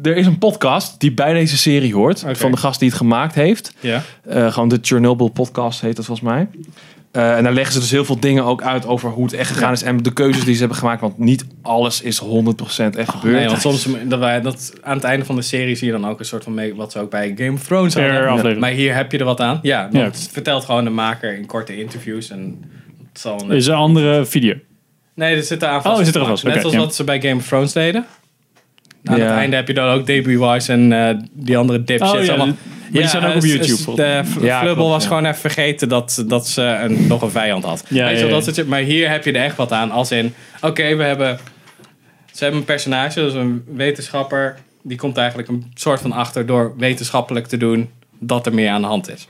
Er is een podcast die bij deze serie hoort. Van de gast die het gemaakt heeft.
Ja.
Eh, gewoon de Chernobyl podcast heet dat volgens mij. Eh, en daar leggen ze dus heel veel dingen ook uit over hoe het echt gegaan is. En de keuzes die ze hebben gemaakt. Want niet alles is 100% echt gebeurd.
Oh, Nee, want soms dat wij, dat, aan het einde van de serie zie je dan ook een soort van mee, wat ze ook bij Game of Thrones
Per
hadden.
aflevering.
Maar hier heb je er wat aan. Ja, want
Ja.
het vertelt gewoon de maker in korte interviews en het zal een-
Is een andere video.
Nee, er zit er aan vast.
Oh, er zit eraan vast,
Net
oké,
zoals
ja.
wat ze bij Game of Thrones deden. Aan
Ja.
het einde heb je dan ook Debbie Wise en eh, die andere dipshits.
Oh, ja,
allemaal.
die- maar die zijn ook op
dus-
YouTube,
dus
volgens
de
mij.
Fl-
Ja,
Flubble
klopt,
was
ja.
gewoon even vergeten dat, dat ze eh, een, nog een vijand had.
Ja,
Weet je
ja,
wel,
ja.
dat soort shit. Maar hier heb je er echt wat aan. Als in, oké, we hebben... Ze hebben een personage, dus een wetenschapper. Die komt eigenlijk een soort van achter door wetenschappelijk te doen dat er meer aan de hand is.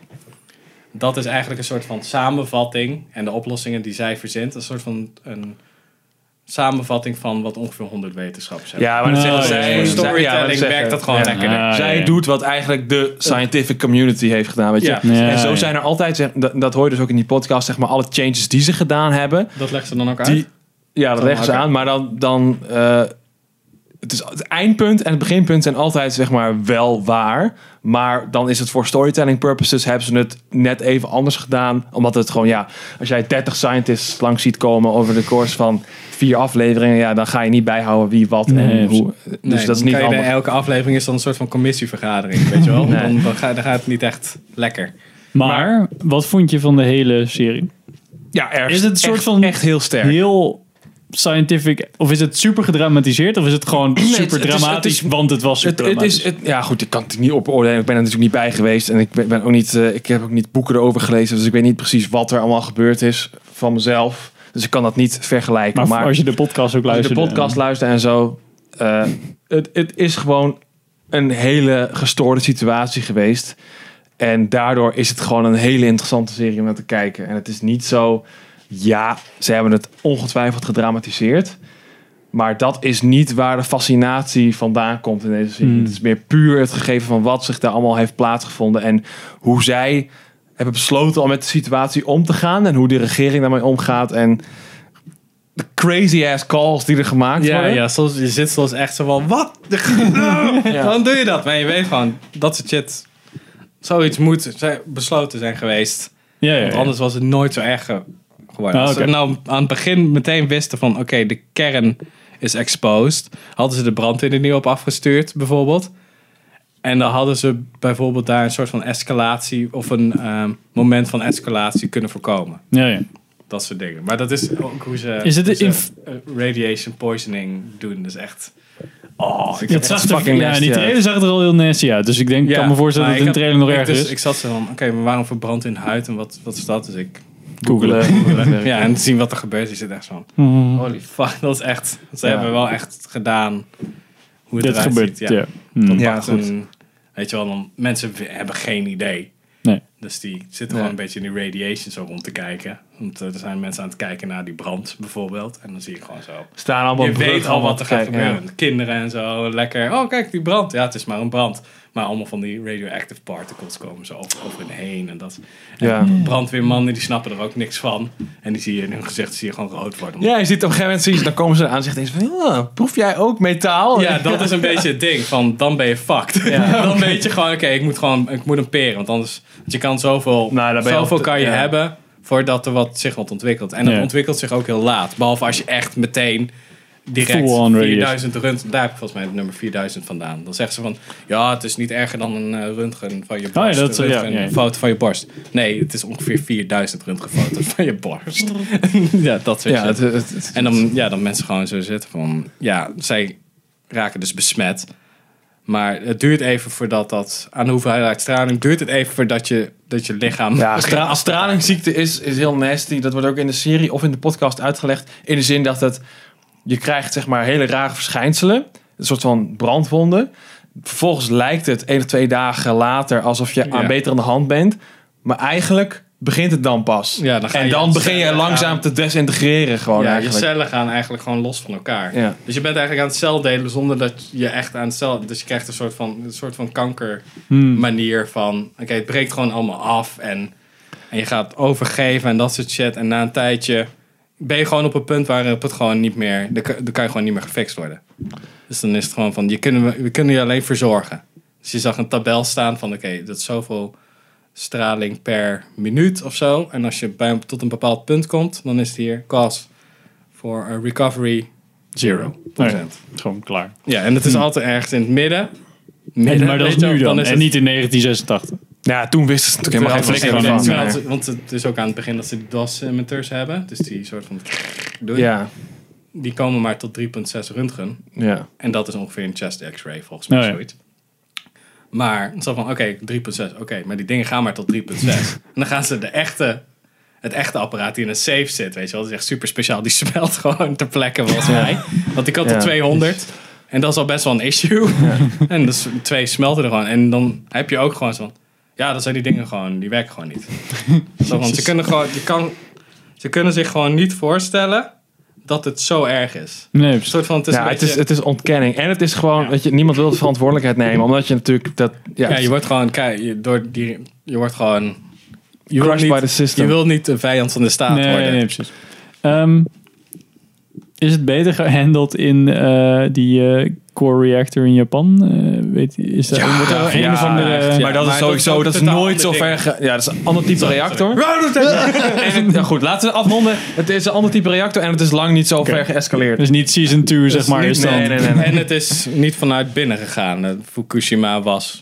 Dat is eigenlijk een soort van samenvatting en de oplossingen die zij verzint. Een soort van een samenvatting van wat ongeveer 100 wetenschappers hebben.
Oh, Ja, maar dat zeggen zij.
Voor
zij- ja,
storytelling
zeggen-
werkt dat gewoon
ja.
lekker.
Ah, zij doet wat eigenlijk de scientific community heeft gedaan, weet je.
Ja.
en zo
Ja, ja.
zijn er altijd, zeg, dat, dat hoor je dus ook in die podcast, zeg maar, alle changes die ze gedaan hebben.
Dat legt ze dan ook uit?
Die, dus ja, dat
Dan
leggen ze
ook.
aan, maar dan... dan eh, het, is, het eindpunt en het beginpunt zijn altijd zeg maar wel waar. Maar dan is het voor storytelling purposes hebben ze het net even anders gedaan. Omdat het gewoon, ja, als jij 30 scientists langs ziet komen over de course van vier afleveringen, ja, dan ga je niet bijhouden wie wat en hoe. Dus
Nee,
dat is
dan
niet
kan je de-
allemaal.
Elke aflevering is dan een soort van commissievergadering, weet je wel?
Nee.
Dan, dan, ga, dan gaat het niet echt lekker.
Maar, wat vond je van de hele serie?
Ja, erg.
Is het een soort van... Echt
heel sterk.
Heel scientific... Of is het super gedramatiseerd? Of is het gewoon
Nee, het-
super
het is-
dramatisch?
het is-
want het was
Het,
super
het is, het, ja, goed, ik kan het niet op oordelen. Ik ben er natuurlijk niet bij geweest. En ik, ben, ben ook niet, eh, ik heb ook niet boeken erover gelezen. Dus ik weet niet precies wat er allemaal gebeurd is van mezelf. Dus ik kan dat niet vergelijken.
Maar
Maar,
als je de podcast ook
Als je de
luisterde.
podcast luistert en zo. eh, het, het is gewoon een hele gestoorde situatie geweest. En daardoor is het gewoon een hele interessante serie om naar te kijken. En het is niet zo... Ja, ze hebben het ongetwijfeld gedramatiseerd. Maar dat is niet waar de fascinatie vandaan komt in deze serie.
Hmm.
Het is meer puur het gegeven van wat zich daar allemaal heeft plaatsgevonden. En hoe zij hebben besloten om met de situatie om te gaan. En hoe de regering daarmee omgaat. En de crazy ass calls die er gemaakt
Ja,
worden.
ja soms, je zit soms echt zo van, wat? Nou, Dan doe je dat. Maar je weet gewoon, dat soort shit, zoiets moet zijn- besloten zijn geweest.
Ja,
Want anders was het nooit zo erg ge- geworden.
Ah,
Als ze
oké.
nou aan het begin meteen wisten van, oké, de kern is exposed. Hadden ze de brandweer er niet op afgestuurd, bijvoorbeeld. En dan hadden ze bijvoorbeeld daar een soort van escalatie of een ehm, moment van escalatie kunnen voorkomen.
Ja, ja.
Dat soort dingen. Maar dat is ook hoe ze,
Is het
hoe ze
inf-
eh, radiation poisoning doen. Dus echt... Oh, ik
Het zag er, ja, in die trailer zag het er al heel nasty uit. Dus ik denk, ik kan me voorstellen dat
maar
het in de
ik
trailer nog
had- ik
erger
dus-
is.
Ik zat zo van, oké, maar waarom verbrandt hun huid en wat, wat is dat? Dus ik
Googelen.
googelen. ja, en zien wat er gebeurt. Je zit echt zo van,
Mhm.
holy fuck, dat is echt... Ze
Ja.
hebben wel echt gedaan hoe het
Dit
eruit
gebeurt,
ziet.
ja. Hmm.
Dat
Ja,
maakt
goed.
een- weet je wel, dan, mensen hebben geen idee.
Nee.
Dus die zitten gewoon een beetje in die radiation zo rond te kijken. Want eh, er zijn mensen aan het kijken naar die brand bijvoorbeeld. En dan zie je gewoon zo.
Staan allemaal
je
op de brug
weet al
allemaal
wat er
te
gaat
kijken,
gebeuren. Kinderen en zo, lekker. Oh, kijk, die brand. Ja, het is maar een brand. Maar allemaal van die radioactive particles komen zo over, over hen heen. En dat. En
Ja.
Brandweermannen, die snappen er ook niks van. En die zie je in hun gezicht zie je gewoon rood worden.
Ja, je ziet op een gegeven moment, zie je, dan komen ze aan en zeggen van, "Ja, proef jij ook metaal?
Ja, dat is een beetje het ding. Van, dan ben je fucked.
Oh. Ja.
dan weet je gewoon, oké, ik moet gewoon ik moet een peren. Want anders, want je kan zoveel,
Nou,
daar ben je
zoveel
al te-
kan je
ja.
hebben voordat er wat, zich wat ontwikkelt. En dat
Ja.
ontwikkelt zich ook heel laat. Behalve als je echt meteen direct
Full on
4000 röntgen... Daar heb ik volgens mij het nummer 4000 vandaan. Dan zeggen ze van, ja, het is niet erger dan een eh, röntgen van je
Oh, ja,
borst.
dat-
een
ja,
röntgen-
ja.
Een foto van je borst. Nee, het is ongeveer 4000 röntgenfoto's van je borst. ja, dat soort
Ja,
shit.
het- het- het-
En dan, ja, dan mensen gewoon zo zitten van... Ja, zij raken dus besmet. Maar het duurt even voordat dat... Aan de hoeveelheid straling duurt het even voordat je, dat je lichaam...
Ja, stra- als stralingsziekte is, is heel nasty. Dat wordt ook in de serie of in de podcast uitgelegd. In de zin dat het, je krijgt zeg maar hele rare verschijnselen. Een soort van brandwonden. Vervolgens lijkt het één of twee dagen later alsof je aan
Ja.
beter aan de hand bent. Maar eigenlijk begint het dan pas.
Ja, dan ga
en
je
dan
aan
begin je
cellen
langzaam
gaan.
te desintegreren gewoon
ja,
eigenlijk.
je cellen gaan eigenlijk gewoon los van elkaar.
Ja.
Dus je bent eigenlijk aan het celdelen zonder dat je echt aan het cel... Dus je krijgt een soort van, een soort van kanker
Hmm.
manier van... Oké, het breekt gewoon allemaal af en, en je gaat overgeven en dat soort shit. En na een tijdje ben je gewoon op een punt waarop het gewoon niet meer... Dan kan dan kan je gewoon niet meer gefixt worden. Dus dan is het gewoon van, je kunnen, we kunnen je alleen verzorgen. Dus je zag een tabel staan van, oké, dat is zoveel straling per minuut of zo. En als je bij, een- tot een bepaald punt komt, dan is het hier cost voor eh, recovery zero.
Nou ja, gewoon klaar.
Ja, en het is altijd ergens in het midden.
En, maar dat is
weet je wel,
nu dan.
is
en
het-
niet in 1986.
Ja, toen wisten ze natuurlijk
Terwijl het
helemaal geen
was-
flikker
terwijl
van.
het- Want het is ook aan het begin dat ze die DOS-emitters hebben. Dus die soort van... doen.
Ja.
Die komen maar tot 3.6 röntgen.
Ja.
En dat is ongeveer een chest x-ray volgens mij.
Oh ja.
zoiets. Maar het is al van, oké, 3.6. Oké, maar die dingen gaan maar tot 3.6. en dan gaan ze de echte... Het echte apparaat die in een safe zit, weet je wel. Dat is echt super speciaal. Die smelt gewoon ter plekke, volgens
Ja.
mij. Want die kan tot
Ja.
200. En dat is al best wel een issue. en dus twee smelten er gewoon. En dan heb je ook gewoon zo van... Ja, dan zijn die dingen gewoon... Die werken gewoon niet. Zo, want ze kunnen, gewoon, je kan, ze kunnen zich gewoon niet voorstellen dat het zo erg is.
Nee,
Een soort van, het is
ja,
een beetje,
het, is, het is ontkenning. En het is gewoon, dat je, niemand wil de verantwoordelijkheid nemen. Omdat je natuurlijk dat... Ja, dus-
ja, je wordt gewoon... kei- Je, door die, je wordt gewoon... Je
Crushed
wil niet-
by the system.
Je wil niet een vijand van de staat
nee,
worden.
nee, nee, precies. Ehm, is het beter gehandeld in eh, die eh, core reactor in Japan? Eh, weet, is dat wordt er
Eh,
een of andere...
maar dat is sowieso, dat, is nooit zo ver. ge- Ja, dat is een ander type reactor. En het- ja, goed, laten we afronden. Het is een ander type reactor en het is lang niet zo ver geëscaleerd.
Dus niet season 2, zeg maar. Is dan,
nee, nee, nee, nee. En het is niet vanuit binnen gegaan. Eh, Fukushima was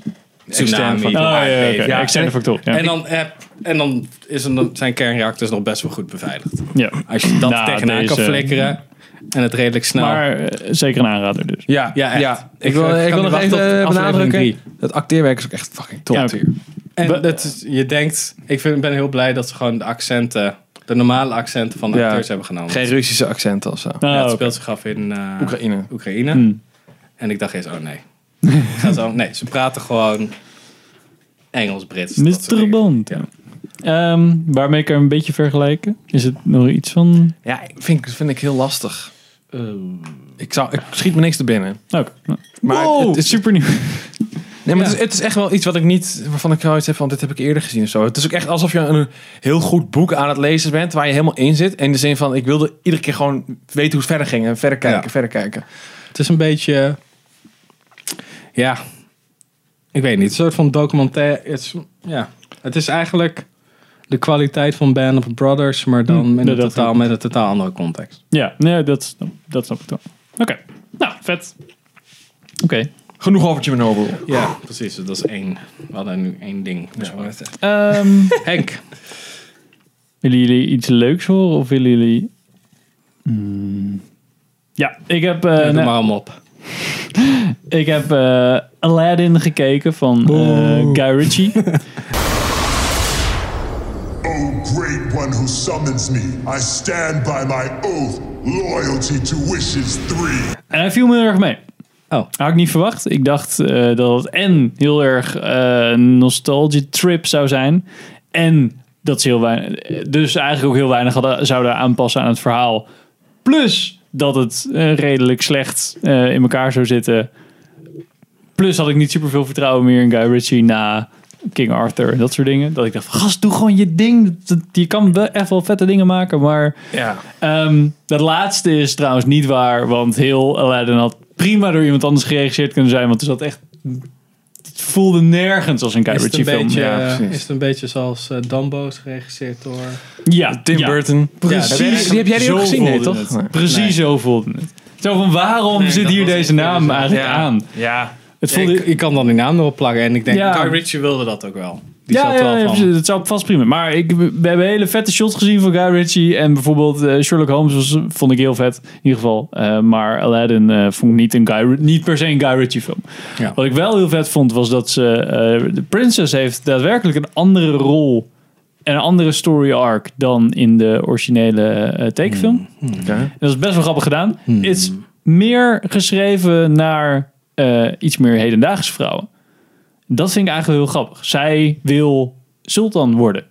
Externe
tsunami.
factor. Oh, ja, ja,
aardbeving.
oké. Externe factor, ja.
En dan, heb, en dan is een, zijn kernreactors nog best wel goed beveiligd.
Ja.
Als je dat
Nou,
tegenaan kan
deze-
flikkeren en het redelijk snel.
Maar eh, zeker een aanrader dus.
Ja,
ja, echt.
ja. Ik wil, ik wil nog even eh, benadrukken. Het acteerwerk is ook echt fucking top hier.
En dat is- je denkt, ik vind, ben heel blij dat ze gewoon de accenten de normale accenten van de acteurs hebben genomen.
Geen Russische accent of zo.
Ah,
ja, het speelt zich af in eh,
Oekraïne.
Oekraïne.
Hmm.
En ik dacht eerst, oh nee. Gaan ze, ook- nee, ze praten gewoon Engels-Brits. dat soort
Mr. Bond. Ehm, waarmee kan je hem een beetje vergelijken? Is het nog iets van...
Ja, vind, ik- Ehm. vind ik heel lastig. ik, zou, ik schiet me niks te binnen.
Oké.
Maar
Wow!
het, het is
super nieuw.
Nee, maar het, is, het is echt wel iets wat ik niet, waarvan ik zoiets heb van dit heb ik eerder gezien of zo. Het is ook echt alsof je een heel goed boek aan het lezen bent waar je helemaal in zit. In de zin van ik wilde iedere keer gewoon weten hoe het verder ging en verder kijken, verder kijken.
Het is een beetje, ja, ik weet niet. Een soort van documentaire. Het is, ja, het is eigenlijk de kwaliteit van Band of Brothers, maar dan in
nee,
een
Hmm. dat
totaal, met een totaal andere context.
Ja, nee, dat, snap- dat snap ik wel. Oké. Nou, vet. Oké.
Genoeg over Chernobyl.
Ja, precies. Dat is één. We hadden nu één ding. besproken.
Ehm,
Henk.
Willen jullie iets leuks horen of willen jullie... Hmm. Ja, ik heb... eh,
doe
nou-
maar hem op.
ik heb eh, Aladdin gekeken van eh, Guy Ritchie.
O Oh, great one who summons me, I stand by my oath, loyalty to wishes three.
En hij viel me heel erg mee. Oh. Had ik niet verwacht. Ik dacht eh, dat het en heel erg eh nostalgie trip zou zijn. En dat ze heel weinig. Dus eigenlijk ook heel weinig hadden, zouden aanpassen aan het verhaal. Plus dat het eh, redelijk slecht eh, in elkaar zou zitten. Plus had ik niet super veel vertrouwen meer in Guy Ritchie na King Arthur en dat soort dingen. Dat ik dacht van gast, doe gewoon je ding. Dat- dat- Je kan wel echt wel vette dingen maken, maar
Ja.
Ehm, dat laatste is trouwens niet waar, want heel Aladdin had prima door iemand anders geregisseerd kunnen zijn, want het zat echt. Het voelde nergens als een Guy
Is het,
Ritchie
een
film.
beetje,
ja,
is het een beetje zoals eh, Dumbo's geregisseerd door...
Ja,
Tim
ja.
Burton.
Precies.
Ja, die- die heb jij die ook
Zo
gezien, nee,
voelde
toch?
het.
Nee.
Precies
Nee.
zo voelde het. Zo van waarom
Nee,
zit
dat
hier
was
deze
echt
naam
eerder zo.
eigenlijk
Ja.
aan?
Ja.
Het
voelde... ik, ik kan dan die naam erop plakken en ik denk,
Ja.
Guy Ritchie wilde dat ook wel. Die
ja,
zat
ja,
wel
ja,
van...
precies. dat zou vast prima. Maar ik, we hebben hele vette shots gezien van Guy Ritchie. En bijvoorbeeld eh, Sherlock Holmes was, vond ik heel vet. In ieder geval. Eh, maar Aladdin eh, vond ik niet, een Guy, Ri- niet per se een Guy Ritchie film. Wat ik wel heel vet vond was dat ze... eh, de Princess heeft daadwerkelijk een andere rol... en een andere story arc dan in de originele eh, tekenfilm.
Hmm.
En Dat is best wel grappig gedaan. Het is meer geschreven naar eh, iets meer hedendaagse vrouwen. Dat vind ik eigenlijk heel grappig. Zij wil sultan worden.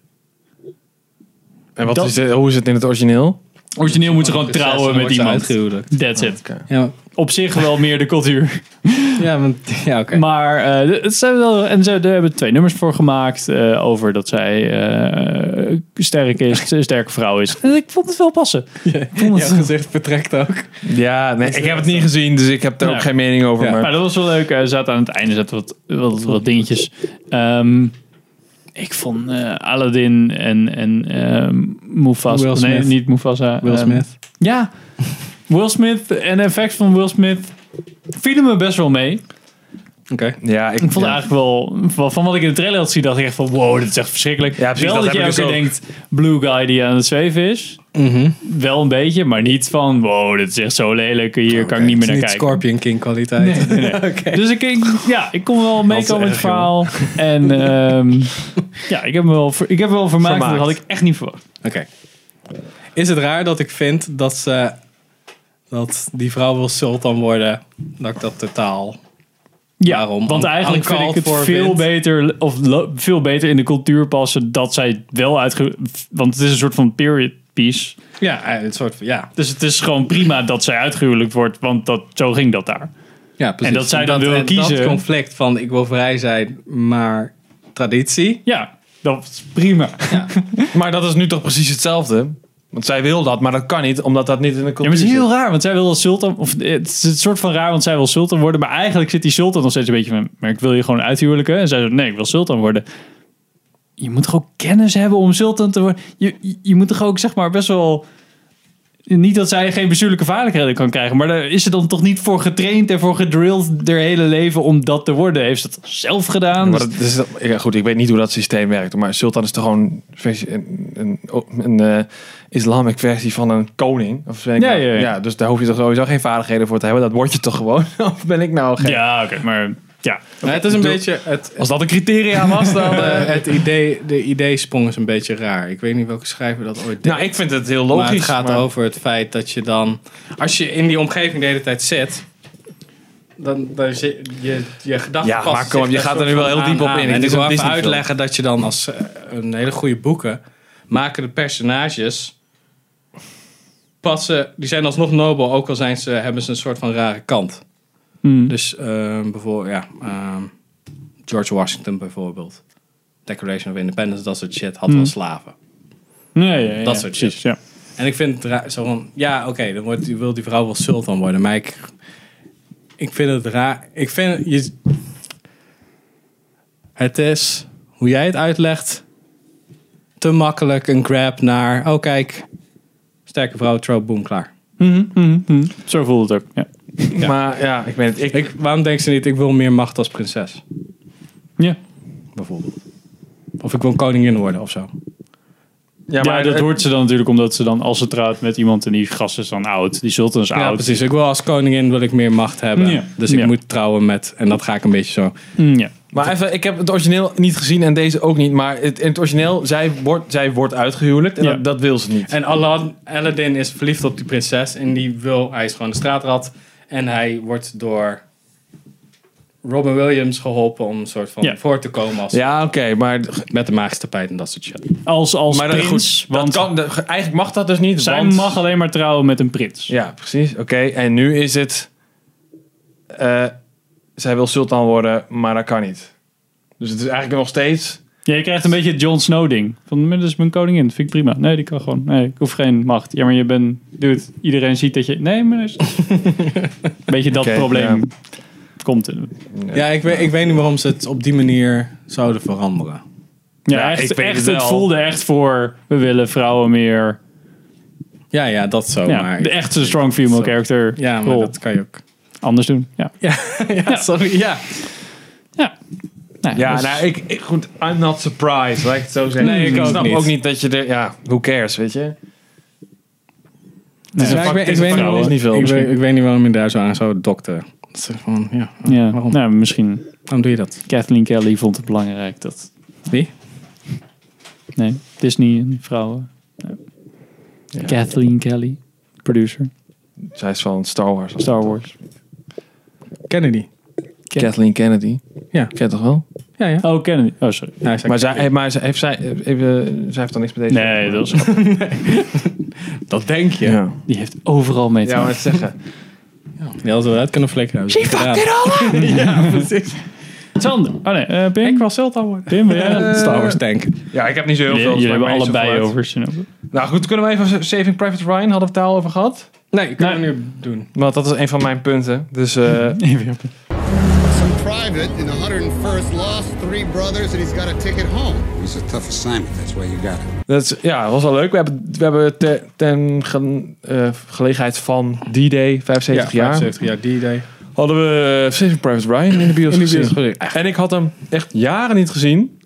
En wat
Dat-
is de- hoe is het in het origineel?
Origineel moet ze Oh, gewoon
Prinses,
trouwen
dan
met
wordt ze
iemand.
uitgehuwelijkd.
That's it.
Ja.
Op zich wel meer de cultuur.
ja, want, ja oké.
Maar eh, het zijn wel, en ze daar hebben twee nummers voor gemaakt eh, over dat zij eh, sterk is, een sterke vrouw is. En ik vond het wel passen. Ik vond het,
gezicht vertrekt ook.
Ja, nee, ik heb het niet gezien, dus ik heb daar ook
Ja.
geen mening over.
Ja.
Maar,
Maar, dat was wel leuk. Er zaten aan het einde zaten wat, wat, wat dingetjes. Ehm, ik vond eh, Aladdin en, en ehm, Mufasa.
Will
Nee,
Smith.
niet Mufasa.
Will
ehm,
Smith.
Ja. Will Smith en de effects van Will Smith vielen me best wel mee.
Oké.
Ja,
ik, vond eigenlijk wel, van- van wat ik in de trailer had zien, dacht ik echt van wow, dit is echt verschrikkelijk. Ja,
precies,
wel
dat
dat, je
heb
ook
ik dus
weer
ook. Mhm.
denkt, blue guy die aan het zweven is. Wel een beetje, maar niet van wow, dit is echt zo lelijk, hier
Oh,
kan ik niet meer naar kijken.
Scorpion King kwaliteit.
Nee, nee, nee. Dus ik, ik, ja, ik kon wel meekomen met het
erg, joh.
verhaal. En ehm, ja, ik heb me wel, ver- ik heb me wel vermaakt.
Vermaakt.
Dat had ik echt niet verwacht.
Oké. Is het raar dat ik vind dat ze. dat die vrouw wil sultan worden. dat ik dat totaal.
Ja,
waarom?
Want
un-
eigenlijk vind ik
uncalled
het
for
veel
vind?
beter, of lo- veel beter in de cultuur passen dat zij wel uitge... Want het is een soort van period piece.
Ja, eh, het soort van, ja.
Dus het is gewoon prima dat zij uitgehuwelijkd wordt, want dat, zo ging dat daar.
Ja, precies.
En dat zij dan
dat,
wil
eh, dat
kiezen.
conflict van ik wil vrij zijn, maar traditie.
Ja, dat is prima.
maar dat is nu toch precies hetzelfde? Want zij wil dat, maar dat kan niet, omdat dat niet in de
Ja, maar
cultuur
het is
zit.
heel raar, want zij wil als sultan... Of, eh, het is een soort van raar, want zij wil sultan worden. Maar eigenlijk zit die sultan nog steeds een beetje van... Maar ik wil je gewoon uithuwelijken. En zij zegt, nee, ik wil sultan worden. Je moet toch ook kennis hebben om sultan te worden? Je, je, je moet toch ook, zeg maar, best wel... Niet dat zij geen bestuurlijke vaardigheden kan krijgen. Maar daar is ze dan toch niet voor getraind en voor gedrilled... haar hele leven om dat te worden. Heeft ze dat zelf gedaan?
Maar dat is, ja, goed, ik weet niet hoe dat systeem werkt. Maar Sultan is toch gewoon een versie- een, een, een eh, islamic versie van een koning? Of weet ik
Ja,
nou-
ja, ja.
Dus daar hoef je toch sowieso geen vaardigheden voor te hebben. Dat word je toch gewoon? Of ben ik nou gek?
Ja, oké, maar
Ja.
Maar het is een beetje... Het,
Als dat een criteria was, dan... eh,
het idee, de idee sprong is een beetje raar. Ik weet niet welke schrijver dat ooit deed.
Nou, ik vind het heel
Maar
logisch.
het gaat
maar-
over het feit dat je dan... Als je in die omgeving de hele tijd zit... Dan, dan zit je, je gedachten
Ja,
vast
maar kom op,
zit
je
daar
gaat er
soort
nu wel
van
heel
aan-
diep op
aan.
in.
En
Het
ik
is
wil
een
even
Disney-film.
uitleggen dat je dan als eh, een hele goede boeken... maken de personages... passen... Die zijn alsnog nobel, ook al zijn ze, hebben ze een soort van rare kant.
Hmm.
Dus ehm, bijvoorbeeld, ja... ehm, George Washington bijvoorbeeld. Declaration of Independence, dat soort shit. Had wel
Hmm.
slaven.
Nee, ja, ja,
Dat
ja,
soort
precies, ja.
En ik vind het raar, zo van, ja, oké, dan wordt, die- wil die vrouw wel sultan worden, maar ik, ik vind het raar. Ik vind je, het is, hoe jij het uitlegt, te makkelijk een grab naar, oh kijk, sterke vrouw, trope, boom, klaar.
Mhm, mhm, mhm. Zo voelt het ook, ja.
Maar ja, ik weet het. Ik,
waarom denkt ze niet, ik wil meer macht als prinses?
Ja.
Bijvoorbeeld. Of ik wil koningin worden of zo.
Nou, Ja, maar dat hoort ze dan natuurlijk omdat ze dan, als ze trouwt met iemand en die gast is dan oud, die sultan is
Ja,
oud.
precies. Ik wil als koningin wil ik meer macht hebben.
Ja.
Dus ik
Ja.
moet trouwen met, en dat ga ik een beetje zo.
Mm, Ja.
Maar even, ik heb het origineel niet gezien en deze ook niet. Maar het, in het origineel, zij wordt, zij wordt uitgehuwelijkd en dat, dat wil ze niet.
En Alan, Aladdin is verliefd op die prinses en die wil, hij is gewoon de straatrat. En hij wordt door Robin Williams geholpen om een soort van
Ja.
voor te komen als
Ja, oké, maar...
Met de magische tapijt en dat soort shit.
Als, als
maar dat,
prins,
goed, want dat kan, dat- eigenlijk mag dat dus niet.
Zij
want-
mag alleen maar trouwen met een prins.
Ja, precies. Oké, en nu is het... eh, zij wil sultan worden, maar dat kan niet. Dus het is eigenlijk nog steeds...
Ja, je krijgt een beetje het Jon Snow ding. Van, maar dat is mijn koningin, vind ik prima. Nee, die kan gewoon. Nee, ik hoef geen macht. Ja, maar je bent, dude, iedereen ziet dat je... Nee, maar... dat is- beetje dat
Oké,
probleem
ja.
komt. in.
Ja, ik weet, ik weet niet waarom ze het op die manier zouden veranderen.
Ja, echt, echt, het,
wel.
voelde echt voor... We willen vrouwen meer...
Ja, ja, e- dat zo.
Ja,
maar
de echte strong female character
Ja, maar
rol.
dat kan je ook.
Anders doen, ja.
ja, sorry, ja.
ja,
dat is-
nou, ik, ik- Goed, I'm not surprised, laat ik het zo zeggen.
Nee, ik ook
snap
niet.
ook niet dat je er... Ja, who cares, weet je?
Ja,
is een
ik
vak-
weet-
het is een
ik weet niet
vak-
waarom-
is niet veel,
Ik weet-
misschien.
ik weet niet waarom je daar zo aan zou dokter. Dat is gewoon, ja,
Ja, nou, misschien...
Waarom doe je dat?
Kathleen Kelly vond het belangrijk dat...
Wie?
Nee, Disney en vrouwen. Nee. Kathleen Kelly, producer.
Zij is van Star Wars.
Star Wars.
Kennedy.
Kathleen Kennedy.
Ja.
Ken je toch wel?
Ja, Nou, ja.
Oh, Kennedy. Oh, sorry.
maar zij, hey, maar zij- heeft zij, even, zij heeft dan niks met deze.
Nee, dat is
Dat denk je.
Die heeft overal mee te
Ja, maar
maken.
het zeggen.
Die hadden we eruit kunnen flikkeren.
She fucked it all
Ja, precies.
Sander. Oh nee, eh, Pim.
Ik was Sultan worden.
Pim, wil jij dat?
Star Wars tank.
Ja, ik heb niet zo heel
Jullie-
veel. dus
jullie
maakt
hebben
mij niet
allebei
zoveel uit.
over Shinobu.
Nou goed, kunnen we even Saving Private Ryan, hadden we het daar al over gehad?
Nee, kunnen we nu doen.
Want dat is een van mijn punten. Dus eh,
Some private in the 101st lost three brothers and he's got a ticket home. It's a tough assignment. That's why you got it.
dat is, ja, was wel leuk. We hebben, we hebben te- ten ge- eh, gelegenheid van D-Day, 75
ja,
jaar,
75 jaar D-Day.
hadden we eh, Saving Private Ryan in de bios
In de bios
gezien.
gezien.
En ik had hem echt jaren niet gezien.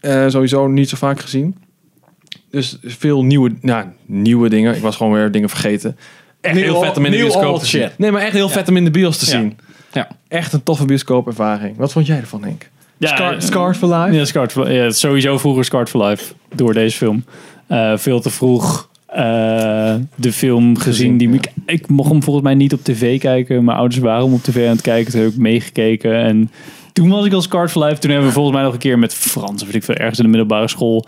Eh, sowieso niet zo vaak gezien. Dus veel nieuwe, nou, nieuwe dingen. Ik was gewoon weer dingen vergeten. Echt
Nieuw
heel
al-
vet om in de
nieuw
bioscoop
old
te zien.
shit.
Nee, maar echt heel vet om in de bios te
Ja.
zien.
Ja.
Echt een toffe bioscoopervaring. Wat vond jij ervan, Henk?
eh,
Scar- Scarred for Life?
Ja, Scarred for, ja, sowieso vroeger Scarred for Life. Door deze film. Eh, veel te vroeg eh, de film gezien. Die, ik, ik mocht hem volgens mij niet op tv kijken. Mijn ouders waren hem op tv aan het kijken. Toen heb ik meegekeken. En toen was ik al Scarred for Life. Toen hebben we volgens mij nog een keer met Frans. Of weet ik veel, ergens in de middelbare school.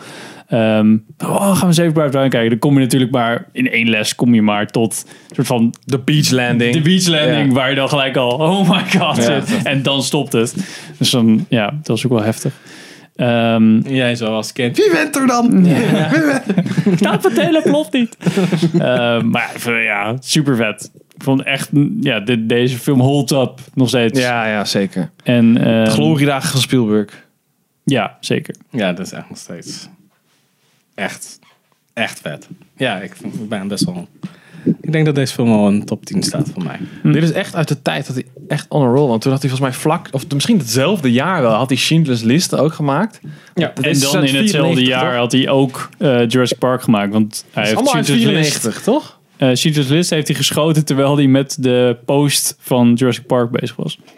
ehm, oh, gaan we Save Private Ryan kijken. Dan kom je natuurlijk maar in één les. Kom je maar tot een soort van...
De beach landing.
De beach landing.
Ja.
Waar je dan gelijk al... Oh my god.
Ja.
zit. En dan stopt het. Dus dan, ja, dat was ook wel heftig. Ehm
Jij zo als kind. Wie bent er dan?
Staat het hele plot niet. Ehm, maar ik vond het, ja, super vet. Ik vond echt, ja, de- deze film holds up nog steeds.
Ja, ja, zeker.
En,
De
ehm,
Gloriedagen van Spielberg.
Ja, zeker.
Ja, dat is echt nog steeds. Echt. Echt vet. Ja, ik, vind- ik ben best wel. Ik denk dat deze film al een top 10 staat voor mij.
Dit is echt uit de tijd dat hij echt on a roll. Want toen had hij volgens mij vlak, of misschien hetzelfde jaar wel, had hij Schindler's List ook gemaakt.
Ja,
dat
en
is
dan
uit
in hetzelfde
94,
jaar
toch?
had hij ook eh, Jurassic Park gemaakt. Want hij
Hij
heeft
allemaal uit
Schindler's List-
94, toch?
eh, Schindler's List heeft hij geschoten terwijl hij met de post van Jurassic Park bezig was. Dat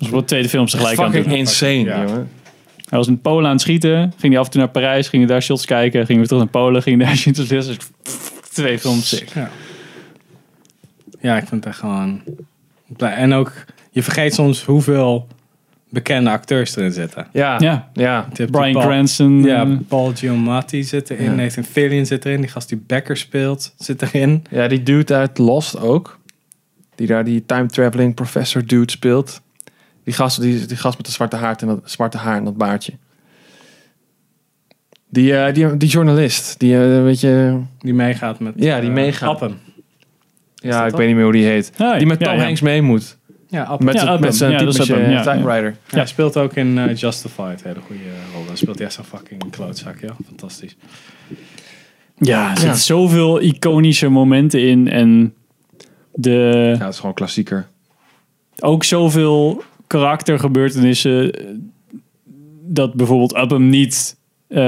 is wat de tweede film tegelijk aan
Fucking
het doen.
insane, jongen.
Hij was in Polen aan het schieten. Ging hij af en toe naar Parijs. Ging hij daar shots kijken. Ging hij weer terug naar Polen. Ging hij daar shots kijken. Dus Twee films. Sick.
Ja. Ja, ik vind het echt gewoon... En ook, je vergeet soms hoeveel bekende acteurs erin zitten.
Ja,
Ja.
ja.
Bryan Cranston.
Ja, Mm, Paul Giamatti zit erin.
Ja.
Nathan Fillion zit erin. Die gast die Becker speelt zit erin.
Ja, die dude uit Lost ook. Die daar die time traveling professor dude speelt. Die gast, die, die gast met de zwarte, haard en dat, zwarte haar en dat baardje. Die, eh, die, die journalist. Die, eh, weet je,
Die meegaat met...
Ja, die
eh,
meegaat.
Appen.
ja, ik
dat?
weet niet meer hoe die heet.
Nee,
die met
ja,
Tom
ja.
Hanks mee moet.
Ja, Appen.
Met,
Ja,
zijn-
Adam.
met zijn
Ja, dat is
typische
Adam, ja.
Time Rider.
Ja. Hij speelt ook in eh, Justified. Hele goede rol. Daar speelt hij echt zo'n fucking klootzak. Ja, fantastisch.
Ja, er zitten
Ja.
zoveel iconische momenten in. En de,
Ja, dat is gewoon klassieker.
ook zoveel karaktergebeurtenissen. eh, Dat bijvoorbeeld Upham niet eh,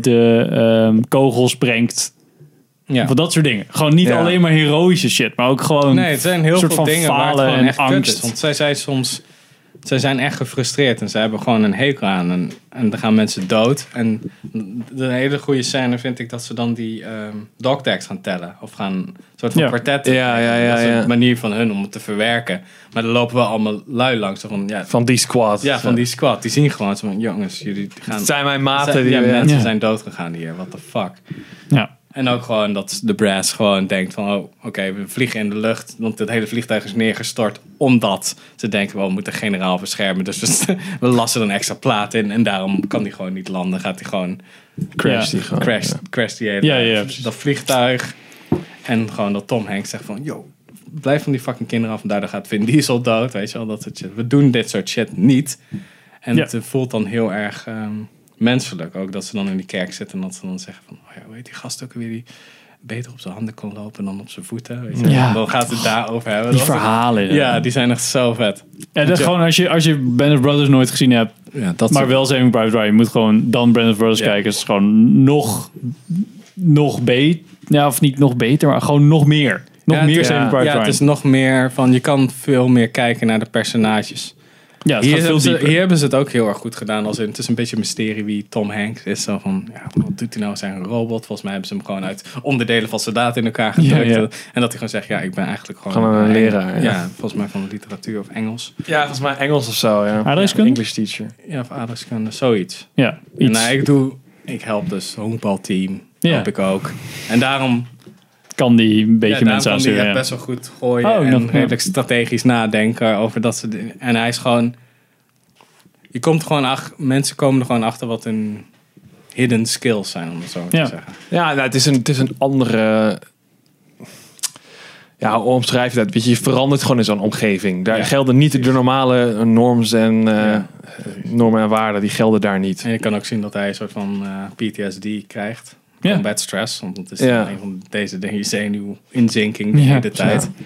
de ehm, kogels brengt.
Ja.
Van dat soort dingen. Gewoon niet
Ja.
alleen maar heroïsche shit, maar ook gewoon
Nee, het zijn heel
een soort
veel
van
dingen waar het
falen
gewoon
en
echt kut is.
angst.
Want zij zijn soms... Zij zijn echt gefrustreerd en zij hebben gewoon een hekel aan. En, en dan gaan mensen dood. En de hele goede scène vind ik dat ze dan die ehm dog tags gaan tellen. Of gaan een soort van
Ja.
kwartet.
Ja, ja, ja,
dat is
ja.
een manier van hun om het te verwerken. Maar dan lopen wel allemaal lui langs. zo Van, ja,
Van die squad.
ja, van die squad. Die zien gewoon zo van, jongens, jullie gaan...
Het zijn mijn maten
Zijn-
die-
ja,
ja.
mensen
Ja.
zijn doodgegaan hier. What the fuck.
Ja.
En ook gewoon dat de brass gewoon denkt van... Oh, oké, we vliegen in de lucht. Want het hele vliegtuig is neergestort. Omdat ze denken, wel, we moeten de generaal beschermen. Dus we, we lassen er een extra plaat in. En daarom kan die gewoon niet landen. Gaat hij gewoon...
Crash
Ja.
die gewoon,
Crash,
ja.
crash die hele...
Ja, ja, precies.
dat vliegtuig. En gewoon dat Tom Hanks zegt van... Yo, blijf van die fucking kinderen af. En daardoor gaat Vin Diesel dood. Weet je wel, dat soort shit. We doen dit soort shit niet. En
Ja.
het eh, voelt dan heel erg ehm, menselijk. Ook dat ze dan in die kerk zitten en dat ze dan zeggen van... Oh ja, hoe heet die gast ook weer die beter op zijn handen kon lopen dan op zijn voeten? Weet je? wel.
Ja.
Dan gaat het daarover hebben.
Die
Dat was-
verhalen, ja.
Ja, die zijn echt zo vet.
En dat
Ja.
gewoon als je, als je Band of Brothers nooit gezien hebt,
Ja, dat
maar
soort-
wel Saving Private Ryan, je moet gewoon dan Band of Brothers kijken. Het is gewoon nog, nog beter. Ja, of niet nog beter, maar gewoon nog meer. Nog
Ja, het
meer
is-
Saving
ja,
Private
Ja,
Ryan.
het is nog meer van... Je kan veel meer kijken naar de personages.
ja, het
Hier
gaat
hebben,
veel
ze,
dieper.
hier hebben ze het ook heel erg goed gedaan. Als in, het is een beetje een mysterie wie Tom Hanks is. Zo van, ja, wat doet hij nou? Is hij een robot? Volgens mij hebben ze hem gewoon uit onderdelen van soldaten in elkaar gedrukt.
Ja, ja.
En dat hij gewoon zegt, ja, ik ben eigenlijk gewoon...
Gewoon een leraar,
Ja.
ja.
volgens mij van de literatuur of Engels.
Ja, volgens mij Engels of zo. Ja.
Aardrijkskunde?
Ja, English teacher.
Ja, of aardrijkskunde, zoiets.
Ja,
En
iets.
nou, ik doe... Ik help dus honkbalteam.
Ja.
Help ik ook. En daarom...
kan die een beetje
ja, daarom
mensen
kan die
aansturen.
echt
ja.
best wel goed gooien.
Oh,
en
nog- ja.
redelijk strategisch nadenken over dat soort dingen. En hij is gewoon... Je komt gewoon ach, mensen komen er gewoon achter wat hun hidden skills zijn, om het zo
Ja.
te zeggen.
Ja, nou, het, is een, het is een andere. Ja, hoe omschrijf je dat? Weet je, je verandert gewoon in zo'n omgeving. Daar
Ja,
gelden niet de normale norms en, eh, normen en waarden. Die gelden daar niet.
En je kan ook zien dat hij een soort van eh, PTSD krijgt.
Ja.
Combat stress, want dat is
Ja.
een van deze dingen, je zenuwinzinking de
Ja,
hele tijd.
ja.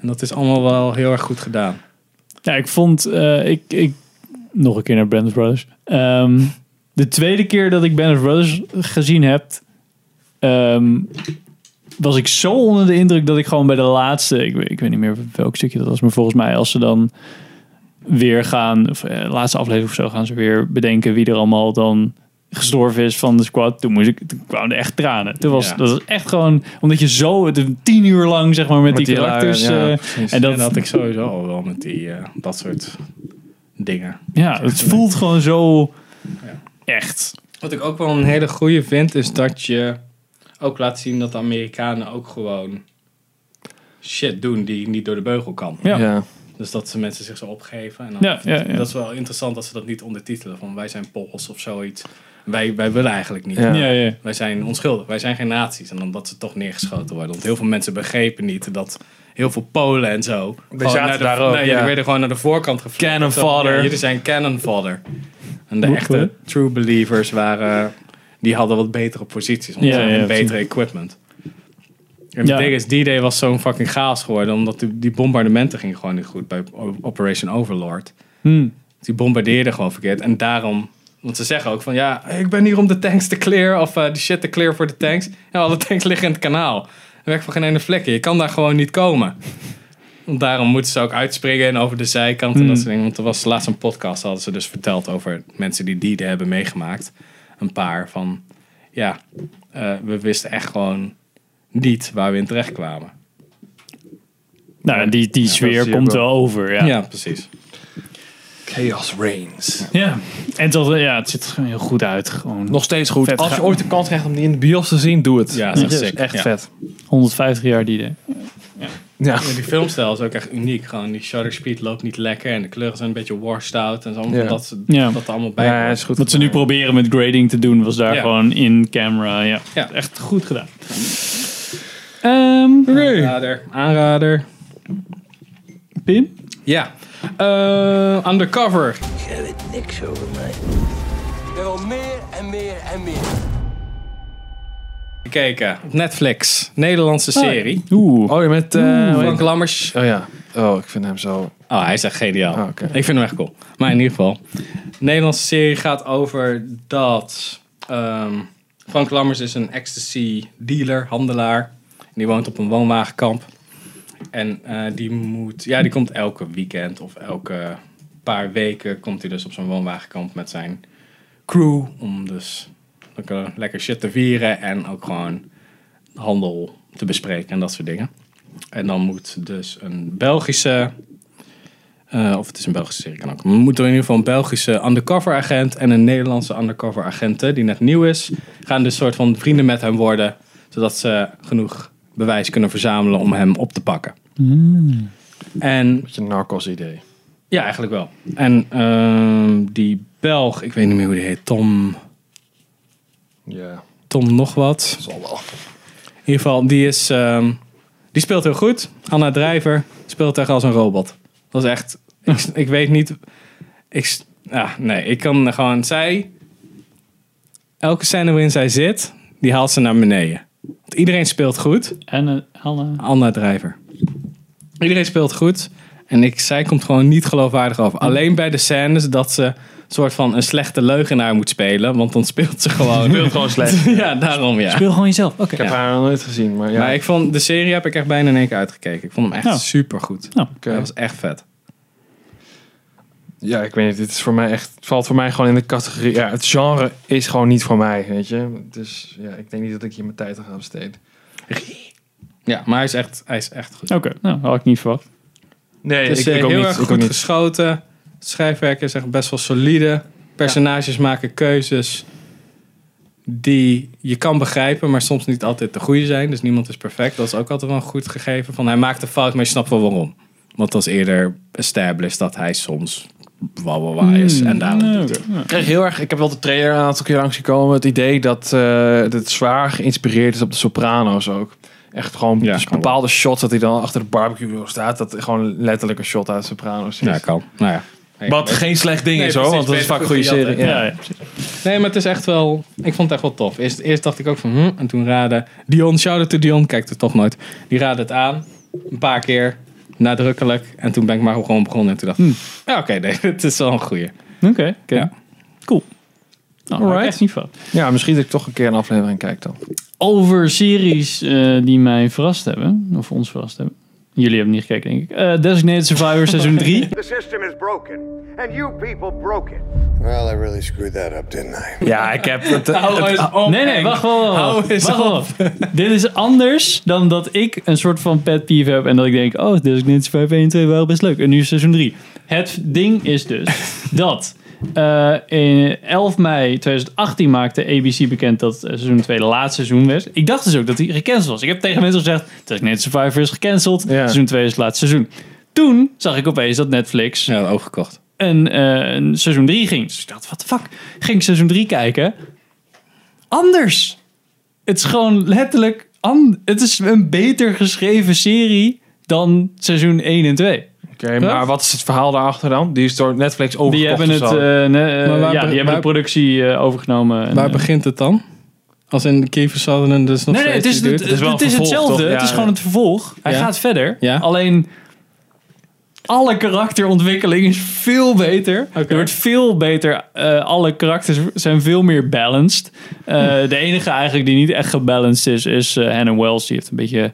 En dat is allemaal wel heel erg goed gedaan.
Ja, ik vond... eh, ik, ik, nog een keer naar Band of Brothers. Ehm, de tweede keer dat ik Band of Brothers gezien heb... ehm, was ik zo onder de indruk dat ik gewoon bij de laatste... Ik, weet- ik weet niet meer welk stukje dat was, maar volgens mij als ze dan weer gaan... Of, eh, laatste aflevering of zo gaan ze weer bedenken wie er allemaal dan gestorven is van de squad. Toen, moest ik, toen kwamen er echt tranen. Toen was,
Ja.
Dat was echt gewoon... Omdat je zo het een tien uur lang zeg maar met, die,
lui,
karakters...
ja,
eh,
precies.
en dat,
had ik sowieso al wel met die, eh, dat soort dingen.
Ja, het voelt gewoon zo echt.
Wat ik ook wel een hele goede vind, is dat je ook laat zien dat de Amerikanen ook gewoon shit doen die niet door de beugel kan.
Ja. Ja.
Dus dat ze mensen zich zo opgeven. En dan
Ja, ja, ja.
Dat is wel interessant dat ze dat niet ondertitelen. Van wij zijn Pools of zoiets. Wij, wij willen eigenlijk niet.
Ja. Ja, ja.
Wij zijn onschuldig. Wij zijn geen nazi's. En dan dat ze toch neergeschoten worden. Want heel veel mensen begrepen niet dat heel veel Polen en zo... gewoon
zaten
naar de,
daar ook,
Nee,
ja.
die werden gewoon naar de voorkant gevlucht.
Cannon
Zo van, ja,
fodder.
Jullie zijn cannon fodder. En de
Goed,
echte true believers waren, die hadden wat betere posities. Want
Ja,
ze hadden
ja,
betere
precies.
equipment. En het
Ja.
ding is, D-Day was zo'n fucking chaos geworden. Omdat die, die bombardementen gingen gewoon niet goed bij O- Operation Overlord. Die bombardeerden gewoon verkeerd. En daarom, want ze zeggen ook van ja, ik ben hier om de tanks te clear. Of eh de shit te clear voor de tanks. Ja, alle tanks liggen in het kanaal. Er werkt voor geen ene vlek in. Je kan daar gewoon niet komen. Daarom moeten ze ook uitspringen en over de zijkant en dat soort dingen. Want er was laatst een podcast, hadden ze dus verteld over mensen die dieren hebben meegemaakt. Een paar van, ja, eh, we wisten echt gewoon niet waar we in terecht kwamen.
Nou, die, die sfeer komt wel over, ja.
Ja, precies. Chaos Reigns.
Ja, en dat, ja, het ziet er gewoon heel goed uit. Gewoon
Nog steeds goed.
Vet
Als je
ga-
ooit de kans krijgt om die in de bios te zien, doe het.
Ja, dat is echt
Ja,
sick.
echt
Ja.
vet.
150 jaar die idee.
Ja. die filmstijl is ook echt uniek. Gewoon die shutter speed loopt niet lekker en de kleuren zijn een beetje washed out en zo.
Ja.
Dat, ze-
Ja.
dat er allemaal bij hoort.
Wat ze nu proberen met grading te doen, was daar
Ja.
gewoon in camera. Ja. echt goed gedaan.
Ehm,
aanrader. Aanrader.
Pim?
Ja. Eh, undercover.
Ik heb het niks over mij. Er al meer en meer en meer.
Gekeken. op Netflix. Nederlandse
Oh, ja.
serie.
Oeh. Oh, je met eh,
Oeh.
hoe heet-
Frank Lammers.
Oh ja. Oh, ik vind hem zo.
Oh, hij is echt geniaal. Ik vind hem echt cool. Maar in ieder geval. De Nederlandse serie gaat over dat... ehm, Frank Lammers is een ecstasy dealer, handelaar. En die woont op een woonwagenkamp. En eh, die moet... Ja, die komt elke weekend of elke paar weken... komt hij dus op zo'n woonwagenkamp met zijn crew. Om dus lekker, lekker shit te vieren. En ook gewoon handel te bespreken en dat soort dingen. En dan moet dus een Belgische... Eh, of het is een Belgische serie, kan ook. Maar moet er in ieder geval een Belgische undercover agent en een Nederlandse undercover agenten, die net nieuw is, gaan dus soort van vrienden met hem worden, zodat ze genoeg bewijs kunnen verzamelen om hem op te pakken. En,
Beetje een narcos idee.
Ja, eigenlijk wel. En ehm, die Belg, ik weet niet meer hoe die heet, Tom...
Ja.
Tom nog wat.
Zal wel.
In ieder geval, die, is, ehm, die speelt heel goed. Anna Drijver speelt echt als een robot. Dat is echt... Ik, ik weet niet... Ik, s- ja, nee, ik kan gewoon... Zij... Elke scène waarin zij zit, die haalt ze naar beneden. Want iedereen speelt goed.
En Anna...
Anna Drijver. Iedereen speelt goed. En ik, zij komt gewoon niet geloofwaardig over. Alleen bij de scènes dat ze soort van een slechte leugenaar moet spelen. Want dan speelt ze gewoon...
Speelt gewoon slecht.
ja, daarom ja.
Speel gewoon jezelf. Oké.
Ik heb haar nog nooit gezien, maar ja.
Maar ik vond de serie heb ik echt bijna in één keer uitgekeken. Ik vond hem echt super goed.
Oh,
Dat was echt vet.
eh, Ja, ik weet niet. Dit is voor mij echt. Het valt voor mij gewoon in de categorie. Ja, het genre is gewoon niet voor mij, weet je. Dus ja, ik denk niet dat ik hier mijn tijd aan ga besteden.
Ja, maar hij is echt, hij is echt goed.
Oké, nou, had ik niet verwacht.
Nee,
het is
ik-
eh,
ik ook
heel
niet.
erg
Ik ook
goed
niet.
geschoten. Het schrijfwerk is echt best wel solide. Personages maken keuzes die je kan begrijpen, maar soms niet altijd de goede zijn. Dus niemand is perfect. Dat is ook altijd wel een goed gegeven. Van hij maakt een fout, maar je snapt wel waarom. Want dat is eerder established dat hij soms wawawa
Hmm.
Hmm.
is. en daarom
Nou,
doet hij het.
Ik kreeg heel erg, ik heb wel de trailer een aantal keer langs gekomen. Het idee dat, eh, dat het zwaar geïnspireerd is op de Soprano's ook. Echt gewoon dus bepaalde shots dat hij dan achter de barbecue grill staat. Dat gewoon letterlijk een shot uit Soprano's is.
Ja, kan. Nou ja.
Wat geen slecht ding
Nee,
is hoor,
precies,
want dat is
beter
vaak
goed
goede serie.
gejat,
Ja.
hè? Ja, Nee, maar het is echt wel... Ik vond het echt wel tof. Eerst, eerst dacht ik ook van... Hm, en toen raadde... Dion, shout-out to Dion. Kijkt het toch nooit. Die raadde het aan. Een paar keer. Nadrukkelijk. En toen ben ik maar gewoon begonnen. En toen dacht ik... Ja, oké. nee, het is wel een goeie.
Oké, oké.
Ja.
Cool. Nou, had ik echt niet verwacht.
ja, misschien dat ik toch een keer een aflevering kijk dan.
Over series eh, die mij verrast hebben, of ons verrast hebben. Jullie hebben niet gekeken, denk ik. Eh, Designated Survivor seizoen 3.
The system is broken, and you people broke it.
Well, I really screwed that up, didn't I?
Ja, ik heb het.
Hou
het-
eens op,
nee, nee,
Henk.
wacht wel.
Hou eens
wacht
op.
wel. Dit is anders dan dat ik een soort van pet peeve heb en dat ik denk, oh, Designated Survivor 1 en 2 waren best leuk. En nu is seizoen 3. Het ding is dus dat eh, in 11 mei 2018 maakte ABC bekend dat eh, seizoen 2 de laatste seizoen was. Ik dacht dus ook dat hij gecanceld was. Ik heb tegen mensen gezegd, Designated Survivor is gecanceld, seizoen 2 is het laatste seizoen. Toen zag ik opeens dat Netflix...
Ja, overgekocht.
Een, eh, een seizoen 3 ging. Dus ik dacht, wat de fuck? Ging ik seizoen 3 kijken anders. Het is gewoon letterlijk. an- het is een beter geschreven serie dan seizoen 1 en 2.
Oké, maar wat is het verhaal daarachter dan? Die is door Netflix overgekocht
Die hebben,
of
het,
zo?
eh, ne- eh,
Maar waar
ja,
be-
die hebben
waar-
de productie eh, overgenomen. En,
Waar
eh,
begint het dan? Als in Kiefer Sutherland dus nog
nee, nee, het
steeds
is,
die
het,
dude?
het, is hetzelfde. het is gewoon het vervolg. Hij
Ja.
gaat verder.
Ja.
Alleen alle karakterontwikkeling is veel beter. Er wordt veel beter. eh, alle karakters zijn veel meer
Hm.
balanced. Eh, De enige eigenlijk die niet echt gebalanced is, is eh, Hannah Wells. Die heeft een beetje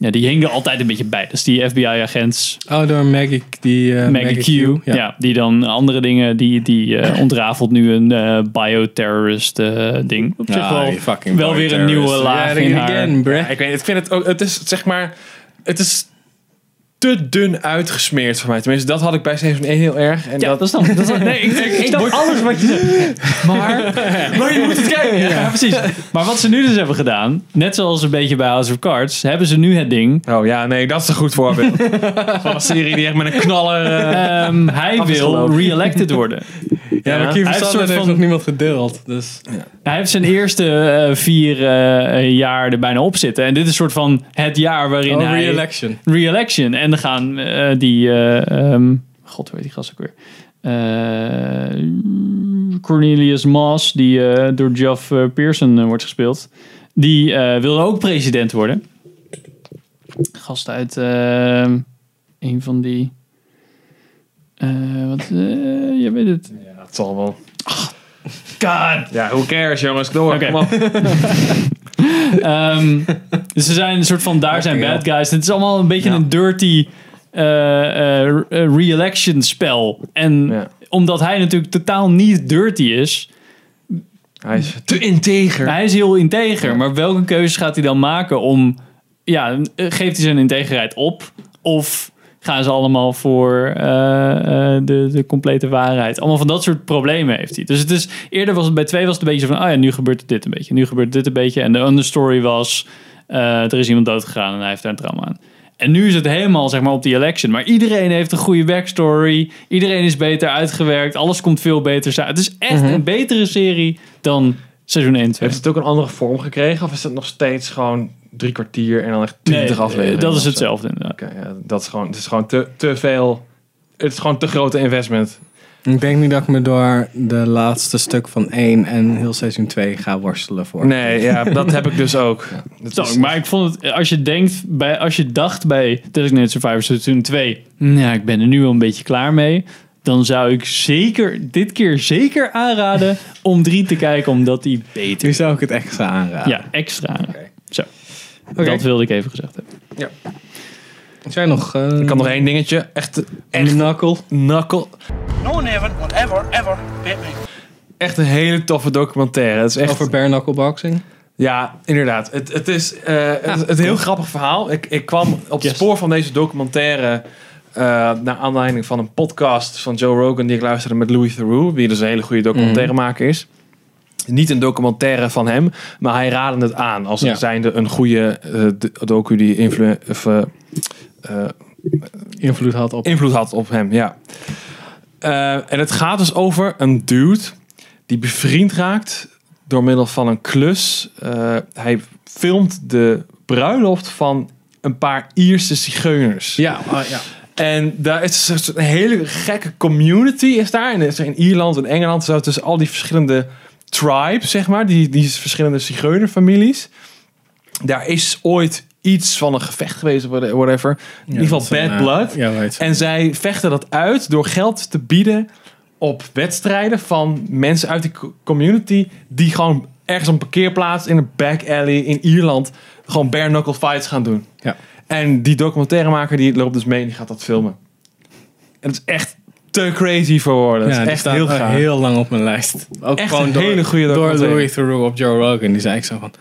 Ja, die hing er altijd een beetje bij. Dus die FBI-agent
Oh, door Maggie, die, eh,
Maggie, Q. ja. die dan andere dingen, die, die eh, ontrafelt nu een eh, bioterrorist eh, ding. Op zich
Ah,
wel,
die fucking
wel weer een nieuwe
bioterrorist.
laag
Ja,
in
again,
haar.
bruh.
Ik weet, ik vind het ook, het is zeg maar, het is te dun uitgesmeerd voor mij. Tenminste, dat had ik bij seizoen 1 heel erg. En dat,
is dan, nee, ik, ik, snap alles wat je zegt. Maar,
maar je moet het kijken.
Ja, precies. Maar wat ze nu dus hebben gedaan, net zoals een beetje bij House of Cards, hebben ze nu het ding.
Oh ja, nee, dat is een goed voorbeeld. Van een serie die echt met een knaller. eh,
Ehm, hij
af is
wil
gelopen.
re-elected worden.
Ja, maar
Hij heeft
Kiefer
een soort
Sutherland heeft
van-
nog niemand gedeeld. Dus.
Hij heeft zijn eerste eh, vier eh, jaar er bijna op zitten. En dit is een soort van het jaar waarin
Oh,
hij...
re-election.
Re-election. En dan gaan eh, die... eh, ehm, God, weet die gast ook weer? Eh, Cornelius Moss, die eh, door Geoff eh, Pearson eh, wordt gespeeld. Die eh wilde ook president worden. Gast uit ehm, een van die... eh, wat, eh, je weet het.
dat zal wel.
God.
Ja, who cares, jongens? Door.
Oké.
Kom op.
Ehm, dus ze zijn een soort van daar zijn bad guys. Het is allemaal een beetje een dirty eh, eh, re-election spel. En omdat hij natuurlijk totaal niet dirty is.
Hij is te integer.
Hij is heel integer. Maar welke keuzes gaat hij dan maken om. Ja, eh, geeft hij zijn integriteit op? Of gaan ze allemaal voor eh, eh, de, de complete waarheid? Allemaal van dat soort problemen heeft hij. Dus het is, eerder was het bij twee was het een beetje zo van... ah ja, nu gebeurt dit een beetje, nu gebeurt dit een beetje. En de understory was... eh, er is iemand doodgegaan en hij heeft daar een trauma aan. En nu is het helemaal zeg maar, op die election. Maar iedereen heeft een goede backstory. Iedereen is beter uitgewerkt. Alles komt veel beter uit. Het is echt een betere serie dan seizoen 1 2.
Heeft het ook een andere vorm gekregen? Of is het nog steeds gewoon drie kwartier en dan echt twintig
Nee, eh,
afleveringen?
dat is
of zo?
hetzelfde inderdaad.
Oké, ja, dat is gewoon, het is gewoon te, te veel. Het is gewoon te grote investment.
Ik denk niet dat ik me door de laatste stuk van 1 en heel seizoen 2 ga worstelen voor.
Nee, ja, dat heb ik dus ook. Dat
Zo,
is-
maar ik vond het, eh, als je denkt, bij, als je dacht bij Designated Survivor seizoen 2, nou, ik ben er nu wel een beetje klaar mee, dan zou ik zeker, dit keer zeker aanraden om 3 te kijken, omdat die beter
Nu zou ik het extra aanraden.
Ja, extra. Zo,
Oké.
dat wilde ik even gezegd hebben.
Ja.
Zijn nog. eh,
Ik kan nog één dingetje. Echt, echt
knuckle.
knuckle.
No one ever, will ever, ever bit me.
Echt een hele toffe documentaire. Het is echt...
Over bare knuckle boxing?
Ja, inderdaad. Het, het is eh, het, het heel grappig verhaal. Ik, ik kwam op het spoor van deze documentaire... eh, naar aanleiding van een podcast van Joe Rogan... die ik luisterde met Louis Theroux... die dus een hele goede documentairemaker is. Niet een documentaire van hem... maar hij raadde het aan als
Ja.
zijnde een goede eh, d- docu... die influ- of, eh, eh,
Invloed had op.
invloed had op hem, ja. Eh, en het gaat dus over een dude die bevriend raakt door middel van een klus. Eh, hij filmt de bruiloft van een paar Ierse zigeuners.
Ja, ah, ja.
En daar is dus een soort- een hele gekke community is daar. En is er in Ierland en Engeland zo tussen al die verschillende tribes, zeg maar. Die, die verschillende zigeunerfamilies. Daar is ooit iets van een gevecht geweest, whate- whatever. In
Ja,
ieder
dat is
geval
een,
bad
eh,
blood.
ja, weet.
En zij vechten dat uit door geld te bieden op wedstrijden van mensen uit die co- community die gewoon ergens op een parkeerplaats in een back alley in Ierland gewoon bare knuckle fights gaan doen.
Ja.
En die documentairemaker die loopt dus mee en die gaat dat filmen. En het is echt te crazy voor woorden. het
ja, die
is echt
staat
heel
al
gaaf.
heel lang op mijn lijst. Ook
Echt
gewoon
een
door,
hele goede
door
documentaire.
Louis Theroux op Joe Rogan. Die zei ik zo van...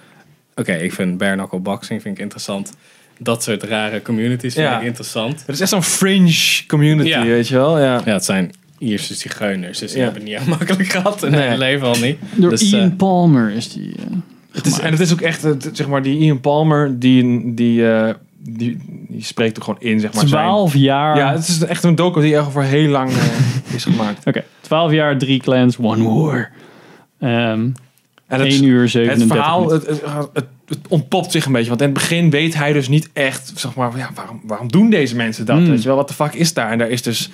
Oké, ik vind bare knuckle boxing vind ik interessant. Dat soort rare communities vind
Ja.
ik interessant.
Het is echt zo'n fringe community,
Ja.
weet je wel? Ja.
Ja, het zijn Ierse zigeuners. Dus die
Ja.
hebben het niet heel makkelijk gehad. In
Nee.
hun leven al niet.
Door
dus, eh,
Ian Palmer is die... eh,
Het is, en het is ook echt, eh, t- zeg maar, die Ian Palmer, die, die, eh, die, die spreekt er gewoon in, zeg maar. zijn-
12 jaar.
Ja, het is echt een docu die echt voor heel lang eh, is gemaakt.
Oké, 12 jaar, 3 clans, one war. Ehm
En
1 uur 37
Het verhaal,
minuten.
het, het, het, het ontpopt zich een beetje. Want in het begin weet hij dus niet echt, zeg maar, van, ja, waarom, waarom doen deze mensen dat?
Mm.
Weet je wel, wat de fuck is daar? En daar is dus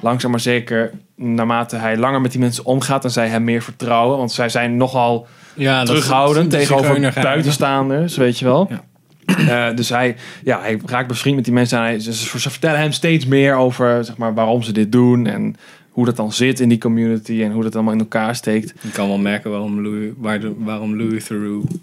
langzaam maar zeker, naarmate hij langer met die mensen omgaat, en zij hem meer vertrouwen. Want zij zijn nogal
ja, dat is-
terughoudend
dat is
tegenover
zigeunergeheim.
buitenstaanders, weet je wel. Eh, dus hij, ja, hij raakt bevriend met die mensen. En hij, ze, ze vertellen hem steeds meer over zeg maar, waarom ze dit doen. En hoe dat dan zit in die community. En hoe dat allemaal in elkaar steekt.
Je kan wel merken waarom Louis, waar de- waarom Louis Theroux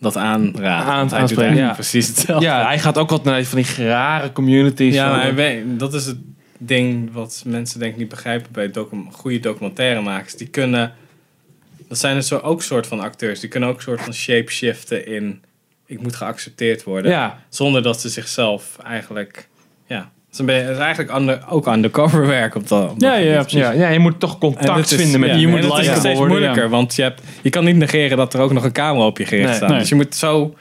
dat aanraden.
Aan-
Want hij doet
aanspreken,
eigenlijk
ja.
precies hetzelfde.
Ja, hij gaat ook wat naar van die rare communities.
Ja,
van-
maar hij weet- dat is het ding wat mensen denk ik niet begrijpen bij docu- goede documentairemakers. Die kunnen, dat zijn dus ook soort van acteurs, die kunnen ook soort van shapeshiften in ik moet geaccepteerd worden.
Ja.
Zonder dat ze zichzelf eigenlijk, ja. Het is, een beetje- het is eigenlijk under- ook undercover werk op dat, op dat
Ja, ja,
gebied.
precies. Ja, ja, je moet toch contact
En dit is-
vinden met
ja,
je
en
moet
dat is nog
likable
steeds
worden,
moeilijker,
ja.
want je, hebt, je kan niet negeren dat er ook nog een camera op je gericht
Nee.
staat.
Nee.
Dus je moet zo,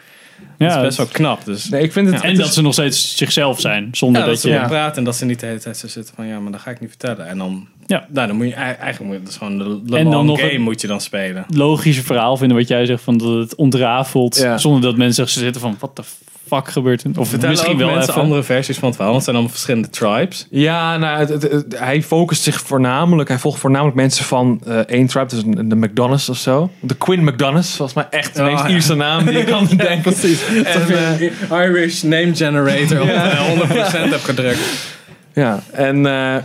dat is best wel knap. Dus
ik vind het,
Ja.
en dat ze nog steeds zichzelf zijn, zonder
ja,
dat,
dat, ze
je...
gewoon praten en dat ze niet de hele tijd zo zitten van ja, maar dat ga ik niet vertellen. En dan,
ja.
nou, dan moet je eigenlijk moet je, dat is gewoon de, de
En dan
long
nog
game
een-
moet je dan spelen.
logische verhaal vinden wat jij zegt van dat het ontrafelt
Ja.
zonder dat mensen zich zitten van wat de fuck gebeurt er? Of
Vertellen
misschien
ook
wel
mensen
even.
andere versies van het verhaal, want het zijn allemaal verschillende tribes.
Ja, nou, het, het- het- hij focust zich voornamelijk. Hij volgt voornamelijk mensen van eh één tribe, dus een- de McDonald's of zo. De Quinn McDonald's, volgens mij echt de
Oh,
meest
ja.
Ierse naam die je kan bedenken.
Precies.
En, eh,
Irish name generator op eh, 100% heb gedrukt.
ja, en eh,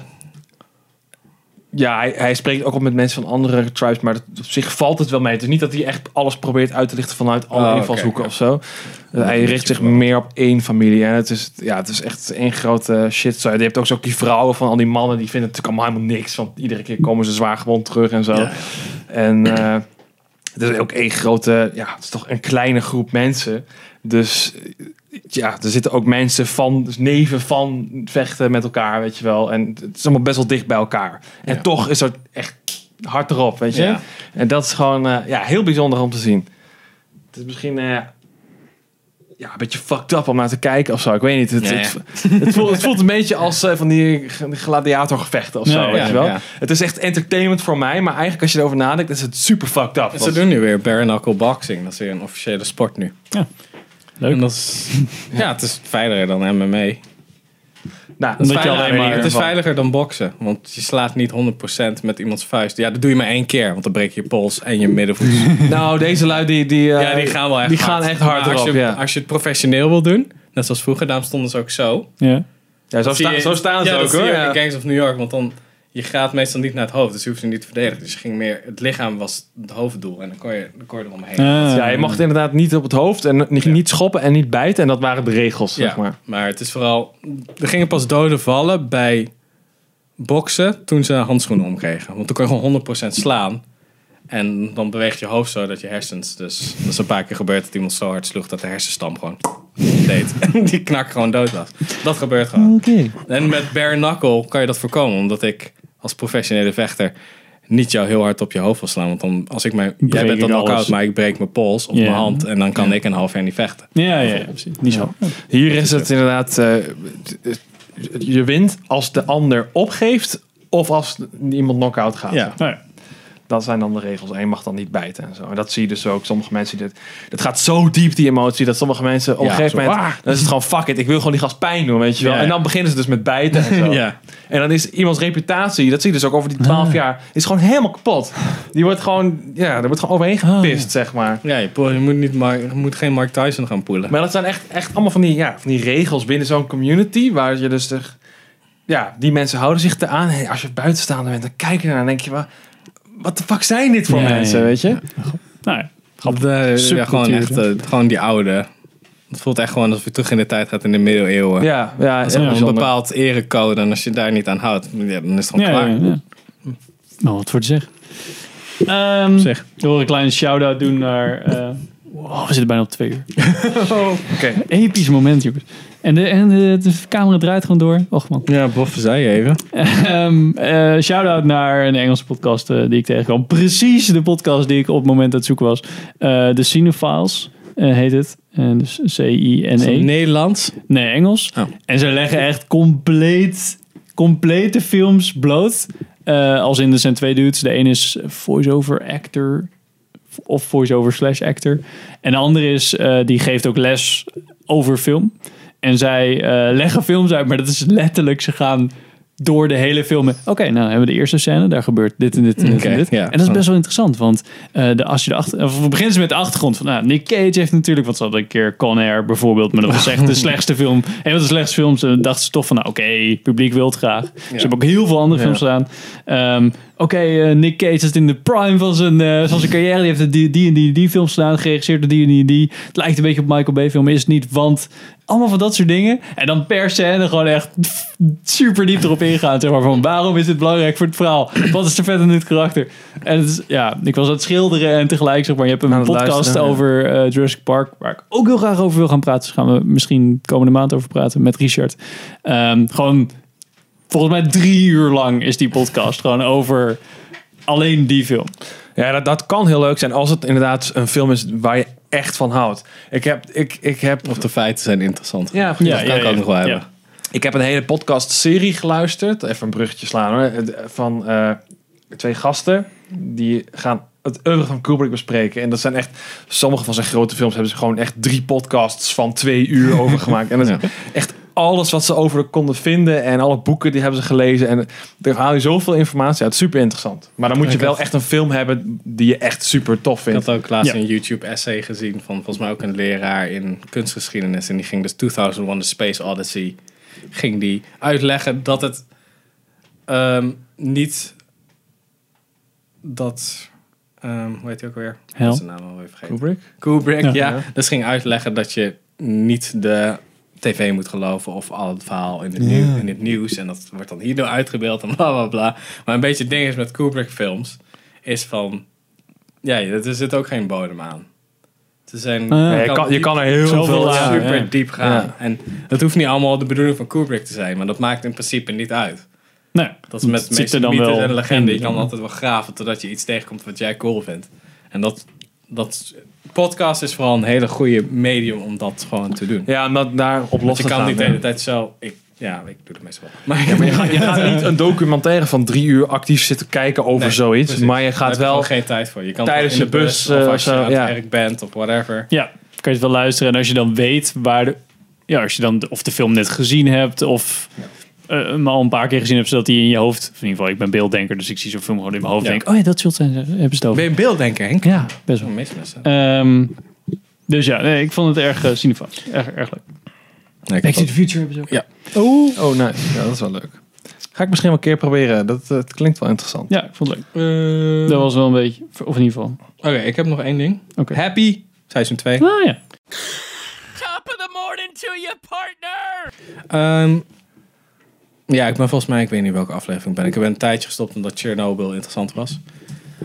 ja, hij, hij spreekt ook op met mensen van andere tribes, maar dat- op zich valt het wel mee. Het is niet dat hij echt alles probeert uit te lichten vanuit alle
Oh, oké,
invalshoeken of zo. Eh, hij richt zich meer op één familie. En het is, ja, het is echt één grote shit. Je hebt ook, zo ook die vrouwen van al die mannen, die vinden het natuurlijk allemaal helemaal niks. Want iedere keer komen ze zwaar gewond terug en zo. En eh, het is ook één grote, ja, het is toch een kleine groep mensen. Dus eh, ja, er zitten ook mensen van, dus neven van vechten met elkaar, weet je wel. En het is allemaal best wel dicht bij elkaar. En toch is het echt hard erop, weet je.
Ja.
En dat is gewoon eh, ja, heel bijzonder om te zien. Het is misschien eh, ja, een beetje fucked up om naar te kijken of zo. Ik weet niet. Het,
Nee.
het, het voelt, het voelt een beetje als eh, van die g- gladiatorgevechten of zo,
Ja, ja,
weet je wel.
ja.
Het is echt entertainment voor mij, maar eigenlijk als je erover nadenkt, is het super fucked up.
En
Want-
ze doen nu weer bare knuckle boxing, dat is weer een officiële sport nu.
Ja,
leuk. dat is, ja, het is veiliger dan MMA.
Nou,
Dat is
Omdat je
veiliger.
alleen maar-
het is veiliger dan boksen. Want je slaat niet 100% met iemands vuist. Ja, dat doe je maar één keer. Want dan breek je je pols en je middenvoet.
Nou, deze lui die, die, eh,
ja, die gaan wel echt
die
hard.
gaan echt hard
Maar als,
erop,
je,
ja.
als je het professioneel wil doen, net zoals vroeger, daarom stonden ze ook zo.
Ja.
Ja, zo,
Zie
sta-
je-
zo staan ze
ja, dat
ook
zie
hoor.
je
Ja.
in Gangs of New York, want dan je gaat meestal niet naar het hoofd, dus je hoeft ze niet te verdedigen. Dus je ging meer, het lichaam was het hoofddoel en dan kon je, dan kon je er omheen.
ja,
Ah.
je mag het inderdaad niet op het hoofd en niet, niet schoppen en niet bijten. En dat waren de regels, zeg maar.
Maar het is vooral, er gingen pas doden vallen bij boksen toen ze handschoenen omkregen. Want dan kon je gewoon 100% slaan. En dan beweegt je hoofd zo dat je hersens. Dus dat is een paar keer gebeurd dat iemand zo hard sloeg dat de hersenstam gewoon deed. En die knak gewoon dood was. Dat gebeurt gewoon. En met bare knuckle kan je dat voorkomen, omdat ik als professionele vechter niet jou heel hard op je hoofd wil slaan. Want dan, als ik mijn, jij
Breek
bent dan
ik
knock-out,
alles.
maar ik breek mijn pols of
Ja.
mijn hand en dan kan ik een half jaar niet vechten.
Ja, ja, ja, precies. Niet zo.
Hier is het inderdaad, eh, je wint als de ander opgeeft of als iemand knock-out gaat.
Ja.
Dat zijn dan de regels. En je mag dan niet bijten en zo. En dat zie je dus ook. Sommige mensen, die dit, dat gaat zo diep die emotie, dat sommige mensen op
Ja,
een gegeven
zo,
moment,
ah.
dan is het gewoon fuck it, ik wil gewoon die gast pijn doen, weet je wel.
Ja.
En dan beginnen ze dus met bijten en zo.
Ja.
En dan is iemands reputatie, dat zie je dus ook over die 12 jaar, is gewoon helemaal kapot. Die wordt gewoon, ja, er wordt gewoon overheen gepist, zeg maar.
Ja, je, po- je moet, niet, Mar- je moet geen Mark Tyson gaan poelen.
Maar dat zijn echt, echt allemaal van die, ja, van die regels binnen zo'n community. Waar je dus. er- ja, die mensen houden zich eraan. Hey, als je buitenstaander bent, dan kijk je ernaar en denk je wel. Wat de fuck zijn dit voor
Ja,
mensen,
ja, ja.
weet je?
Nou ja.
Dat, eh, ja,
Subcultuur,
gewoon, echt,
hè?
eh, gewoon die oude. Het voelt echt gewoon alsof je terug in de tijd gaat in de middeleeuwen.
Ja, ja,
dat
heel
is gewoon een
bijzonder.
bepaald erecode. En als je daar niet aan houdt, ja, dan is het gewoon
Ja,
klaar.
ja, ja. Nou, wat voor te zeggen. Ehm, Ik wil een kleine shout-out doen naar... eh, wow, we zitten bijna op twee uur.
Oké.
Episch moment, jongens. En, de, en de, de camera draait gewoon door. Och man.
Ja, Bof zei je even.
Ehm, eh, shout-out naar een Engelse podcast eh, die ik tegenkwam. Precies de podcast die ik op het moment aan het zoeken was. Eh de Cinephiles eh, heet het. En dus
Is dat Oh.
C-I-N-E.
Nederlands?
Nee, Engels. En ze leggen echt compleet, complete films bloot. Eh, als in, er zijn twee dudes. De een is voice-over actor of voice-over slash actor. En de andere is, eh, die geeft ook les over film. En zij eh, leggen films uit, maar dat is letterlijk, ze gaan door de hele film. Oké, nou dan hebben we de eerste scène. Daar gebeurt dit en dit en dit
Oké,
en dit.
ja. Oh.
En dat is best wel interessant. Want eh, de, als je de achter, of we beginnen ze met de achtergrond. Van, nou, Nick Cage heeft natuurlijk... Want ze hadden een keer Con Air bijvoorbeeld. Maar dat was echt de slechtste film. Een van de slechtste films. En dan dachten ze toch van... Nou, oké, publiek wil het graag. Ze hebben ook heel veel andere
Ja.
films gedaan. Ehm, oké, eh, Nick Cage zit in de prime van zijn, eh, van zijn carrière. Die heeft die, die en die, en die films gedaan. Geregisseerd door die en die en die. Het lijkt een beetje op Michael Bay film. Is het niet, want... Allemaal van dat soort dingen. En dan per scène gewoon echt super diep erop ingaan. Zeg maar van waarom is dit belangrijk voor het verhaal? Wat is er verder in dit karakter? En het is, ja, ik was aan het schilderen en tegelijk zeg maar. Je hebt een
Aan het
podcast
luisteren, ja.
over eh, Jurassic Park. Waar ik ook heel graag over wil gaan praten. Dus gaan we misschien komende maand over praten met Richard. Ehm, gewoon volgens mij drie uur lang is die podcast gewoon over alleen die film.
Ja, dat, dat kan heel leuk zijn als het inderdaad een film is waar je echt van houdt. Ik heb, ik, ik heb... Of
de feiten zijn interessant.
Ja,
Ja, dat kan ik ook nog wel hebben.
Ik heb een hele podcast-serie geluisterd. Even een bruggetje slaan hoor. Van eh, twee gasten. Die gaan het oeuvre van Kubrick bespreken. En dat zijn echt... Sommige van zijn grote films hebben ze gewoon echt drie podcasts van twee uur over gemaakt. En dat is echt alles wat ze over konden vinden. En alle boeken die hebben ze gelezen. En daar haal je zoveel informatie uit. Super interessant. Maar dan moet je
Ik had-
wel echt een film hebben die je echt super tof
Ik
vindt.
had ook laatst
Ja.
een YouTube-essay gezien van volgens mij ook een leraar in kunstgeschiedenis. En die ging dus 2001 The Space Odyssey ging die uitleggen dat het ehm, niet dat... ehm hoe heet hij ook weer?
Hel?
Dat is de naam alweer vergeten.
Kubrick?
Kubrick,
Ja.
ja.
Ja.
Dus ging uitleggen dat je niet de tv moet geloven of al het verhaal in het, nieuw,
Ja.
in het nieuws. En dat wordt dan hierdoor uitgebeeld en bla bla bla. Maar een beetje het ding is met Kubrick films, is van... Ja, er zit ook geen bodem aan. Ze zijn,
Ah. Ja, je kan- je
diep-
kan er heel
zoveel
veel aan,
super
ja.
diep gaan.
Ja.
En dat hoeft niet allemaal de bedoeling van Kubrick te zijn, maar dat maakt in principe niet uit.
Nee,
dat is met
Nou, het
de
zit er
meeste
dan
mythes
wel
en legenden. Je
in.
kan altijd wel graven totdat je iets tegenkomt wat jij cool vindt. En dat, dat podcast is vooral een hele goede medium om dat gewoon te doen.
Ja, om dat daar op los
je
te
kan
gaan,
niet de
ja.
hele tijd zo... Ik, ja, ik doe het meestal wel.
Maar, ja, maar je, gaat, je gaat niet een documentaire van drie uur actief zitten kijken over
Nee,
zoiets.
precies.
Maar je
Daar heb
gaat
je gewoon
wel.
geen tijd voor. Je kan
tijdens
in
je bus,
of
eh,
als je
zo,
aan
ja.
het werk bent of whatever.
Ja, kan je het wel luisteren. En als je dan weet waar de... Ja, als je dan de- of de film net gezien hebt of... eh, hem al een paar keer gezien hebt, zodat die in je hoofd... Of in ieder geval, ik ben beelddenker, dus ik zie zo'n film gewoon in mijn hoofd.
Ja.
en denk, oh ja, dat zult zijn, hebben ze het over.
Ben je een beelddenker, Henk?
Ja, best wel.
mis met ze.
Ehm, dus ja, nee, ik vond het erg eh, cinefast. Erg, erg leuk.
ik
Back to
ook.
the Future hebben ze ook.
Ja.
Oh.
Oh, nice. Ja, dat is wel leuk. Ga ik misschien wel een keer proberen. Dat, eh, het klinkt wel interessant.
Ja, ik vond het leuk. Dat was wel een beetje... Of in ieder geval...
Eh, Oké, ik heb nog één ding.
Oké.
Happy, seizoen 2.
Ah ja.
Top of the morning to you, partner!
Ehm, ja, ik ben volgens mij, ik weet niet welke aflevering ik ben. Ik heb een tijdje gestopt omdat Chernobyl interessant was.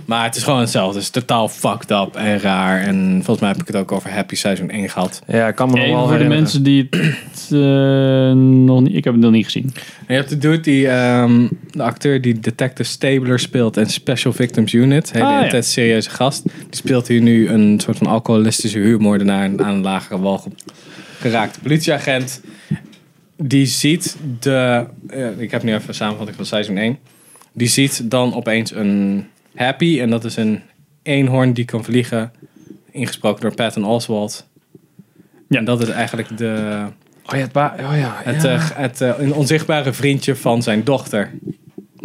Maar het is gewoon hetzelfde. Het is totaal fucked up en raar. En volgens mij heb ik het ook over Happy Seizoen 1 gehad.
Ja, ik kan
Even voor de mensen die het eh, nog niet... Ik heb het nog niet gezien.
En je hebt de dude die, ehm, de acteur die Detective Stabler speelt en Special Victims Unit. Hele
Ah, ja.
intens serieuze gast. Die speelt hier nu een soort van alcoholistische huurmoordenaar aan een lagere wal ge- geraakte politieagent. Die ziet de, eh, ik heb nu even een samenvatting van seizoen 1. Die ziet dan opeens een happy en dat is een eenhoorn die kan vliegen. Ingesproken door Patton Oswald.
Ja.
En dat is eigenlijk de...
Oh ja, het, ba- oh ja,
Het,
ja.
eh, het eh, een onzichtbare vriendje van zijn dochter. Want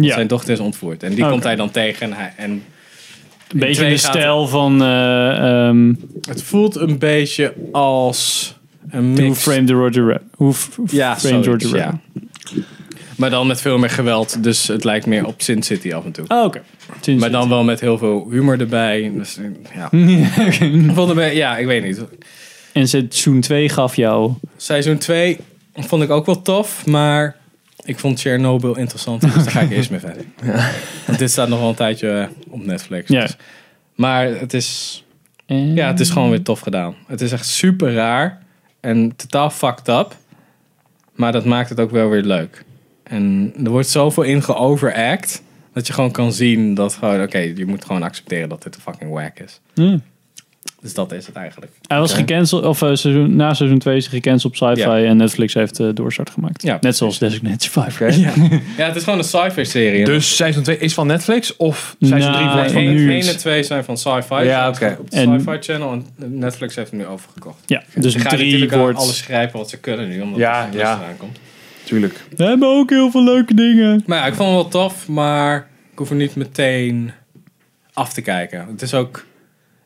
Ja.
Zijn dochter is ontvoerd. En die
Oké.
komt hij dan tegen. En hij, en
Een
in
beetje
twee
de
gaat-
stijl van... eh, ehm,
Het voelt een beetje als een
Hoe
mix.
frame the Roger Rabbit. Hoe f-
Ja,
frame
zoiets,
Roger
ja.
Rabbit.
Maar dan met veel meer geweld. Dus het lijkt meer op Sin City af en toe.
Oh, oké. Sin
Maar dan wel met heel veel humor erbij. Dus, eh, ja. Ik vond het een be- ja, ik weet niet.
En seizoen 2 gaf jou...
Seizoen 2 vond ik ook wel tof. Maar ik vond Chernobyl interessant. Dus daar ga ik eerst mee verder. Want dit staat nog wel een tijdje eh, op Netflix.
Ja.
Dus- Maar het is...
eh,
Ja, het is gewoon weer tof gedaan. Het is echt super raar. En totaal fucked up. Maar dat maakt het ook wel weer leuk. En er wordt zoveel in geoveract. Dat je gewoon kan zien dat gewoon... Oké, je moet gewoon accepteren dat dit een fucking whack is.
Ja.
Dus dat is het eigenlijk.
Hij was
Oké.
gecanceld, of eh, seizoen, na seizoen 2 is hij gecanceld op sci-fi
Ja.
en Netflix heeft eh doorstart gemaakt.
Ja,
Net zoals Designated Survivor.
Ja. Ja, het is gewoon een sci-fi serie.
Dus seizoen 2 is van Netflix of seizoen 3
Nou,
wordt van
één-
nu?
één en twee zijn van sci-fi.
Ja,
Ze zijn
oké.
op
En-
de Sci-fi Channel en Netflix heeft hem nu overgekocht.
Ja, dus
Ze gaan
drie
natuurlijk aan
wordt-
alles grijpen wat ze kunnen nu, omdat
Ja,
het
ja.
aankomt.
tuurlijk.
We hebben ook heel veel leuke dingen.
Maar ja, ik vond hem wel tof, maar ik hoef hem niet meteen af te kijken. Het is ook...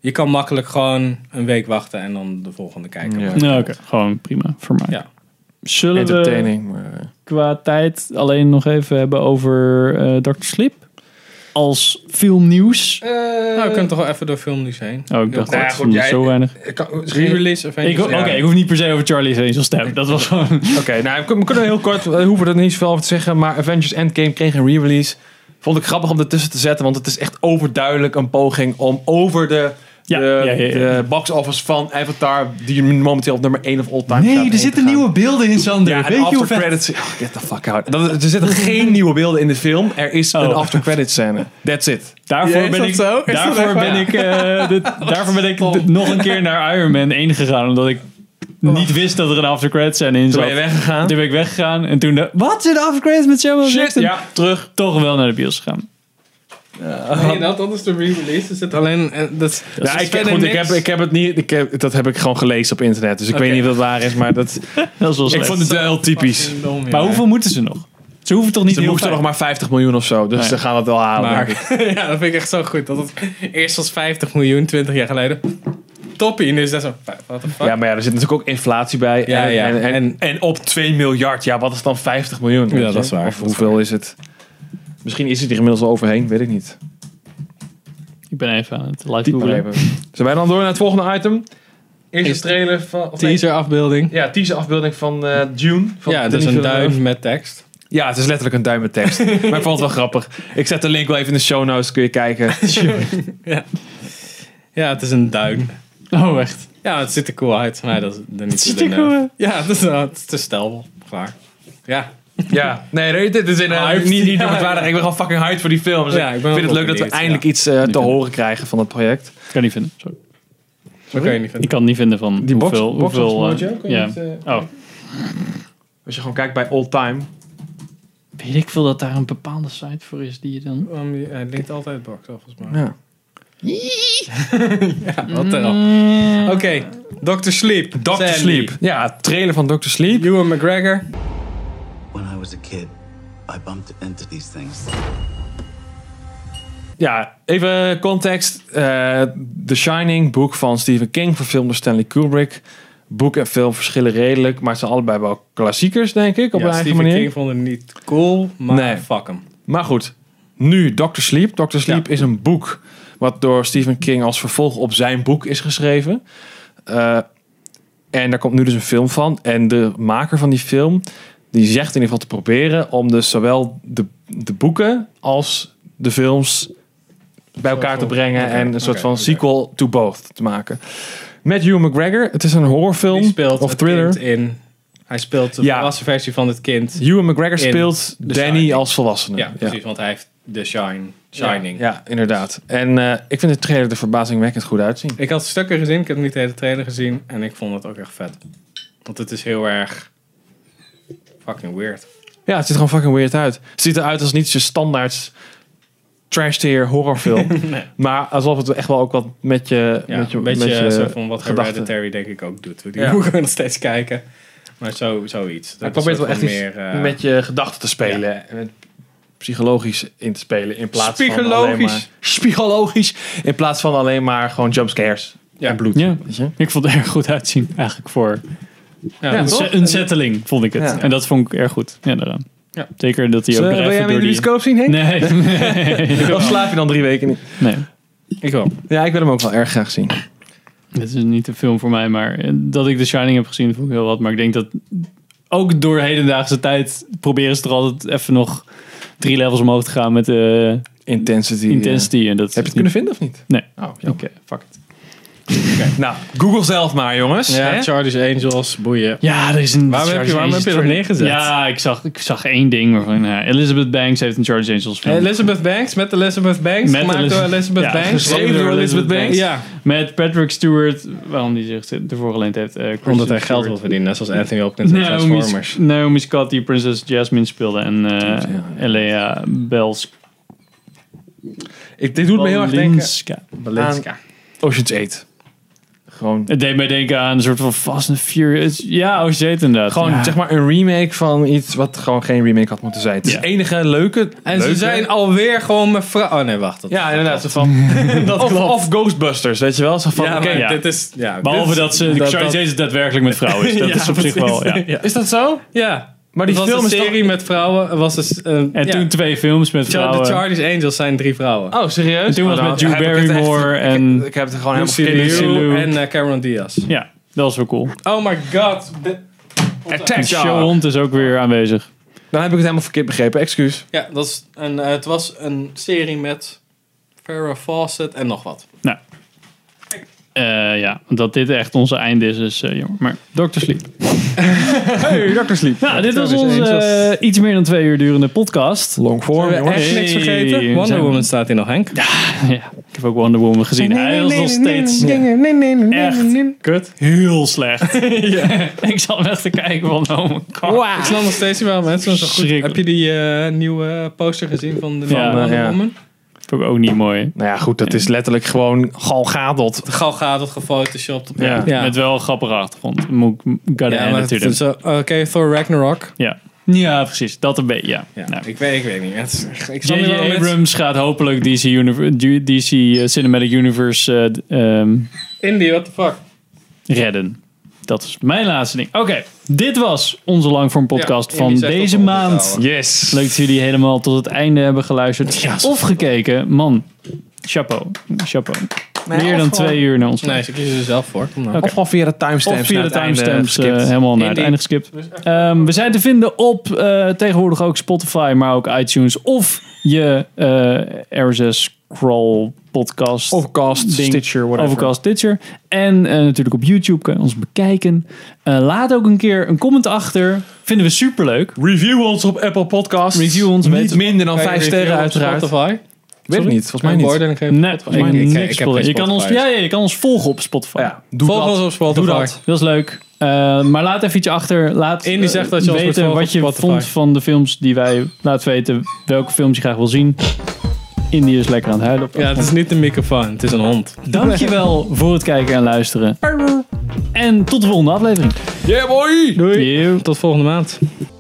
Je kan makkelijk gewoon een week wachten en dan de volgende kijken.
Ja.
Maar-
Nou, oké. Gewoon prima voor mij.
Ja.
Zullen we
Entertaining, maar-
qua tijd alleen nog even hebben over eh Dr. Sleep? Als filmnieuws.
nou, we kunnen toch wel even door filmnieuws heen.
Oh, ik
Heel
dacht,
kort.
dat vond ik zo weinig.
Ik kan-
Re-release of
Ik,
eentje?
Oké,
Ja.
ik hoef niet per se over Charlie's Angels te hebben. Dat was gewoon...
Oké, nou, we kun- we kunnen heel kort, we hoeven er niet zoveel over te zeggen, maar Avengers Endgame kreeg een re-release. Vond ik grappig om ertussen te zetten, want het is echt overduidelijk een poging om over de, de,
ja, ja, ja.
de box office van Avatar, die momenteel op nummer 1 of all time staat,
Nee,
heen
er
te
zitten
gaan.
nieuwe beelden in, Sander.
Ja,
Weet
en
je hoe
after
vet...
credits. Oh, get the fuck out. Dat, er zitten geen nieuwe beelden in de film. Er is een
Oh.
after credits scène. That's it.
Daarvoor ben ik, daarvoor ben ik, eh, dit- daarvoor ben ik dit- nog een keer naar Iron Man 1 gegaan. Omdat ik niet wist dat er een after credits scène in zat.
ben je weggegaan?
Toen ben ik weggegaan. En toen de, wat zit after credits met Samuel
Shit,
Jackson?
ja, terug.
Toch wel naar de bios gegaan.
Nee, dat, dat is de re-release. Er zit alleen... eh, Dat, is- dat is
Ja, ik,
verder
goed, ik,
niks.
heb, ik heb het niet. Ik heb, dat heb ik gewoon gelezen op internet. Dus ik
Oké.
weet niet of dat waar is, maar dat.
Dat is wel
ik
slecht.
vond het wel heel typisch.
Maar hoeveel moeten ze nog? Ze hoeven toch niet
Ze
heel
moesten
vaak-
nog maar 50 miljoen of zo. Dus
Nee.
ze gaan dat wel halen.
Maar-
denk ik.
ja, dat vind ik echt zo goed. Dat het eerst was 50 miljoen, 20 jaar geleden. Toppie. En nu is dat zo... What the fuck?
Ja, maar ja, er zit natuurlijk ook inflatie bij.
Ja,
en,
ja.
En, en, en op 2 miljard. Ja, wat is dan 50 miljoen? weet je?
dat is waar.
Of hoeveel is het? Misschien is het er inmiddels al overheen. Weet ik niet.
Ik ben even aan het live
Diep maar
googlen.
even. Zijn wij dan door naar het volgende item? Eerste trailer van... of nee,
afbeelding.
Ja, teaser afbeelding van eh, Dune. Van
Ja, dus
Denis
een
Villeneuve.
duim met tekst.
Ja, het is letterlijk een duim met tekst. maar ik vond het wel grappig. Ik zet de link wel even in de show notes, kun je kijken.
Ja, het is een duin.
Oh, echt?
Ja, het ziet er cool uit. Nee, dat is dat niet
ziet
de
er
nerve.
cool uit.
Ja, dat is, dat is te stelbel. Klaar. Ja.
Ja, nee, dit is inderdaad
Hyped.
niet, niet
Ja,
noemenswaardig.
ja.
Ik ben gewoon fucking hyped voor die film. Dus
Ja,
ik,
ik ben
vind het
ook
leuk dat we
benieuwd,
eindelijk iets eh, te horen krijgen van het project.
Ik kan niet vinden. Sorry.
Zo kan je niet
Ik
vinden.
kan niet vinden van
Die box-
hoeveel...
box
hoeveel
office
eh,
mojo, kan je
ja.
niet, eh,
Oh,
Als je gewoon kijkt bij All Time.
weet ik veel dat daar een bepaalde site voor is die je dan...
Um, Hij linkt altijd box office, maar...
Ja.
ja, wat de hel. Oké, Dr. Sleep.
Dr.
Sandy.
Mm. Sleep. Ja, trailer van Dr. Sleep.
Ewan McGregor.
When I was a kid, I bumped into these things.
Ja, even context. Eh, The Shining, boek van Stephen King, verfilmd door Stanley Kubrick. Boek en film verschillen redelijk, maar het zijn allebei wel klassiekers, denk ik, op
ja,
een eigen
Stephen
manier.
King vond het niet cool, maar
Nee.
fuck hem.
Maar goed, nu Dr. Sleep. Dr. Sleep is een boek wat door Stephen King als vervolg op zijn boek is geschreven. Eh, en daar komt nu dus een film van. En de maker van die film, die zegt in ieder geval te proberen om dus zowel de, de boeken als de films bij elkaar te brengen
Oké,
en een soort
oké,
van
oké.
sequel to both te maken. Met Hugh McGregor, het is een horrorfilm
Die speelt
of
het
thriller.
kind in. Hij speelt de
Ja.
volwassen versie van het kind.
Hugh McGregor
in
speelt
The
Danny
Shining.
als volwassene.
Ja, precies, want hij heeft de shine, Shining.
Ja, ja, inderdaad. En eh, ik vind de trailer er verbazingwekkend goed uitzien.
Ik had stukken gezien, ik heb niet de hele trailer gezien. En ik vond het ook echt vet. Want het is heel erg fucking weird.
Ja, het ziet er gewoon fucking weird uit. Het ziet eruit als niet je standaard trash tier horrorfilm. Maar alsof het echt wel ook wat met je...
Ja,
met je,
een beetje eh,
met je
zo van wat
gedachten-
Hereditary denk ik ook doet. Die
Ja.
moeten we nog steeds kijken. Maar zo, zoiets.
Hij
Dat is
probeert wel
een
echt
soort
iets
van eh,
met je gedachten te spelen. En met psychologisch in te spelen. In plaats van alleen
Psychologisch.
maar... Psychologisch. In plaats van alleen maar gewoon jumpscares.
Ja.
En bloed.
Ja,
Weet je?
ik vond het erg goed uitzien eigenlijk voor
Ja,
een,
toch?
se- een setteling, vond ik het.
Ja.
En dat vond ik erg goed. Ja, daaraan.
Ja.
Zeker dat hij ook
Zullen-
nog
wil jij
even
hem in
door
de
die...
bioscoop zien, Henk?
Nee, nee.
Of slaap je dan drie weken niet?
nee.
Ik wel.
Ja, ik wil hem ook wel erg graag zien.
Dit is niet een film voor mij, maar eh, dat ik The Shining heb gezien vond ik heel wat. Maar ik denk dat ook door hedendaagse tijd proberen ze er altijd even nog drie levels omhoog te gaan met de
Intensity. eh.
intensity. En dat
Heb je het kunnen vinden of niet?
Nee.
Oh,
Oké,
jammer.
fuck it.
Nou, Google zelf maar, jongens.
Ja,
Hè?
Charlie's Angels, boeien.
Ja, er is een.
Waarom heb je- waarom heb je dat neergezet?
Ja, ik zag, ik zag één ding waarvan. ja, Elizabeth Banks heeft een Charles Angels film.
Elizabeth Banks, met Elizabeth Banks.
Met
gemaakt door
Eliz-
Elizabeth
Ja,
Banks.
geschreven door Elizabeth Banks.
Ja,
Met Patrick Stewart, waarom die zich ervoor geleend heeft. eh, Kristen
omdat hij
Stewart.
geld wil verdienen. Net zoals Anthony Hopkins in
Naomi,
Transformers.
Naomi Scott die Princess Jasmine speelde en eh Elea Bels.
Ik, dit doet me heel erg denken
Balinska.
aan Ocean's 8. Gewoon.
Het deed mij denken aan een soort van Fast and Furious. Ja, oh shit inderdaad.
Gewoon
Ja.
zeg maar een remake van iets wat gewoon geen remake had moeten zijn. Het is
Ja.
het enige leuke.
En ze zijn alweer gewoon mevrouw... Oh nee, wacht. Dat
Ja, inderdaad. Zo van,
Dat
of,
klopt.
of Ghostbusters, weet je wel? Zo van,
Ja, maar
oké,
dit is- ja,
Behalve
dit-
dat ze
dat-
Charlie
dat-
Chase daadwerkelijk met vrouwen is. Dat
Ja,
is op zich wel. Ja.
precies. Ja.
Is dat zo?
Ja.
Maar die
Het was
film
een
is toch-
serie met vrouwen. Was dus, eh,
En
ja.
toen twee films met
Char-
vrouwen.
De Charlie's Angels zijn drie vrouwen.
Oh, serieus?
En toen was
Oh,
met
dan
Drew
heb ik het echt-
Barrymore en...
Ik heb het er gewoon helemaal
Lucy
verkeerd
Liu
gezien.
en eh, Cameron Diaz.
Ja, dat was wel cool.
Oh my god. De-
En
Attack Dog.
Showhond is ook weer aanwezig.
Dan heb ik het helemaal verkeerd begrepen, excuus.
Ja, dat is een, eh, het was een serie met Farrah Fawcett en nog wat.
Nou. Eh, ja, dat dit echt onze einde is, is eh, jammer. Maar Dr. Sleep.
Hey, Dr. Sleep.
Nou, dit was onze eh, iets meer dan twee uur durende podcast.
Long form.
Hebben we echt
Hey,
niks vergeten?
we
Wonder
zijn-
Woman staat hier nog, Henk.
Ja, ik heb ook Wonder Woman gezien. Hij was nog steeds echt kut. Heel slecht. ik zat hem echt te kijken van, oh my god.
Ik snap nog steeds niet waarom mensen zo goed... Heb
Schrikkelijk.
je die eh, nieuwe poster gezien van de
Ja,
van Wonder
eh, ja.
Woman?
Vond ik ook niet mooi.
Nou ja, goed, dat is letterlijk gewoon Gal Gadot.
De Gal Gadot gefotoshopt op
Ja.
Met wel een grappige achtergrond. Moet ik gotta
Ja,
ja,
maar het
natuurlijk.
is, eh, Oké, Thor Ragnarok.
Ja. ja, precies. Dat een beetje, ja.
Ja,
Nou.
ik, weet, ik weet niet. Het is- ik snap niet waarom
J.J.
mensen-
Abrams gaat hopelijk DC, univer- DC eh, Cinematic Universe eh, d- ehm,
Indie, what the fuck?
redden. Dat is mijn laatste ding. Oké, dit was onze Langvorm podcast
Ja,
van
Indie zegt
deze
dat we
maand.
ophouden.
Yes.
Leuk dat jullie helemaal tot het einde hebben geluisterd. of gekeken. Man, chapeau. Chapeau. Meer dan twee uur naar ons.
Nee, ze kiezen er zelf voor. Kom nou.
Of gewoon via de timestamps.
Of via de
naar het einde
timestamps eh,
geskipt.
helemaal naar het
Indie.
einde geskipt.
Dus
Ehm, we zijn te vinden op eh, tegenwoordig ook Spotify, maar ook iTunes. Of je eh RSS crawl podcast.
Overcast,
ding.
Stitcher, whatever.
Overcast Stitcher. En eh, natuurlijk op YouTube kan je ons bekijken. Eh, laat ook een keer een comment achter. Vinden we superleuk.
Review ons op Apple Podcasts.
Review ons.
Niet
Weten-
minder dan
Kan je
vijf
reviewen
sterren
op
uiteraard.
Spotify?
Weet ik niet, volgens mij niet.
Beoordeling geven?
Nee,
Spotify. Ik- ik-
niks
ik heb
voor-
geen
je kan ons,
Spotify.
ja, ja, je kan ons volgen op Spotify.
Ja, doe
Volg
dat.
ons op
Doe
Spotify.
dat.
Dat is leuk. Eh, maar laat even iets achter. Laat
Indy
eh,
zegt dat je ons moet
weten
volgen
wat
op
je
Spotify.
vond van de films die wij laat weten. Welke films je graag wil zien. Indy is lekker aan het huilen. Op
Ja, het is niet een microfoon, het is een hond.
Dankjewel voor het kijken en luisteren. En tot de volgende aflevering.
Yeah, boy!
Doei.
Tot volgende maand.